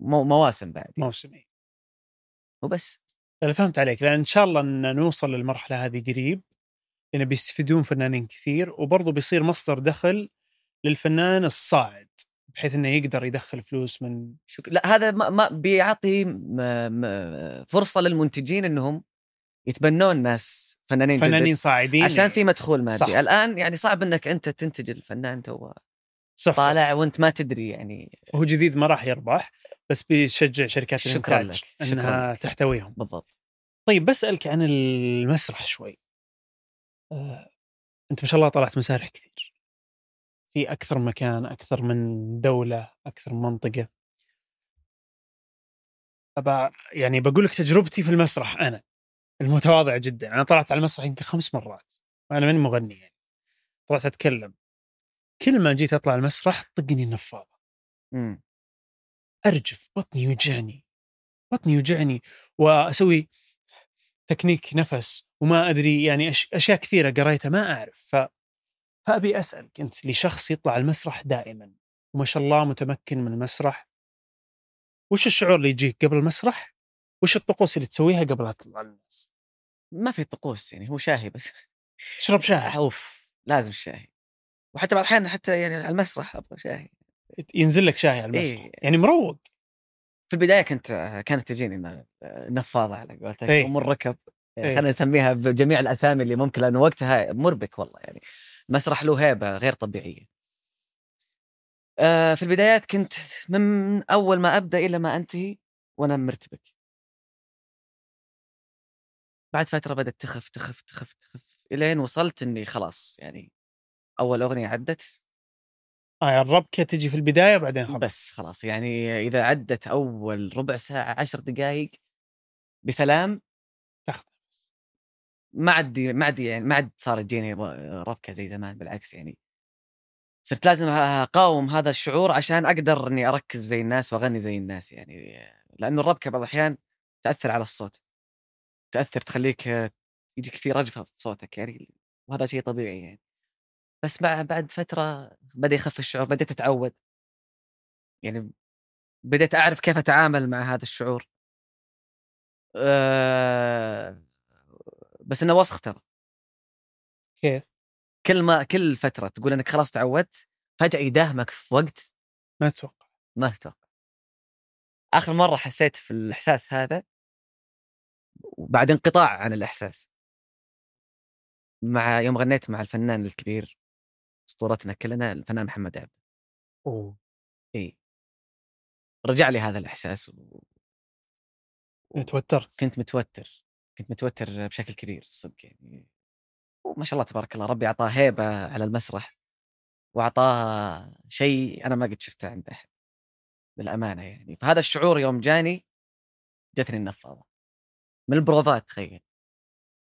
[SPEAKER 2] مو مواسم بعد يعني.
[SPEAKER 1] موسمي
[SPEAKER 2] وبس
[SPEAKER 1] انا فهمت عليك لان ان شاء الله ان نوصل للمرحله هذه قريب لأنه بيستفيدون فنانين كثير وبرضه بيصير مصدر دخل للفنان الصاعد بحيث انه يقدر يدخل فلوس من
[SPEAKER 2] شك... لا هذا ما, ما بيعطي م... م... فرصه للمنتجين انهم يتبنون ناس فنانين
[SPEAKER 1] فنانين
[SPEAKER 2] فنانين
[SPEAKER 1] صاعدين
[SPEAKER 2] عشان في مدخول مادي
[SPEAKER 1] صح.
[SPEAKER 2] صح. الان يعني صعب انك انت تنتج الفنان تو
[SPEAKER 1] صح صح.
[SPEAKER 2] طالع وانت ما تدري يعني
[SPEAKER 1] هو جديد ما راح يربح بس بيشجع شركات
[SPEAKER 2] شكراً
[SPEAKER 1] الانتاج
[SPEAKER 2] لك، شكراً
[SPEAKER 1] انها
[SPEAKER 2] لك.
[SPEAKER 1] تحتويهم
[SPEAKER 2] بالضبط
[SPEAKER 1] طيب بسالك عن المسرح شوي آه، انت ما شاء الله طلعت مسارح كثير في اكثر مكان اكثر من دوله اكثر من منطقه أبا يعني بقول لك تجربتي في المسرح انا المتواضعه جدا انا طلعت على المسرح يمكن خمس مرات وانا ماني مغني يعني طلعت اتكلم كل ما جيت اطلع المسرح طقني النفاضه
[SPEAKER 2] مم.
[SPEAKER 1] ارجف بطني يوجعني بطني يوجعني واسوي تكنيك نفس وما ادري يعني أش... اشياء كثيره قريتها ما اعرف ف... فابي اسالك انت لشخص يطلع المسرح دائما وما شاء الله متمكن من المسرح وش الشعور اللي يجيك قبل المسرح؟ وش الطقوس اللي تسويها قبل لا تطلع للناس؟
[SPEAKER 2] ما في طقوس يعني هو شاهي بس
[SPEAKER 1] تشرب شاي
[SPEAKER 2] اوف لازم الشاهي وحتى بعض الاحيان حتى يعني على المسرح ابغى شاهي
[SPEAKER 1] ينزل لك شاي على المسرح
[SPEAKER 2] إيه.
[SPEAKER 1] يعني مروق
[SPEAKER 2] في البدايه كنت آه، كانت تجيني إنه نفاضه على قولتك
[SPEAKER 1] إيه.
[SPEAKER 2] ام الركب آه،
[SPEAKER 1] إيه.
[SPEAKER 2] خلينا نسميها بجميع الاسامي اللي ممكن لانه وقتها مربك والله يعني مسرح له هيبه غير طبيعيه. آه، في البدايات كنت من اول ما ابدا الى ما انتهي وانا مرتبك. بعد فتره بدات تخف تخف تخف تخف الين وصلت اني خلاص يعني اول اغنيه عدت
[SPEAKER 1] آه الربكه تجي في البدايه بعدين خلاص
[SPEAKER 2] بس خلاص يعني اذا عدت اول ربع ساعه عشر دقائق بسلام
[SPEAKER 1] تاخذ نفس
[SPEAKER 2] ما عاد ما عاد يعني ما عاد صار يجيني ر- ربكه زي زمان بالعكس يعني صرت لازم اقاوم هذا الشعور عشان اقدر اني اركز زي الناس واغني زي الناس يعني لانه الربكه بعض الاحيان تاثر على الصوت تاثر تخليك آه، يجيك في رجفه في صوتك يعني وهذا شيء طبيعي يعني بس مع بعد فتره بدا يخف الشعور بديت اتعود يعني بديت اعرف كيف اتعامل مع هذا الشعور أه بس انه وسخ ترى
[SPEAKER 1] كيف؟
[SPEAKER 2] كل ما كل فتره تقول انك خلاص تعودت فجاه يداهمك في وقت
[SPEAKER 1] ما اتوقع
[SPEAKER 2] ما تتوقع اخر مره حسيت في الاحساس هذا وبعد انقطاع عن الاحساس مع يوم غنيت مع الفنان الكبير اسطورتنا كلنا الفنان محمد عبد
[SPEAKER 1] اوه
[SPEAKER 2] اي رجع لي هذا الاحساس و...
[SPEAKER 1] توترت
[SPEAKER 2] كنت متوتر كنت متوتر بشكل كبير صدق يعني وما شاء الله تبارك الله ربي اعطاه هيبه على المسرح واعطاه شيء انا ما قد شفته عند احد بالامانه يعني فهذا الشعور يوم جاني جتني النفاضه من البروفات تخيل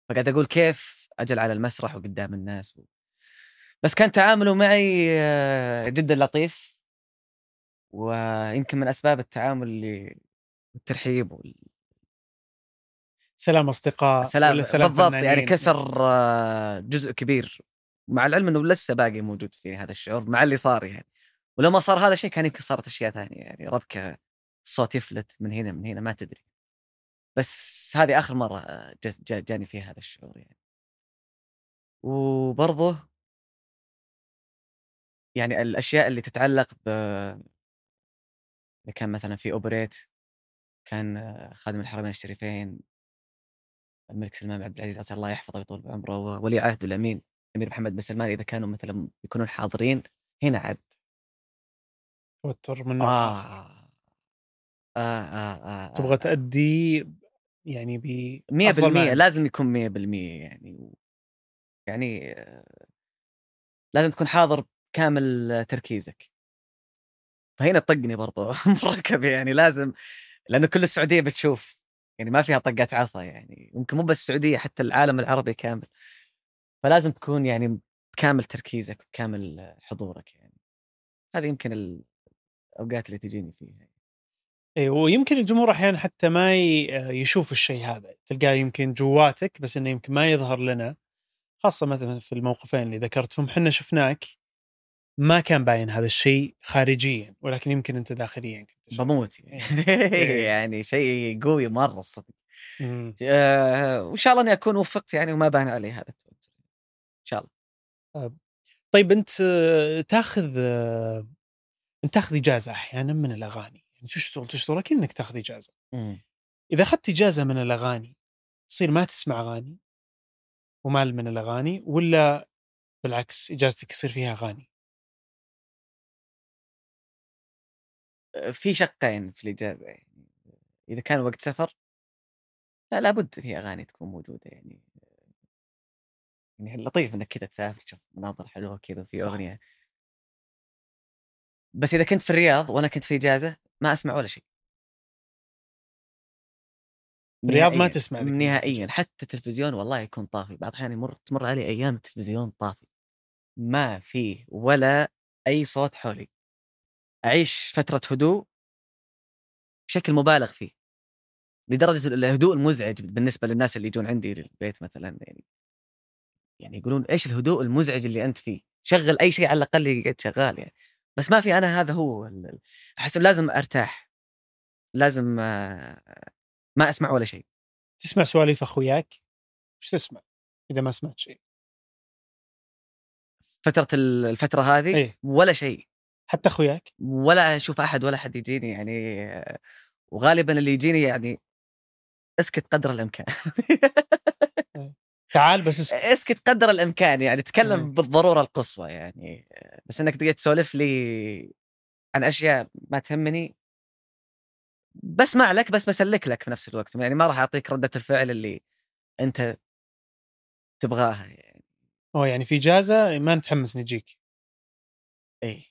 [SPEAKER 2] فقاعد اقول كيف اجل على المسرح وقدام الناس و... بس كان تعامله معي آه، جدا لطيف ويمكن من اسباب التعامل اللي الترحيب وال...
[SPEAKER 1] سلام اصدقاء
[SPEAKER 2] سلام,
[SPEAKER 1] ولا سلام
[SPEAKER 2] بالضبط يعني
[SPEAKER 1] فنانين.
[SPEAKER 2] كسر آه، جزء كبير مع العلم انه لسه باقي موجود في هذا الشعور مع اللي صار يعني ولما صار هذا الشيء كان يمكن صارت اشياء ثانيه يعني ربكه الصوت يفلت من هنا من هنا ما تدري بس هذه اخر مره آه، جت- جا- جاني فيها هذا الشعور يعني وبرضه يعني الاشياء اللي تتعلق ب إذا كان مثلا في اوبريت كان آه، خادم الحرمين الشريفين الملك سلمان بن عبد العزيز عسى الله يحفظه ويطول بعمره وولي عهده الامين الامير محمد بن سلمان اذا كانوا مثلا يكونون حاضرين هنا عد
[SPEAKER 1] توتر من
[SPEAKER 2] آه.
[SPEAKER 1] آه.
[SPEAKER 2] آه. آه. آه. آه.
[SPEAKER 1] تبغى تأدي يعني ب
[SPEAKER 2] 100%
[SPEAKER 1] أفضل ما عندك.
[SPEAKER 2] لازم يكون 100% يعني و... يعني آه، لازم تكون حاضر كامل تركيزك فهنا طقني برضو مركب يعني لازم لانه كل السعوديه بتشوف يعني ما فيها طقات عصا يعني يمكن مو بس السعوديه حتى العالم العربي كامل فلازم تكون يعني بكامل تركيزك وبكامل حضورك يعني هذه يمكن الاوقات اللي تجيني فيها يعني.
[SPEAKER 1] إيه ويمكن الجمهور أحيانا حتى ما ي- آه، يشوف الشيء هذا تلقاه يمكن جواتك بس إنه يمكن ما يظهر لنا خاصة مثلا في الموقفين اللي ذكرتهم حنا شفناك ما كان باين هذا الشيء خارجيا ولكن يمكن أنت داخليا كنت شايف.
[SPEAKER 2] بموت يعني, يعني شيء قوي مره الصدق
[SPEAKER 1] مم.
[SPEAKER 2] آه، وان شاء الله اني اكون وفقت يعني وما بان علي هذا التوتر
[SPEAKER 1] طيب انت آه، تاخذ آه، انت تاخذ اجازه احيانا من الاغاني يعني تشتغل تشتغل اكيد انك تاخذ اجازه
[SPEAKER 2] مم.
[SPEAKER 1] اذا اخذت اجازه من الاغاني تصير ما تسمع اغاني ومال من الاغاني ولا بالعكس اجازتك يصير فيها اغاني
[SPEAKER 2] آه، في شقين في الاجازه يعني اذا كان وقت سفر لا لابد هي اغاني تكون موجوده يعني يعني لطيف انك كذا تسافر تشوف مناظر حلوه كذا في
[SPEAKER 1] صح.
[SPEAKER 2] اغنيه بس اذا كنت في الرياض وانا كنت في اجازه ما اسمع ولا شيء
[SPEAKER 1] في الرياض ما
[SPEAKER 2] نهائياً-
[SPEAKER 1] تسمع ذيك
[SPEAKER 2] نهائيا
[SPEAKER 1] الإجازة.
[SPEAKER 2] حتى التلفزيون والله يكون طافي بعض الاحيان يمر تمر علي ايام التلفزيون طافي ما فيه ولا اي صوت حولي اعيش فتره هدوء بشكل مبالغ فيه لدرجه الهدوء المزعج بالنسبه للناس اللي يجون عندي للبيت مثلا يعني يعني يقولون ايش الهدوء المزعج اللي انت فيه؟ شغل اي شيء على الاقل يقعد شغال يعني بس ما في انا هذا هو ال- ال- احس لازم ارتاح لازم آه، ما اسمع ولا شيء
[SPEAKER 1] تسمع سواليف اخوياك وش تسمع اذا ما سمعت شيء
[SPEAKER 2] فتره ال- الفتره هذه
[SPEAKER 1] إيه.
[SPEAKER 2] ولا شيء
[SPEAKER 1] حتى اخوياك
[SPEAKER 2] ولا اشوف احد ولا حد يجيني يعني آه، وغالبا اللي يجيني يعني اسكت قدر الامكان
[SPEAKER 1] تعال بس اسكت
[SPEAKER 2] اسكت قدر الامكان يعني
[SPEAKER 1] مم.
[SPEAKER 2] تكلم بالضروره القصوى يعني بس انك تقعد تسولف لي عن اشياء ما تهمني بسمع لك بس بسلك لك في نفس الوقت يعني ما راح اعطيك رده الفعل اللي انت تبغاها يعني
[SPEAKER 1] اوه يعني في اجازه ما نتحمس نجيك
[SPEAKER 2] اي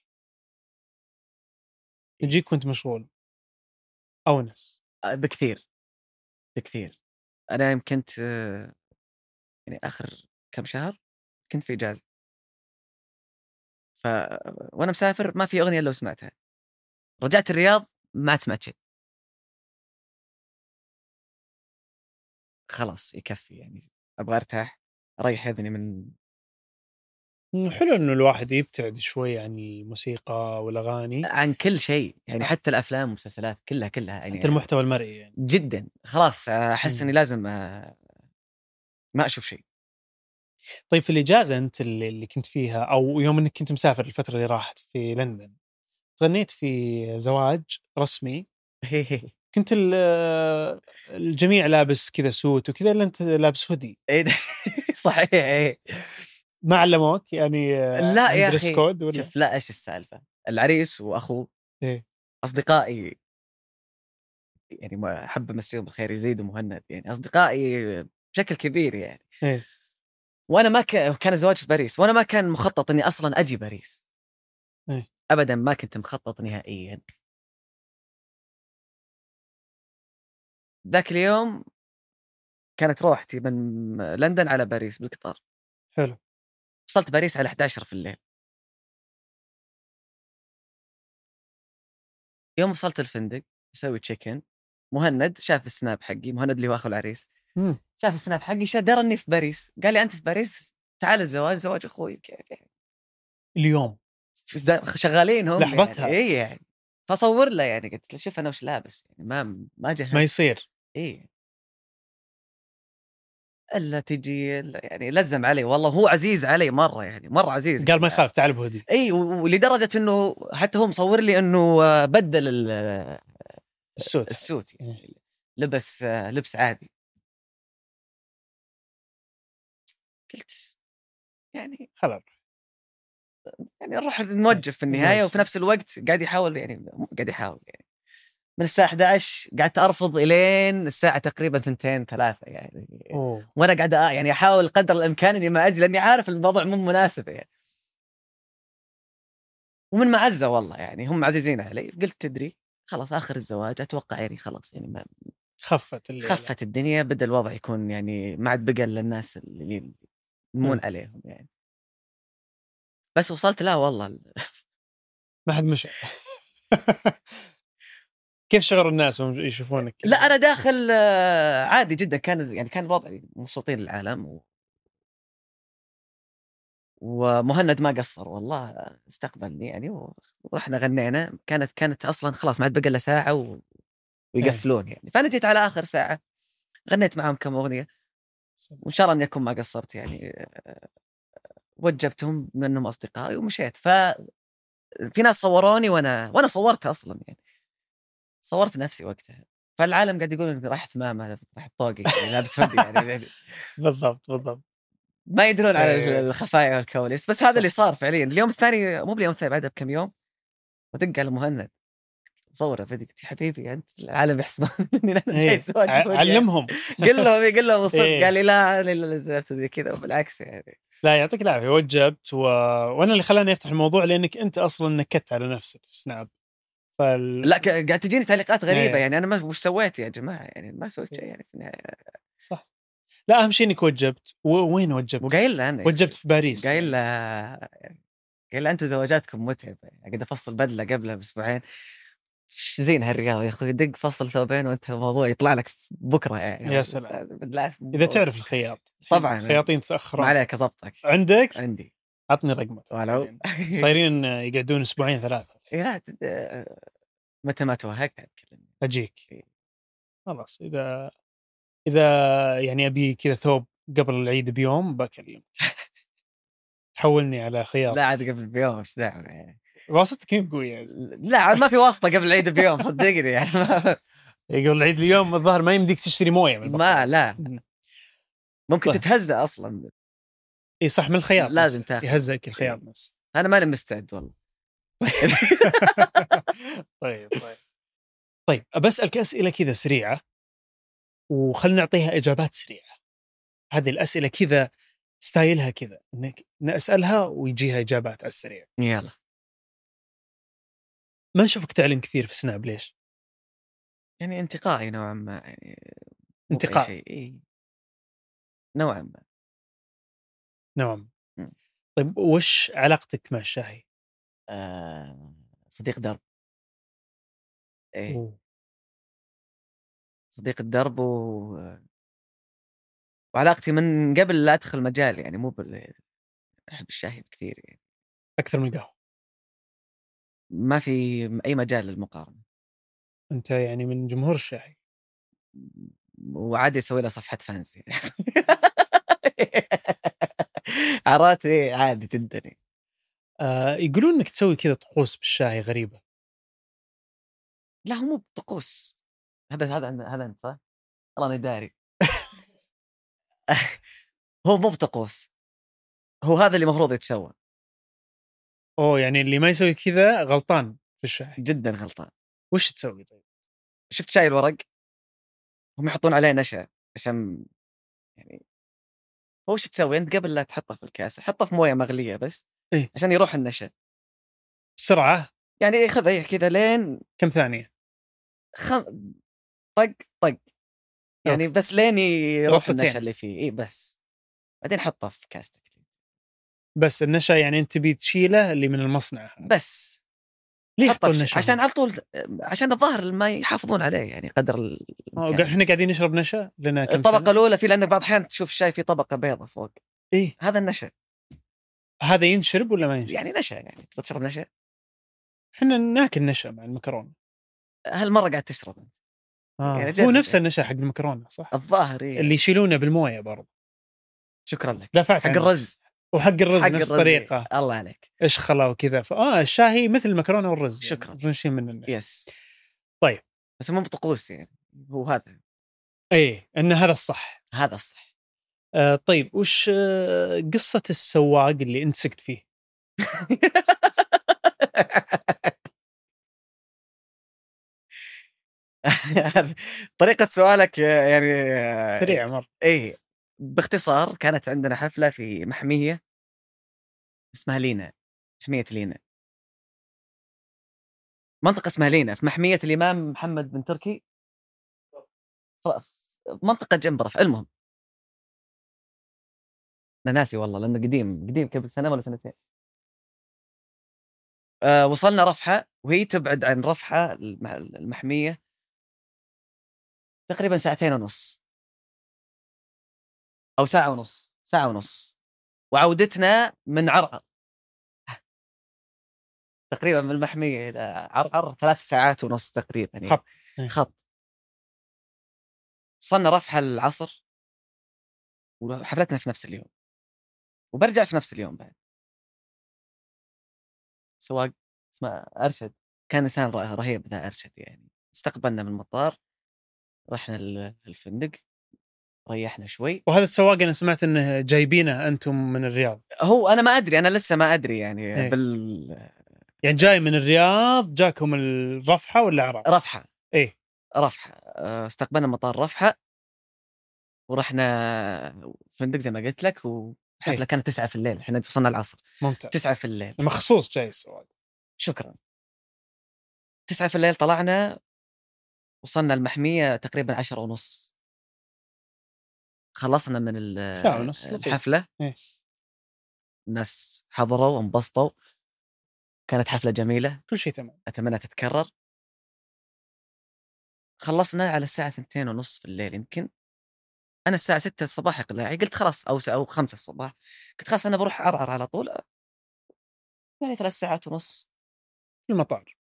[SPEAKER 1] نجيك وانت مشغول اونس
[SPEAKER 2] آه، بكثير بكثير انا يمكن كنت آه، يعني اخر كم شهر كنت في اجازه ف وانا مسافر ما في اغنيه لو سمعتها رجعت الرياض ما عاد سمعت شيء خلاص يكفي يعني ابغى ارتاح اريح اذني من
[SPEAKER 1] حلو انه الواحد يبتعد شوي عن الموسيقى والاغاني
[SPEAKER 2] عن كل شيء يعني حتى الافلام والمسلسلات كلها كلها يعني
[SPEAKER 1] حتى المحتوى المرئي يعني
[SPEAKER 2] جدا خلاص احس
[SPEAKER 1] مم.
[SPEAKER 2] اني لازم آه، ما اشوف شيء
[SPEAKER 1] طيب في الاجازه انت اللي, اللي كنت فيها او يوم انك كنت مسافر الفتره اللي راحت في لندن غنيت في زواج رسمي كنت ال- الجميع لابس كذا سوت وكذا الا انت لابس هودي
[SPEAKER 2] إيه ده- صحيح إيه.
[SPEAKER 1] ما علموك يعني آه،
[SPEAKER 2] لا
[SPEAKER 1] عن
[SPEAKER 2] يا
[SPEAKER 1] دريس
[SPEAKER 2] أخي،
[SPEAKER 1] كود ولا
[SPEAKER 2] شوف لا ايش السالفه العريس واخوه
[SPEAKER 1] إيه.
[SPEAKER 2] اصدقائي يعني ما احب امسيهم بالخير يزيد ومهند يعني اصدقائي بشكل كبير يعني
[SPEAKER 1] إيه.
[SPEAKER 2] وانا ما ك... كان الزواج في باريس وانا ما كان مخطط اني اصلا اجي باريس
[SPEAKER 1] إيه.
[SPEAKER 2] ابدا ما كنت مخطط نهائيا ذاك اليوم كانت روحتي من لندن على باريس بالقطار
[SPEAKER 1] حلو
[SPEAKER 2] وصلت باريس على 11 في الليل يوم وصلت الفندق بسوي تشيك ان مهند شاف السناب حقي مهند اللي هو اخو العريس
[SPEAKER 1] مم.
[SPEAKER 2] شاف السناب حقي شا- درى اني في باريس قال لي انت في باريس تعال الزواج زواج اخوي كيف يعني
[SPEAKER 1] اليوم
[SPEAKER 2] شغالين هم
[SPEAKER 1] لحظتها.
[SPEAKER 2] يعني. اي يعني فصور له يعني قلت له شوف انا وش لابس يعني ما ما جهزت
[SPEAKER 1] ما يصير
[SPEAKER 2] اي الا تجي إلا يعني لزم علي والله هو عزيز علي مره يعني مره عزيز
[SPEAKER 1] قال ما
[SPEAKER 2] يعني.
[SPEAKER 1] يخاف تعال بهودي
[SPEAKER 2] اي و- ولدرجه انه حتى هو مصور لي انه آه، بدل ال- آه،
[SPEAKER 1] السوت
[SPEAKER 2] السوت
[SPEAKER 1] إيه.
[SPEAKER 2] يعني لبس آه، لبس عادي قلت يعني
[SPEAKER 1] خلاص
[SPEAKER 2] يعني نروح نوجه في النهايه وفي نفس الوقت قاعد يحاول يعني مو قاعد يحاول يعني من الساعه 11 قعدت ارفض الين الساعه تقريبا ثنتين ثلاثه يعني
[SPEAKER 1] اوه
[SPEAKER 2] وانا قاعد آه يعني احاول قدر الامكان اني ما اجي لاني عارف الموضوع مو مناسب يعني ومن معزه والله يعني هم عزيزين علي قلت تدري خلاص اخر الزواج اتوقع يعني خلاص يعني ما
[SPEAKER 1] خفت الليلة.
[SPEAKER 2] خفت الدنيا بدا الوضع يكون يعني ما عاد بقى الا الناس اللي يمون
[SPEAKER 1] مم.
[SPEAKER 2] عليهم يعني بس وصلت لا والله
[SPEAKER 1] ما حد مشى كيف شعور الناس وهم يشوفونك
[SPEAKER 2] لا انا داخل آه، عادي جدا كان يعني كان الوضع مبسوطين العالم و... ومهند ما قصر والله استقبلني يعني و- ورحنا غنينا كانت كانت اصلا خلاص ما عاد بقى الا ساعه و... ويقفلون يعني فانا جيت على اخر ساعه غنيت معهم كم اغنيه وان شاء الله اني اكون ما قصرت يعني آه، وجبتهم بما انهم اصدقائي ومشيت ف في ناس صوروني وانا وانا صورتها اصلا يعني صورت نفسي وقتها فالعالم قاعد يقول إنك راح ثمامه راح طوقي يعني لابس هودي يعني
[SPEAKER 1] بالضبط بالضبط
[SPEAKER 2] ما يدرون على
[SPEAKER 1] إيه.
[SPEAKER 2] الخفايا والكواليس بس هذا
[SPEAKER 1] صح.
[SPEAKER 2] اللي صار فعليا اليوم الثاني مو باليوم الثاني بعدها بكم يوم ودق على مهند صوره فيديو قلت يا حبيبي انت العالم يحسبون اني انا جاي
[SPEAKER 1] إيه.
[SPEAKER 2] زواج
[SPEAKER 1] ع-
[SPEAKER 2] فوق يعني.
[SPEAKER 1] علمهم
[SPEAKER 2] قل لهم إيه، قل لهم الصدق
[SPEAKER 1] إيه.
[SPEAKER 2] قال لي لا لا لا زعلت زي كذا وبالعكس يعني
[SPEAKER 1] لا يعطيك العافيه وجبت و... وانا اللي خلاني افتح الموضوع لانك انت اصلا نكدت على نفسك في سناب فال...
[SPEAKER 2] لا ك- قاعد تجيني تعليقات غريبه
[SPEAKER 1] إيه.
[SPEAKER 2] يعني انا ما وش سويت يا جماعه يعني ما سويت شيء يعني في النهايه
[SPEAKER 1] صح لا اهم شيء انك وجبت و... وين وجبت؟
[SPEAKER 2] وقايل له انا
[SPEAKER 1] وجبت في باريس
[SPEAKER 2] قايل له
[SPEAKER 1] يعني.
[SPEAKER 2] قايل له انتم زواجاتكم متعبه يعني قاعد افصل بدله قبلها باسبوعين إيش زين هالرياض يا اخوي دق فصل ثوبين وانت الموضوع يطلع لك بكره يعني
[SPEAKER 1] يا
[SPEAKER 2] بس
[SPEAKER 1] سلام.
[SPEAKER 2] هذا بالله
[SPEAKER 1] اذا تعرف الخياط
[SPEAKER 2] طبعاً.
[SPEAKER 1] الخياطين تاخرون
[SPEAKER 2] ما عليك اضبطك
[SPEAKER 1] عندك
[SPEAKER 2] عندي
[SPEAKER 1] عطني رقمك
[SPEAKER 2] ولو
[SPEAKER 1] صايرين يقعدون اسبوعين ثلاثه
[SPEAKER 2] إيه، لا تد- متى ما توهقت يعني اتكلم إيه.
[SPEAKER 1] اجيك خلاص اذا اذا يعني ابي كذا ثوب قبل العيد بيوم بكلمك تحولني على خياط
[SPEAKER 2] لا عاد قبل بيوم ايش دعوه يعني
[SPEAKER 1] واسطتك هي قويه
[SPEAKER 2] لا عاد ما في واسطه قبل العيد بيوم صدقني يعني ما-
[SPEAKER 1] قبل العيد اليوم الظاهر ما يمديك تشتري مويه من
[SPEAKER 2] ما لا ممكن
[SPEAKER 1] طيب.
[SPEAKER 2] تتهزأ اصلا
[SPEAKER 1] اي صح من الخياط
[SPEAKER 2] لازم
[SPEAKER 1] نفسه.
[SPEAKER 2] تاخذ.
[SPEAKER 1] يهزئك الخياط
[SPEAKER 2] إيه.
[SPEAKER 1] نفسه
[SPEAKER 2] انا ماني مستعد والله
[SPEAKER 1] طيب طيب طيب بسالك اسئله كذا سريعه وخلنا نعطيها اجابات سريعه هذه الاسئله كذا ستايلها كذا انك نسالها ويجيها اجابات على السريع
[SPEAKER 2] يلا
[SPEAKER 1] ما نشوفك تعلن كثير في سناب ليش؟
[SPEAKER 2] يعني انتقائي نوعا ما يعني مو بأي
[SPEAKER 1] انتقاء
[SPEAKER 2] شيء إيه. نوعا ما
[SPEAKER 1] نعم
[SPEAKER 2] مم.
[SPEAKER 1] طيب وش علاقتك مع الشاهي؟
[SPEAKER 2] آه صديق درب إيه.
[SPEAKER 1] أوه.
[SPEAKER 2] صديق الدرب و... وعلاقتي من قبل لا ادخل مجال يعني مو بال احب الشاهي كثير يعني
[SPEAKER 1] اكثر من قهوه
[SPEAKER 2] ما في اي مجال للمقارنه
[SPEAKER 1] انت يعني من جمهور الشاهي
[SPEAKER 2] وعادي اسوي له صفحه فانسي عرفت إيه، عادي جدا يعني.
[SPEAKER 1] آه يقولون انك تسوي كذا طقوس بالشاهي غريبه
[SPEAKER 2] لا هو مو بطقوس هذا هذا عند- هذا انت صح؟ والله انا داري هو مو بطقوس هو هذا اللي المفروض يتسوى
[SPEAKER 1] اوه يعني اللي ما يسوي كذا غلطان في الشاهي
[SPEAKER 2] جدا غلطان
[SPEAKER 1] وش تسوي طيب؟
[SPEAKER 2] شفت شاي الورق هم يحطون عليه نشا عشان يعني هو وش تسوي انت قبل لا تحطه في الكاسه حطه في مويه مغليه بس
[SPEAKER 1] إيه.
[SPEAKER 2] عشان يروح النشا
[SPEAKER 1] بسرعه
[SPEAKER 2] يعني خذ كذا لين
[SPEAKER 1] كم ثانيه؟
[SPEAKER 2] خم... طق طق يعني
[SPEAKER 1] أوكي.
[SPEAKER 2] بس لين يروح
[SPEAKER 1] ربطتين.
[SPEAKER 2] النشا اللي فيه اي بس بعدين حطه في كاستك
[SPEAKER 1] بس النشا يعني انت تبي تشيله اللي من المصنع
[SPEAKER 2] بس
[SPEAKER 1] ليه
[SPEAKER 2] حطه
[SPEAKER 1] حطوا
[SPEAKER 2] في-
[SPEAKER 1] النشا؟
[SPEAKER 2] عشان على طول عشان الظاهر ما يحافظون عليه يعني قدر ال...
[SPEAKER 1] آه،
[SPEAKER 2] يعني.
[SPEAKER 1] احنا قاعدين نشرب نشا لنا كم
[SPEAKER 2] الطبقه
[SPEAKER 1] سنة؟
[SPEAKER 2] الاولى في لان بعض الاحيان تشوف الشاي في طبقه بيضة فوق
[SPEAKER 1] ايه
[SPEAKER 2] هذا النشا
[SPEAKER 1] هذا ينشرب ولا ما ينشرب؟
[SPEAKER 2] يعني نشا يعني تبغى تشرب نشا
[SPEAKER 1] احنا ناكل نشا مع المكرونه
[SPEAKER 2] هالمره قاعد تشرب انت
[SPEAKER 1] آه.
[SPEAKER 2] يعني
[SPEAKER 1] هو
[SPEAKER 2] جرب
[SPEAKER 1] نفس
[SPEAKER 2] يعني.
[SPEAKER 1] النشا حق المكرونه صح؟
[SPEAKER 2] الظاهر إيه.
[SPEAKER 1] اللي يشيلونه بالمويه برضه
[SPEAKER 2] شكرا لك
[SPEAKER 1] دفعت
[SPEAKER 2] حق
[SPEAKER 1] عنه.
[SPEAKER 2] الرز
[SPEAKER 1] وحق الرز
[SPEAKER 2] حق
[SPEAKER 1] نفس
[SPEAKER 2] الرز، إيه.
[SPEAKER 1] الطريقه
[SPEAKER 2] الله عليك
[SPEAKER 1] اشخله وكذا فاه الشاهي مثل المكرونه والرز
[SPEAKER 2] شكراً.
[SPEAKER 1] يعني. نشيل من النشا
[SPEAKER 2] يس
[SPEAKER 1] طيب.
[SPEAKER 2] بس مو بطقوس يعني هو هذا إيه.
[SPEAKER 1] ايه ان هذا الصح
[SPEAKER 2] هذا الصح
[SPEAKER 1] آه طيب وش آه قصه السواق اللي انت سكت فيه؟
[SPEAKER 2] طريقه سؤالك يعني
[SPEAKER 1] سريع مره
[SPEAKER 2] ايه باختصار كانت عندنا حفله في محميه اسمها لينا محميه لينا منطقه اسمها لينا في محميه الامام محمد بن تركي ف- منطقه جنب رفح المهم انا ناسي والله لانه قديم قديم قبل سنه ولا سنتين آه وصلنا رفحه وهي تبعد عن رفحه الم- المحميه تقريبا ساعتين ونص او ساعه ونص ساعه ونص وعودتنا من عرعر تقريبا من المحميه الى عرعر ثلاث ساعات ونص تقريبا يعني.
[SPEAKER 1] خط.
[SPEAKER 2] خط وصلنا رفحه العصر وحفلتنا في نفس اليوم وبرجع في نفس اليوم بعد سواق اسمه ارشد كان انسان رائع- رهيب ذا ارشد يعني استقبلنا من المطار رحنا ال- الفندق ريحنا شوي
[SPEAKER 1] وهذا السواق انا سمعت انه جايبينه انتم من الرياض
[SPEAKER 2] هو انا ما ادري انا لسه ما ادري يعني
[SPEAKER 1] إيه.
[SPEAKER 2] بالرفحه
[SPEAKER 1] يعني جاي من الرياض جاكم الرفحه ولا عراق؟ إيه.
[SPEAKER 2] رفحه آه، استقبلنا مطار رفحه ورحنا فندق زي ما قلت لك والحفله
[SPEAKER 1] إيه.
[SPEAKER 2] كانت تسعة في الليل احنا وصلنا العصر
[SPEAKER 1] ممتاز
[SPEAKER 2] تسعة في الليل
[SPEAKER 1] مخصوص جاي السواق
[SPEAKER 2] شكرا تسعة في الليل طلعنا وصلنا المحمية تقريبا عشرة ونص خلصنا من ال-
[SPEAKER 1] ساعة ونص، لطيف.
[SPEAKER 2] الحفلة
[SPEAKER 1] إيه.
[SPEAKER 2] الناس حضروا وانبسطوا كانت حفلة جميلة
[SPEAKER 1] كل شيء تمام
[SPEAKER 2] أتمنى تتكرر خلصنا على الساعة ثنتين ونص في الليل يمكن أنا الساعة ستة الصباح إقلاعي قلت خلاص أو س- أو خمسة الصباح قلت خلاص أنا بروح أرعر على طول يعني ثلاث ساعات ونص
[SPEAKER 1] في المطار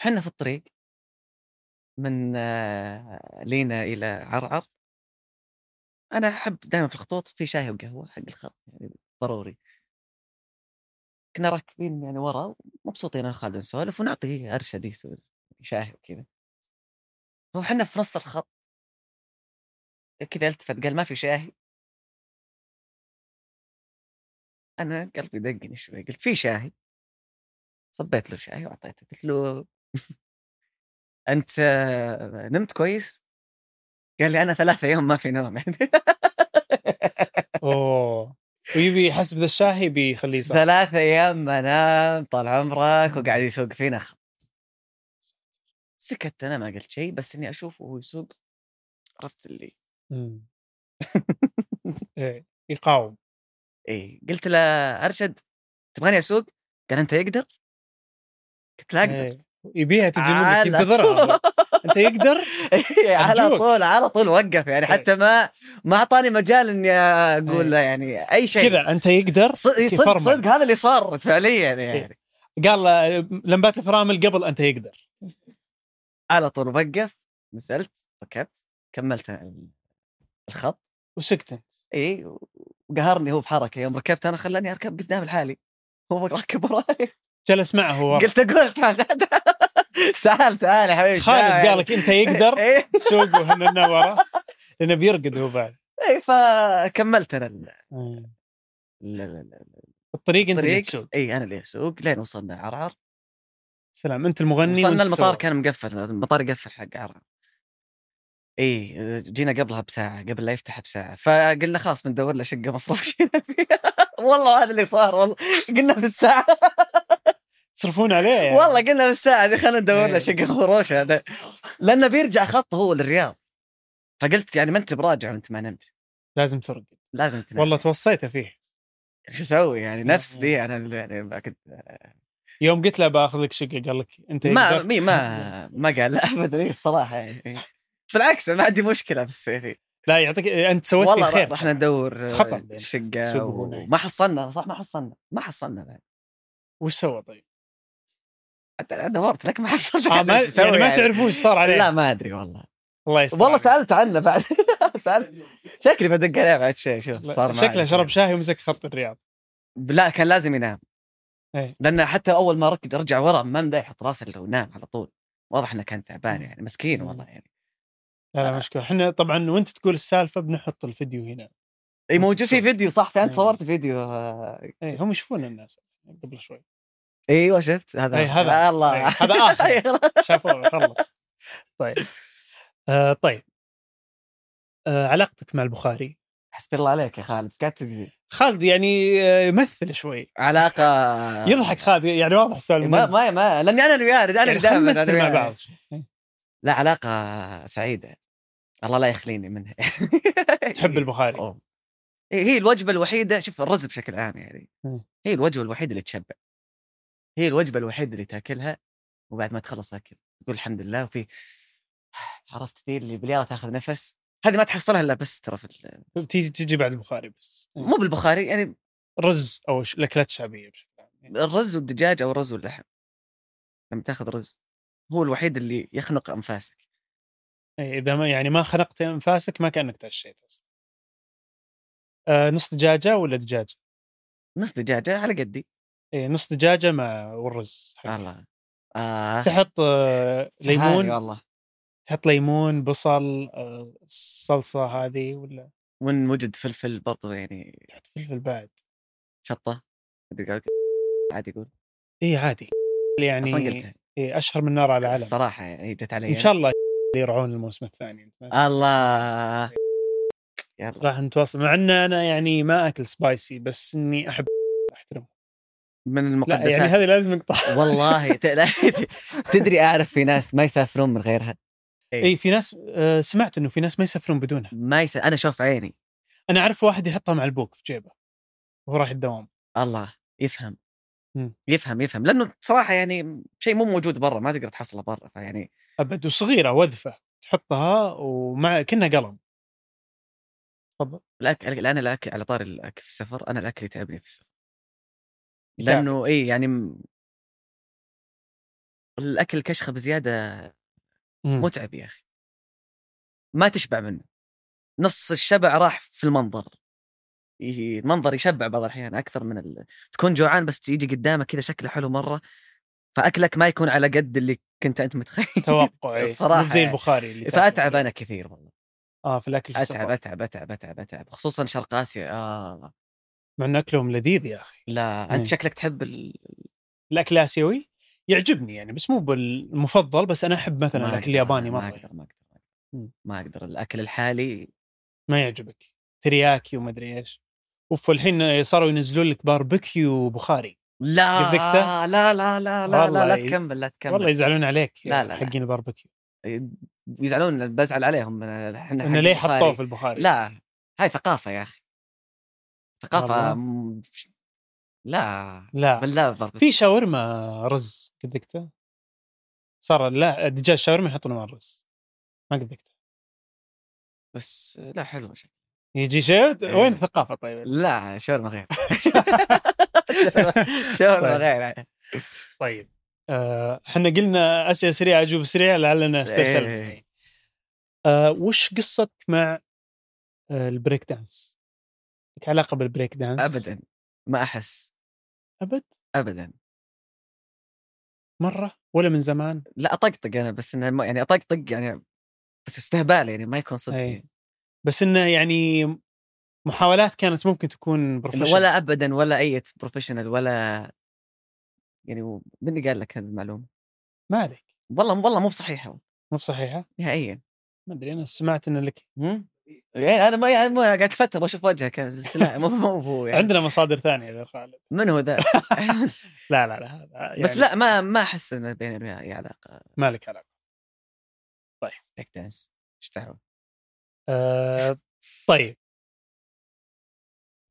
[SPEAKER 2] حنا في الطريق من آه، لينا الى عرعر انا احب دائما في الخطوط في شاي وقهوه حق الخط يعني ضروري كنا راكبين يعني ورا مبسوطين انا وخالد نسولف ونعطي ارشد يسولف شاي وكذا وحنا في نص الخط كذا التفت قال ما في شاهي انا قلبي دقني شوي قلت في شاهي صبيت له شاي واعطيته قلت له انت آه، نمت كويس؟ قال لي انا ثلاثة يوم ما في نوم يعني
[SPEAKER 1] اوه ويبي حسب ذا الشاهي بيخليه صح
[SPEAKER 2] ثلاثة ايام ما نام طال عمرك وقاعد يسوق فينا خ... سكت انا ما قلت شيء بس اني اشوفه وهو يسوق عرفت اللي
[SPEAKER 1] مم. إيه، يقاوم
[SPEAKER 2] اي إيه، قلت له ارشد تبغاني اسوق؟ قال انت يقدر؟ قلت له اقدر
[SPEAKER 1] إيه. يبيها تجي منك
[SPEAKER 2] على
[SPEAKER 1] ينتظرها انت يقدر
[SPEAKER 2] على
[SPEAKER 1] أرجوك.
[SPEAKER 2] طول إيه، على طول وقف
[SPEAKER 1] إيه.
[SPEAKER 2] يعني حتى ما ما اعطاني مجال اني اقول له يعني اي شيء
[SPEAKER 1] كذا إيه. انت يقدر
[SPEAKER 2] صدق صدق,
[SPEAKER 1] فرمل.
[SPEAKER 2] صدق هذا اللي صار فعليا يعني
[SPEAKER 1] قال له لمبات الفرامل قبل انت يقدر
[SPEAKER 2] على طول وقف نزلت ركبت كملت ال- الخط
[SPEAKER 1] وسكت انت
[SPEAKER 2] اي وقهرني هو بحركه يوم ركبت انا خلاني اركب قدام لحالي هو راكب وراي
[SPEAKER 1] جلس معه هو
[SPEAKER 2] قلت اقول تعال تعال تعال يا حبيبي إيه،
[SPEAKER 1] خالد قال لك انت يقدر
[SPEAKER 2] اي
[SPEAKER 1] سوق وهننا ورا لانه بيرقد هو بعد
[SPEAKER 2] اي إيه، فكملت انا ال-
[SPEAKER 1] مم.
[SPEAKER 2] ال- ال- ال-
[SPEAKER 1] الطريق انت اللي
[SPEAKER 2] آه. الطريق إيه،
[SPEAKER 1] تسوق
[SPEAKER 2] اي انا اللي اسوق لين وصلنا عرعر
[SPEAKER 1] سلام انت المغني
[SPEAKER 2] وصلنا
[SPEAKER 1] وانت
[SPEAKER 2] المطار
[SPEAKER 1] السواق.
[SPEAKER 2] كان مقفل المطار يقفل حق عرعر اي جينا قبلها بساعه قبل لا يفتح بساعه فقلنا خلاص بندور له شقه مفروشين فيها والله هذا اللي صار والله قلنا في الساعه
[SPEAKER 1] تصرفون عليه يعني.
[SPEAKER 2] والله قلنا في الساعه دي خلينا ندور له
[SPEAKER 1] إيه.
[SPEAKER 2] شقه مفروش هذا لانه بيرجع خطه هو للرياض فقلت يعني ما انت براجع وانت ما نمت
[SPEAKER 1] لازم ترقد
[SPEAKER 2] لازم تنام
[SPEAKER 1] والله توصيته فيه
[SPEAKER 2] شو اسوي يعني نفس دي انا اللي- يعني ما كنت
[SPEAKER 1] يوم قلت له باخذ لك شقه قال لك انت
[SPEAKER 2] ما
[SPEAKER 1] يقدر؟
[SPEAKER 2] مي ما ما قال لا ابدا إيه الصراحه يعني بالعكس أنا ما عندي مشكله في السيف
[SPEAKER 1] لا يعطيك انت سويت لي
[SPEAKER 2] والله
[SPEAKER 1] خير
[SPEAKER 2] رحنا ندور
[SPEAKER 1] خطأ يعني.
[SPEAKER 2] شقه
[SPEAKER 1] سوق هنا.
[SPEAKER 2] وما حصلنا صح ما حصلنا ما حصلنا بعد
[SPEAKER 1] وش سوى طيب؟
[SPEAKER 2] حتى انا دورت لك ما حصلت
[SPEAKER 1] آه
[SPEAKER 2] أنا
[SPEAKER 1] ما
[SPEAKER 2] إيش أسوي
[SPEAKER 1] يعني ما تعرفون ايش صار عليه
[SPEAKER 2] لا ما ادري والله
[SPEAKER 1] الله يستر
[SPEAKER 2] والله
[SPEAKER 1] عليك.
[SPEAKER 2] سالت عنه بعد سالت شكلي بدق عليه بعد شيء شوف
[SPEAKER 1] لا،
[SPEAKER 2] صار معي.
[SPEAKER 1] شكله شرب شاي ومسك خط الرياض
[SPEAKER 2] لا كان لازم ينام
[SPEAKER 1] إيه.
[SPEAKER 2] لانه حتى اول ما ركض رجع ورا ما مدى يحط راسه الا ونام على طول واضح انه كان تعبان يعني مسكين
[SPEAKER 1] مم.
[SPEAKER 2] والله يعني
[SPEAKER 1] لا لا مشكله احنا طبعا وانت تقول السالفه بنحط الفيديو هنا
[SPEAKER 2] اي إيه، موجود في
[SPEAKER 1] مكسور.
[SPEAKER 2] فيديو صح في انت
[SPEAKER 1] إيه.
[SPEAKER 2] صورت فيديو آه،
[SPEAKER 1] اي إيه، هم يشوفون الناس يعني قبل شوي
[SPEAKER 2] ايوه شفت هذا
[SPEAKER 1] إيه، هذا. إيه،
[SPEAKER 2] الله
[SPEAKER 1] هذا
[SPEAKER 2] أيوه.
[SPEAKER 1] آخر. شافوه خلص طيب آه طيب آه علاقتك مع البخاري
[SPEAKER 2] حسبي الله عليك يا خالد إيش قاعد تقول
[SPEAKER 1] خالد يعني آه، يمثل شوي
[SPEAKER 2] علاقه
[SPEAKER 1] يضحك خالد يعني واضح السؤال
[SPEAKER 2] آه. ما ما, ما لاني انا اللي ويارد انا
[SPEAKER 1] يعني
[SPEAKER 2] اللي
[SPEAKER 1] خلينا
[SPEAKER 2] دائما
[SPEAKER 1] نمثل مع بعض
[SPEAKER 2] لا علاقه سعيده الله لا يخليني منها
[SPEAKER 1] تحب البخاري
[SPEAKER 2] أوه. هي الوجبه الوحيده شوف الرز بشكل عام يعني
[SPEAKER 1] مم.
[SPEAKER 2] هي الوجبه الوحيده اللي تشبع هي الوجبه الوحيده اللي تاكلها وبعد ما تخلص اكل تقول الحمد لله وفي عرفت ذي اللي باليارة تاخذ نفس هذه ما تحصلها الا بس ترى في ال-
[SPEAKER 1] تيجي تجي بعد البخاري بس
[SPEAKER 2] مو بالبخاري يعني
[SPEAKER 1] رز او ش- الاكلات الشعبيه بشكل عام
[SPEAKER 2] الرز والدجاج او الرز واللحم لما تاخذ رز هو الوحيد اللي يخنق انفاسك
[SPEAKER 1] إيه، اذا ما يعني ما خنقت انفاسك ما كانك تعشيت اصلا آه نص دجاجه ولا دجاجه؟
[SPEAKER 2] نص دجاجه على قدي
[SPEAKER 1] اي نص دجاجه مع والرز حقه.
[SPEAKER 2] الله آه
[SPEAKER 1] تحط آه
[SPEAKER 2] هذه
[SPEAKER 1] ليمون
[SPEAKER 2] والله
[SPEAKER 1] تحط ليمون بصل آه الصلصه هذه ولا
[SPEAKER 2] وان وجد فلفل برضو يعني
[SPEAKER 1] تحط فلفل بعد
[SPEAKER 2] شطه دقيقة، عادي يقول
[SPEAKER 1] اي عادي
[SPEAKER 2] اصلا
[SPEAKER 1] يعني
[SPEAKER 2] قلتها
[SPEAKER 1] إيه اشهر من نار على العالم
[SPEAKER 2] الصراحه يعني جت علي
[SPEAKER 1] ان شاء الله يرعون الموسم الثاني
[SPEAKER 2] آه. الله يلا
[SPEAKER 1] راح نتواصل مع ان انا يعني ما اكل سبايسي بس اني احب احترمه
[SPEAKER 2] من
[SPEAKER 1] لا
[SPEAKER 2] المقدسات
[SPEAKER 1] يعني هذه لازم نقطع
[SPEAKER 2] والله ت- لا، ت- تدري اعرف في ناس ما يسافرون من غيرها إيه.
[SPEAKER 1] اي في ناس آه، سمعت انه في ناس ما يسافرون بدونها
[SPEAKER 2] ما يس... انا شوف عيني
[SPEAKER 1] انا اعرف واحد يحطها مع البوك في جيبه وهو رايح الدوام
[SPEAKER 2] الله يفهم
[SPEAKER 1] مم.
[SPEAKER 2] يفهم يفهم لانه بصراحه يعني شيء مو موجود برا ما تقدر تحصله برا فيعني
[SPEAKER 1] ابد وصغيره وذفه تحطها ومع كنا قلم
[SPEAKER 2] الاكل الان الاكل على طار الاكل في السفر انا الاكل يتعبني في السفر
[SPEAKER 1] يتعب.
[SPEAKER 2] لانه اي يعني م- الاكل كشخه بزياده
[SPEAKER 1] مم.
[SPEAKER 2] متعب يا اخي ما تشبع منه نص الشبع راح في المنظر ي- المنظر يشبع بعض الاحيان اكثر من ال... تكون جوعان بس يجي قدامك كذا شكله حلو مره فاكلك ما يكون على قد اللي كنت انت متخيل
[SPEAKER 1] توقع إيه.
[SPEAKER 2] الصراحة
[SPEAKER 1] مو زي
[SPEAKER 2] يعني.
[SPEAKER 1] البخاري اللي
[SPEAKER 2] فاتعب انا كثير والله
[SPEAKER 1] اه في الاكل في
[SPEAKER 2] اتعب
[SPEAKER 1] السفر.
[SPEAKER 2] اتعب اتعب اتعب اتعب خصوصا شرق اسيا آه.
[SPEAKER 1] مع ان اكلهم لذيذ يا اخي
[SPEAKER 2] لا
[SPEAKER 1] إيه.
[SPEAKER 2] انت شكلك تحب ال...
[SPEAKER 1] الاكل الاسيوي يعجبني يعني بس مو بالمفضل بس انا احب مثلا
[SPEAKER 2] ما
[SPEAKER 1] الاكل
[SPEAKER 2] أقدر،
[SPEAKER 1] الياباني إيه. مره
[SPEAKER 2] ما اقدر ما اقدر
[SPEAKER 1] مم.
[SPEAKER 2] ما اقدر الاكل الحالي
[SPEAKER 1] ما يعجبك ترياكي وما ادري ايش اوف الحين صاروا ينزلون لك باربيكيو بخاري
[SPEAKER 2] لا
[SPEAKER 1] ذقته؟
[SPEAKER 2] لا لا لا لا لا, لا
[SPEAKER 1] والله ي-
[SPEAKER 2] تكمل لا تكمل
[SPEAKER 1] والله يزعلون عليك
[SPEAKER 2] لا، لا، لا.
[SPEAKER 1] حقين الباربيكيو
[SPEAKER 2] يزعلون بزعل عليهم من احنا
[SPEAKER 1] انه ليه حطوه في البخاري
[SPEAKER 2] لا هاي ثقافه يا اخي
[SPEAKER 1] والله.
[SPEAKER 2] ثقافه م... لا
[SPEAKER 1] لا
[SPEAKER 2] بالله برضه
[SPEAKER 1] في شاورما رز قد ذقته صار لا دجاج شاورما يحطونه مع الرز ما قد ذقته
[SPEAKER 2] بس لا حلو شكل
[SPEAKER 1] يجي شفت
[SPEAKER 2] إيه.
[SPEAKER 1] وين الثقافه طيب
[SPEAKER 2] لا شاورما غير شاورما
[SPEAKER 1] طيب.
[SPEAKER 2] غير
[SPEAKER 1] طيب آه، احنا قلنا اسئله سريعه اجوبه سريعه لعلنا استرسلنا
[SPEAKER 2] إيه.
[SPEAKER 1] يعني. آه، وش قصتك مع آه، البريك دانس؟ لك علاقه بالبريك دانس؟
[SPEAKER 2] ابدا ما احس
[SPEAKER 1] ابد
[SPEAKER 2] ابدا
[SPEAKER 1] مره ولا من زمان؟
[SPEAKER 2] لا اطقطق انا بس انه ما- يعني اطقطق يعني بس استهبال يعني ما يكون صدق
[SPEAKER 1] أي.
[SPEAKER 2] يعني.
[SPEAKER 1] بس انه يعني محاولات كانت ممكن تكون
[SPEAKER 2] إنه
[SPEAKER 1] بروفيشنال
[SPEAKER 2] ولا ابدا ولا اي بروفيشنال ولا يعني و- من اللي قال لك هذه المعلومه؟
[SPEAKER 1] ما عليك
[SPEAKER 2] والله والله مو بصحيحه
[SPEAKER 1] مو بصحيحه
[SPEAKER 2] نهائيا
[SPEAKER 1] ما ادري انا سمعت ان لك
[SPEAKER 2] هم؟ يعني انا ما يعني ما قعدت فتره بشوف وجهه كان قلت لا مو مو هو يعني
[SPEAKER 1] عندنا مصادر ثانيه غير خالد
[SPEAKER 2] من هو ذا
[SPEAKER 1] لا لا لا هذا يعني
[SPEAKER 2] بس لا ما ما احس انه بيني وبينه اي علاقه
[SPEAKER 1] ما لك علاقه إيه.
[SPEAKER 2] بريك دانس ايش دعوه؟
[SPEAKER 1] آه، طيب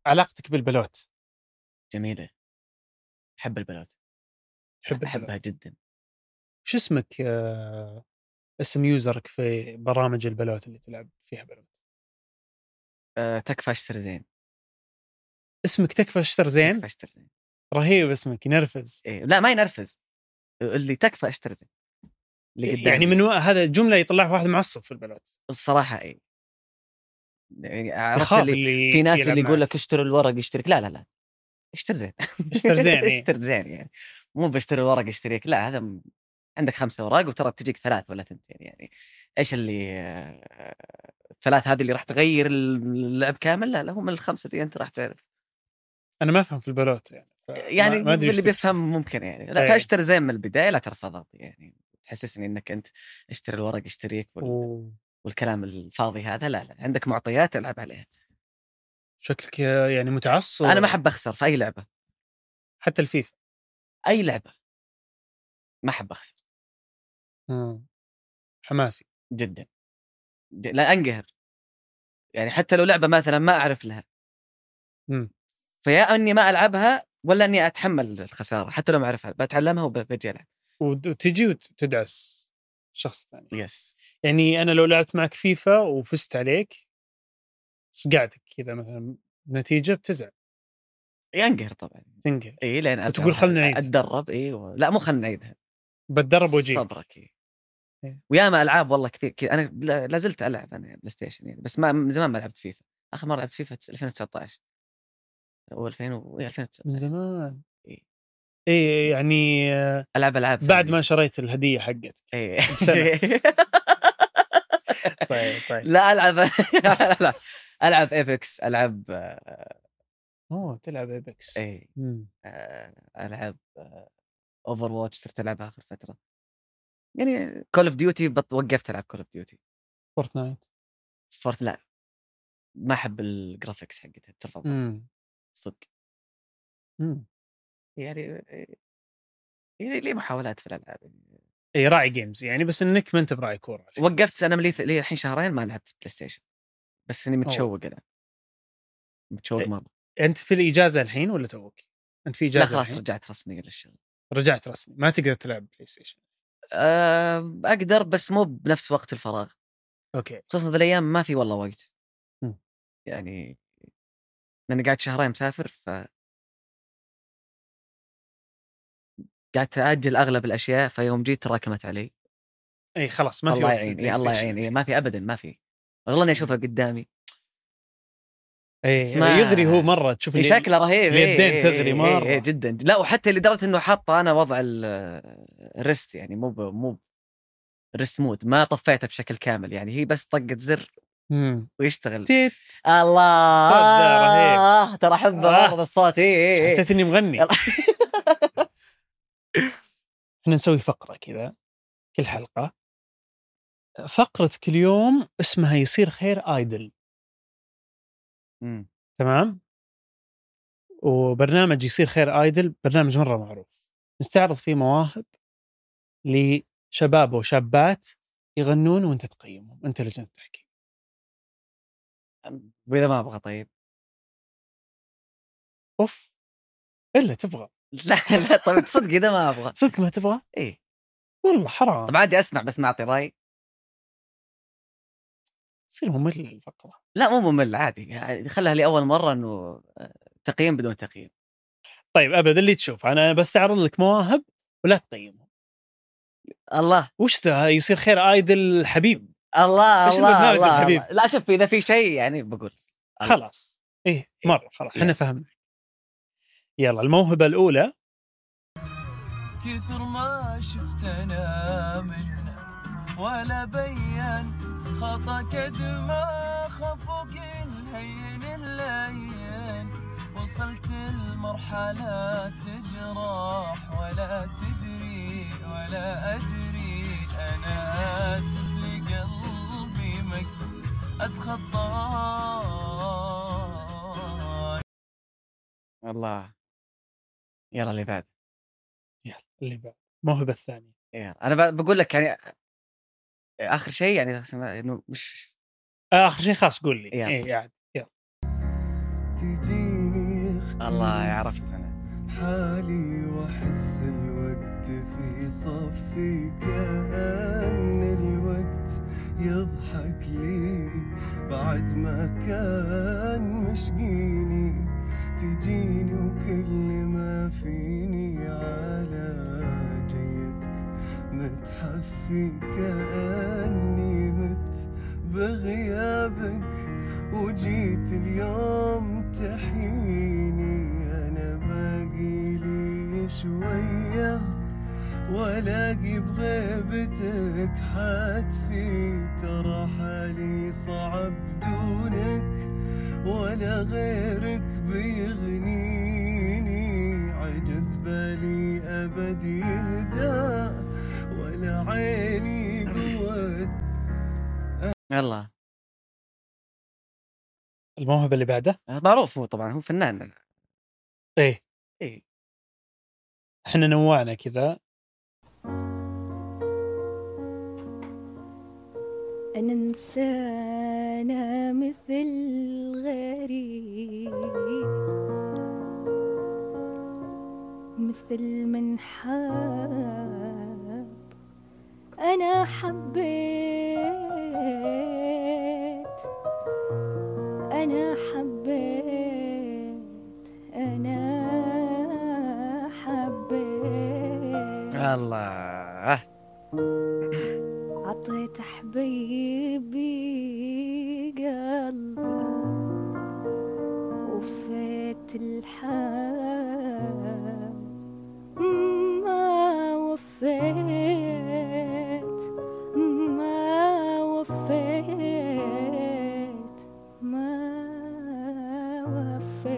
[SPEAKER 1] علاقتك بالبلوت
[SPEAKER 2] جميله احب البلوت
[SPEAKER 1] تحب البلوت.
[SPEAKER 2] احبها جدا
[SPEAKER 1] شو اسمك آه، اسم يوزرك في برامج البلوت اللي تلعب فيها بلوت
[SPEAKER 2] أه تكفى اشتر زين
[SPEAKER 1] اسمك تكفى اشتر زين
[SPEAKER 2] تكفى اشتر زين
[SPEAKER 1] رهيب اسمك ينرفز
[SPEAKER 2] إيه. لا ما ينرفز اللي تكفى اشتر زين اللي قدامي
[SPEAKER 1] يعني من و... هذا الجمله يطلعها واحد معصب في البلوت
[SPEAKER 2] الصراحه اي إيه. يعني عرفت
[SPEAKER 1] يخاف
[SPEAKER 2] اللي
[SPEAKER 1] اللي
[SPEAKER 2] في ناس
[SPEAKER 1] يلعب
[SPEAKER 2] اللي يقول
[SPEAKER 1] معك.
[SPEAKER 2] لك اشتري الورق اشترك لا لا لا اشتر زين
[SPEAKER 1] اشتر زين إيه.
[SPEAKER 2] اشتر زين يعني مو بشتري الورق اشتريك لا هذا م... عندك خمسة اوراق وترى بتجيك ثلاث ولا ثنتين يعني ايش اللي آه، الثلاث هذه اللي راح تغير اللعب كامل لا لا هم الخمسه اللي انت راح تعرف
[SPEAKER 1] انا ما افهم في البلوت يعني ف-
[SPEAKER 2] يعني
[SPEAKER 1] ما- ما أدري إيش
[SPEAKER 2] اللي
[SPEAKER 1] تقصد. إيه.
[SPEAKER 2] بيفهم ممكن يعني
[SPEAKER 1] أي.
[SPEAKER 2] لا فاشتر زين من البدايه لا ترفض يعني تحسسني انك انت اشتري الورق اشتريك وال...
[SPEAKER 1] أوه،
[SPEAKER 2] والكلام الفاضي هذا لا لا عندك معطيات العب عليها
[SPEAKER 1] شكلك آه، يعني متعصب
[SPEAKER 2] انا ما احب اخسر في اي لعبه
[SPEAKER 1] حتى الفيفا
[SPEAKER 2] اي لعبه ما احب اخسر
[SPEAKER 1] مم. حماسي
[SPEAKER 2] جدا ج- لا انقهر يعني حتى لو لعبه مثلا ما اعرف لها
[SPEAKER 1] مم.
[SPEAKER 2] فيا اني ما العبها ولا اني اتحمل الخساره حتى لو ما اعرفها بتعلمها وبجي العب
[SPEAKER 1] وت- وتجي وتدعس الشخص الثاني
[SPEAKER 2] يس
[SPEAKER 1] يعني انا لو لعبت معك فيفا وفزت عليك صقعتك كذا مثلا نتيجه بتزعل
[SPEAKER 2] ينقهر طبعا
[SPEAKER 1] تنقل
[SPEAKER 2] اي لين أرجع
[SPEAKER 1] وتقول خلنا نعيدها.
[SPEAKER 2] اتدرب اي و... لا مو خلنا نعيدها
[SPEAKER 1] بتدرب واجيك
[SPEAKER 2] صبرك إيه.
[SPEAKER 1] إيه.
[SPEAKER 2] وياما العاب والله كثير كذا انا لا- لا زلت العب انا بلاي ستيشن يعني بس ما من زمان ما لعبت فيفا اخر مره لعبت فيفا 2019 او 2000 و إيه، 2019
[SPEAKER 1] من زمان
[SPEAKER 2] إي.
[SPEAKER 1] اي يعني آه،
[SPEAKER 2] العب العاب
[SPEAKER 1] بعد ما شريت الهديه حقتك
[SPEAKER 2] إيه.
[SPEAKER 1] بسنة. طيب طيب
[SPEAKER 2] لا العب لا لا العب ايبكس العب آه،
[SPEAKER 1] اوه تلعب ايبكس
[SPEAKER 2] اي
[SPEAKER 1] مم.
[SPEAKER 2] آه، العب اوفر واتش صرت العبها اخر فتره يعني كول اوف ديوتي بط... وقفت العب كول اوف ديوتي
[SPEAKER 1] فورتنايت
[SPEAKER 2] فورت لا ما احب الجرافيكس حقتها ترفض
[SPEAKER 1] مم.
[SPEAKER 2] صدق
[SPEAKER 1] مم.
[SPEAKER 2] يعني يعني لي محاولات في الالعاب
[SPEAKER 1] إيه.
[SPEAKER 2] يعني
[SPEAKER 1] اي راعي جيمز يعني بس انك ما انت براعي كوره
[SPEAKER 2] وقفت انا لي لي الحين شهرين ما لعبت بلاي ستيشن بس اني متشوق انا متشوق
[SPEAKER 1] إيه.
[SPEAKER 2] مره
[SPEAKER 1] انت في الاجازه الحين ولا توك؟ انت في
[SPEAKER 2] لا
[SPEAKER 1] اجازه
[SPEAKER 2] خلاص
[SPEAKER 1] الحين؟
[SPEAKER 2] رجعت رسميا للشغل
[SPEAKER 1] رجعت رسمي ما تقدر تلعب بلاي ستيشن
[SPEAKER 2] أه اقدر بس مو بنفس وقت الفراغ
[SPEAKER 1] اوكي
[SPEAKER 2] خصوصا ذي الايام ما في والله وقت
[SPEAKER 1] مم.
[SPEAKER 2] يعني لاني قاعد شهرين مسافر ف قعدت اجل اغلب الاشياء فيوم جيت تراكمت علي
[SPEAKER 1] اي إيه، خلاص ما في
[SPEAKER 2] الله
[SPEAKER 1] وقت إمم.
[SPEAKER 2] يعين
[SPEAKER 1] للبلاي
[SPEAKER 2] إيه، الله
[SPEAKER 1] ستيشن.
[SPEAKER 2] يعين إيه، ما في ابدا ما في والله اني اشوفها قدامي
[SPEAKER 1] إيه.
[SPEAKER 2] اسمع.
[SPEAKER 1] يغري هو مره تشوف
[SPEAKER 2] إيه،
[SPEAKER 1] اللي-
[SPEAKER 2] شكله رهيب إيه،
[SPEAKER 1] اليدين
[SPEAKER 2] إيه،
[SPEAKER 1] تغري
[SPEAKER 2] إيه،
[SPEAKER 1] مرة.
[SPEAKER 2] إيه، جدا لا وحتى لدرجه انه حاطه انا وضع ال- الريست يعني مو ب- مو ب- ريست مود ما طفيته بشكل كامل يعني هي بس طقت زر
[SPEAKER 1] مم.
[SPEAKER 2] ويشتغل
[SPEAKER 1] تيت.
[SPEAKER 2] الله
[SPEAKER 1] الصوت ذا رهيب.
[SPEAKER 2] آه، ترى احبه
[SPEAKER 1] آه.
[SPEAKER 2] مره ذا الصوت إيه، إيه، إيه.
[SPEAKER 1] حسيت اني مغني
[SPEAKER 2] يلا.
[SPEAKER 1] احنا نسوي فقره كذا كل حلقه فقرتك اليوم اسمها يصير خير ايدل
[SPEAKER 2] مم.
[SPEAKER 1] تمام وبرنامج يصير خير ايدل برنامج مره معروف نستعرض فيه مواهب لشباب وشابات يغنون وانت تقيمهم انت لجنه التحكيم
[SPEAKER 2] واذا ما ابغى طيب
[SPEAKER 1] اوف الا تبغى
[SPEAKER 2] لا لا طيب تصدق اذا ما ابغى
[SPEAKER 1] صدق ما تبغى إيه.
[SPEAKER 2] ايه
[SPEAKER 1] والله حرام
[SPEAKER 2] طب عادي اسمع بس ما اعطي راي
[SPEAKER 1] تصير ممل الفقره
[SPEAKER 2] لا مو ممل عادي عادي، خلها لي اول مره انه آه، تقييم بدون تقييم
[SPEAKER 1] طيب ابد اللي تشوف انا بستعرض لك مواهب ولا تقيمهم
[SPEAKER 2] الله
[SPEAKER 1] وش ذا يصير خير ايدل حبيب
[SPEAKER 2] الله
[SPEAKER 1] إيش
[SPEAKER 2] الله
[SPEAKER 1] البرنامج
[SPEAKER 2] الله,
[SPEAKER 1] الحبيب؟
[SPEAKER 2] الله لا شوف اذا في شيء يعني بقول الله.
[SPEAKER 1] خلاص ايه
[SPEAKER 2] إيه.
[SPEAKER 1] مره خلاص احنا فهمنا يلا الموهبه الاولى
[SPEAKER 4] كثر ما شفت انا منه ولا بين خطا قد ما خفوك الهين اللين وصلت المرحلة تجراح ولا تدري ولا أدري أنا آسف لقلبي مك أتخطاه
[SPEAKER 2] الله يلا اللي بعد
[SPEAKER 1] يلا اللي بعد الموهبه الثانيه
[SPEAKER 2] يلا انا ب- بقول لك يعني اخر شيء يعني انه مش
[SPEAKER 1] اخر آه، شيء خلاص قول لي
[SPEAKER 2] يلا.
[SPEAKER 1] ايه يعني
[SPEAKER 4] تجيني اختي
[SPEAKER 2] الله عرفت انا
[SPEAKER 4] حالي واحس الوقت في صفي كأن الوقت يضحك لي بعد ما كان مشقيني تجيني وكل ما فيني على جيتك متحفي كأني مت بغيابك وجيت اليوم تحييني انا باقي لي شويه والاقي بغيبتك حتفي ترى حالي صعب دونك ولا غيرك بيغنيني عجز بالي ابد يهدى ولا عيني قوة
[SPEAKER 2] يلا
[SPEAKER 1] الموهبه اللي بعدها
[SPEAKER 2] معروف هو طبعا هو فنان
[SPEAKER 1] ايه
[SPEAKER 2] إيه.
[SPEAKER 1] احنا نوعنا كذا
[SPEAKER 5] أنا إنسانة مثل غيري مثل من حاب أنا حبيت أنا حبيت أنا
[SPEAKER 2] آه.
[SPEAKER 5] حبيت
[SPEAKER 2] الله
[SPEAKER 5] عطيت حبيبي قلبي الحال ما وفيت ما وفيت ما وفيت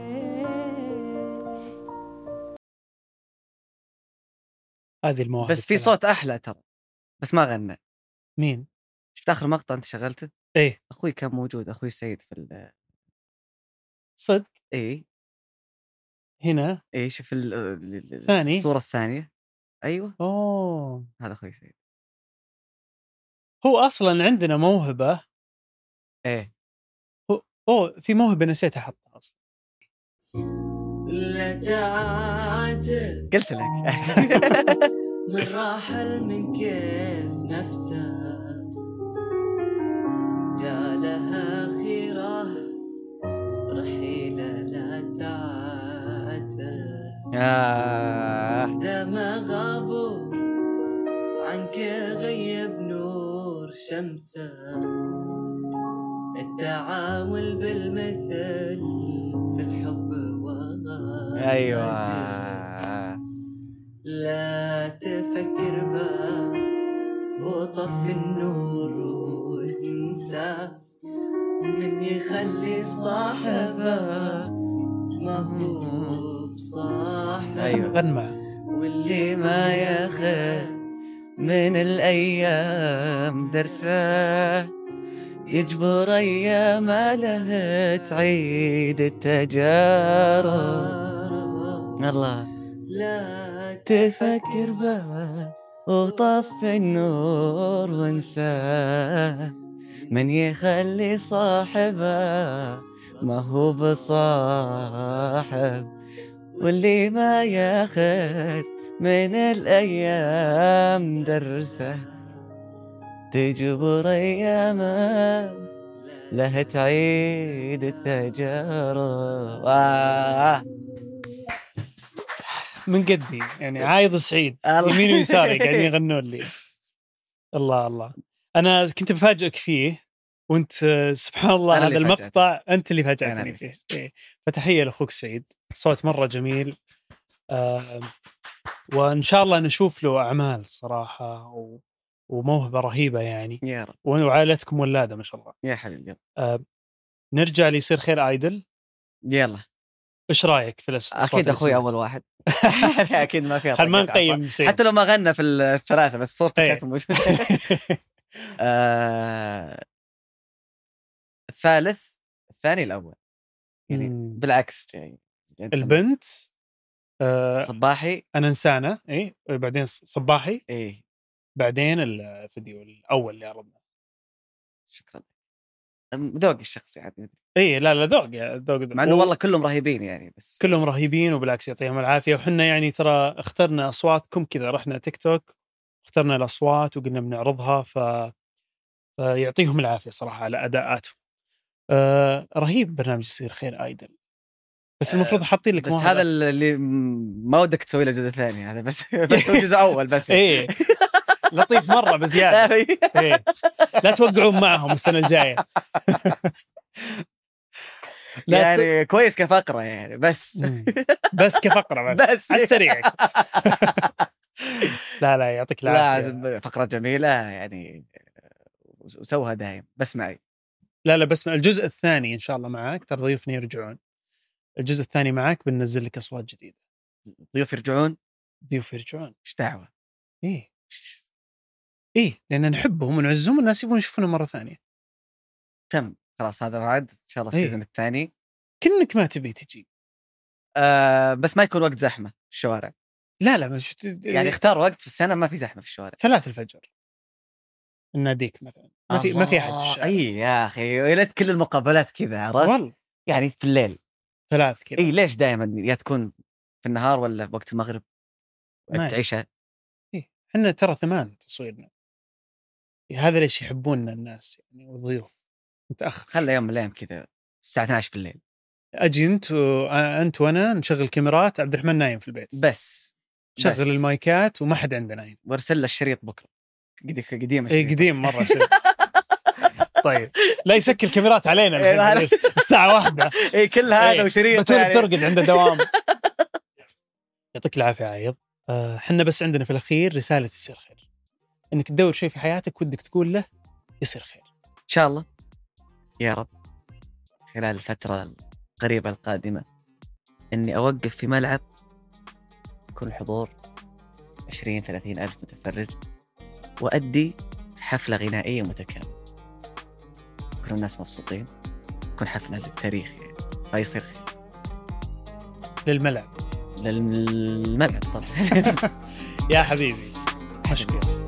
[SPEAKER 1] هذه المواهب
[SPEAKER 2] بس في
[SPEAKER 1] الثلاث.
[SPEAKER 2] صوت احلى ترى بس ما غنى
[SPEAKER 1] مين؟
[SPEAKER 2] شفت اخر مقطع انت شغلته؟
[SPEAKER 1] إيه.
[SPEAKER 2] اخوي كان موجود اخوي سعيد في ال
[SPEAKER 1] صدق
[SPEAKER 2] اي
[SPEAKER 1] هنا
[SPEAKER 2] اي إيه، شوف ال- ال- ال-
[SPEAKER 1] ثاني.
[SPEAKER 2] الصوره الثانيه ايوه
[SPEAKER 1] اوه
[SPEAKER 2] هذا اخوي سعيد
[SPEAKER 1] هو اصلا عندنا موهبه إيه.
[SPEAKER 2] ايه
[SPEAKER 1] اوه في موهبه نسيت احطها اصلا
[SPEAKER 6] لجعت
[SPEAKER 2] قلت لك
[SPEAKER 6] من راحل من كيف نفسه جالها خيره رحيله لا تعاتب
[SPEAKER 2] آه.
[SPEAKER 6] دام غابوا عنك غيب نور شمسه التعامل بالمثل في الحب وغايته
[SPEAKER 2] ايوه
[SPEAKER 6] لا تفكر بقى وطفي النور وانسى من يخلي صاحبه ما هو بصاحبه
[SPEAKER 2] أيوة.
[SPEAKER 1] غن معه
[SPEAKER 6] واللي
[SPEAKER 2] اللي ما ياخذ من الايام درسه يجبر ايام له تعيد التجارب الله
[SPEAKER 6] لا
[SPEAKER 2] تفكر بها وطفي النور وانساه من يخلي صاحبه ما هو بصاحب واللي ما ياخذ من الأيام درسه تجبر أيامه له تعيد التجارب آه.
[SPEAKER 1] من قدي يعني عايض وسعيد
[SPEAKER 2] الله.
[SPEAKER 1] يمين ويساري قاعدين يغنون لي الله الله انا كنت بفاجئك فيه وانت آه، سبحان الله
[SPEAKER 2] أنا
[SPEAKER 1] هذا
[SPEAKER 2] اللي
[SPEAKER 1] المقطع انت اللي
[SPEAKER 2] أنا
[SPEAKER 1] فاجأتني
[SPEAKER 2] اللي
[SPEAKER 1] فيه إيه. فتحيه لاخوك سعيد صوت مره جميل آه وان شاء الله نشوف له اعمال صراحه و... وموهبه رهيبه يعني
[SPEAKER 2] يا رب
[SPEAKER 1] وعائلتكم ولاده ما شاء الله
[SPEAKER 2] يا حبيبي
[SPEAKER 1] نرجع ليصير خير ايدل
[SPEAKER 2] يلا
[SPEAKER 1] ايش رايك في الأس...
[SPEAKER 2] اكيد اخوي اول واحد اكيد ما في
[SPEAKER 1] خل ما
[SPEAKER 2] أعطاك أصلاً.
[SPEAKER 1] نقيم سعيد
[SPEAKER 2] حتى لو ما غنى في الثلاثه بس صورته
[SPEAKER 1] إيه.
[SPEAKER 2] كانت موجوده آه، الثالث الثاني الاول يعني
[SPEAKER 1] مم.
[SPEAKER 2] بالعكس يعني يعني
[SPEAKER 1] البنت آه
[SPEAKER 2] صباحي
[SPEAKER 1] انا انسانه اي بعدين ص- صباحي
[SPEAKER 2] ايه
[SPEAKER 1] بعدين الفيديو الاول اللي عرضناه
[SPEAKER 2] شكرا أم، ذوقي الشخصي عاد مدري.
[SPEAKER 1] اي إيه، لا لا ذوق يا- ذوق
[SPEAKER 2] مع انه والله كلهم رهيبين يعني بس
[SPEAKER 1] كلهم رهيبين وبالعكس يعطيهم العافيه وحنا يعني ترى اخترنا اصواتكم كذا رحنا تيك توك اخترنا الاصوات وقلنا بنعرضها ف فيعطيهم العافيه صراحه على اداءاتهم آه رهيب برنامج يصير خير ايدل بس المفروض حاطين لك
[SPEAKER 2] آه، بس
[SPEAKER 1] موهبة.
[SPEAKER 2] هذا اللي م- ما ودك تسوي له جزء ثاني هذا بس بس هو جزء اول بس يعني.
[SPEAKER 1] ايه لطيف مره بزياده إيه. لا توقعون معهم السنه الجايه لا ت-
[SPEAKER 2] يعني كويس كفقره يعني بس
[SPEAKER 1] مم. بس كفقره بس
[SPEAKER 2] بس
[SPEAKER 1] على السريع لا لا يعطيك العافيه
[SPEAKER 2] لا فقره جميله يعني وسوها دايم بس معي
[SPEAKER 1] لا لا بس الجزء الثاني ان شاء الله معاك ترى ضيوفنا يرجعون الجزء الثاني معاك بننزل لك اصوات جديده
[SPEAKER 2] ضيوف يرجعون
[SPEAKER 1] ضيوف يرجعون
[SPEAKER 2] ايش دعوه
[SPEAKER 1] ايه ايه لان نحبهم ونعزهم والناس يبون يشوفونا مره ثانيه
[SPEAKER 2] تم خلاص هذا وعد ان شاء الله
[SPEAKER 1] إيه.
[SPEAKER 2] السيزون الثاني
[SPEAKER 1] كأنك ما تبي تجي
[SPEAKER 2] آه بس ما يكون وقت زحمه في الشوارع
[SPEAKER 1] لا لا بس
[SPEAKER 2] يعني اختار وقت في السنه ما في زحمه في الشوارع
[SPEAKER 1] ثلاث الفجر ناديك مثلا ما في ما في احد في
[SPEAKER 2] الله.
[SPEAKER 1] الشارع.
[SPEAKER 2] اي يا اخي ويا ليت كل المقابلات كذا عرفت
[SPEAKER 1] والله
[SPEAKER 2] يعني في الليل
[SPEAKER 1] ثلاث كذا
[SPEAKER 2] اي ليش دائما يا تكون في النهار ولا في وقت المغرب
[SPEAKER 1] ما
[SPEAKER 2] وقت عشاء
[SPEAKER 1] احنا ترى ثمان تصويرنا هذا ليش يحبوننا الناس يعني والضيوف متاخر
[SPEAKER 2] خلى يوم من الايام كذا الساعه 12 في الليل
[SPEAKER 1] اجي انت و... انت وانا نشغل كاميرات عبد الرحمن نايم في البيت
[SPEAKER 2] بس بس.
[SPEAKER 1] شغل المايكات وما حد عندنا هنا
[SPEAKER 2] وارسل له الشريط بكره قد- قديم
[SPEAKER 1] اي
[SPEAKER 2] الشريط
[SPEAKER 1] قديم مره شيء طيب لا يسكر الكاميرات علينا
[SPEAKER 2] إيه،
[SPEAKER 1] الحين
[SPEAKER 2] هذا-
[SPEAKER 1] بس. الساعه واحدة
[SPEAKER 2] اي
[SPEAKER 1] إيه،
[SPEAKER 2] كل هذا وشريط
[SPEAKER 1] بتول
[SPEAKER 2] يعني.
[SPEAKER 1] بترقد عنده دوام يعطيك العافيه عايض آه، حنا بس عندنا في الاخير رساله يصير خير انك تدور شيء في حياتك ودك تقول له يصير خير
[SPEAKER 2] ان شاء الله يا رب خلال الفترة القريبة القادمة اني اوقف في ملعب يكون حضور 20 30 الف متفرج وادي حفلة غنائية متكاملة يكونوا الناس مبسوطين تكون حفلة للتاريخ يعني فيصير خير
[SPEAKER 1] للملعب
[SPEAKER 2] للملعب طبعا
[SPEAKER 1] يا حبيبي مشكور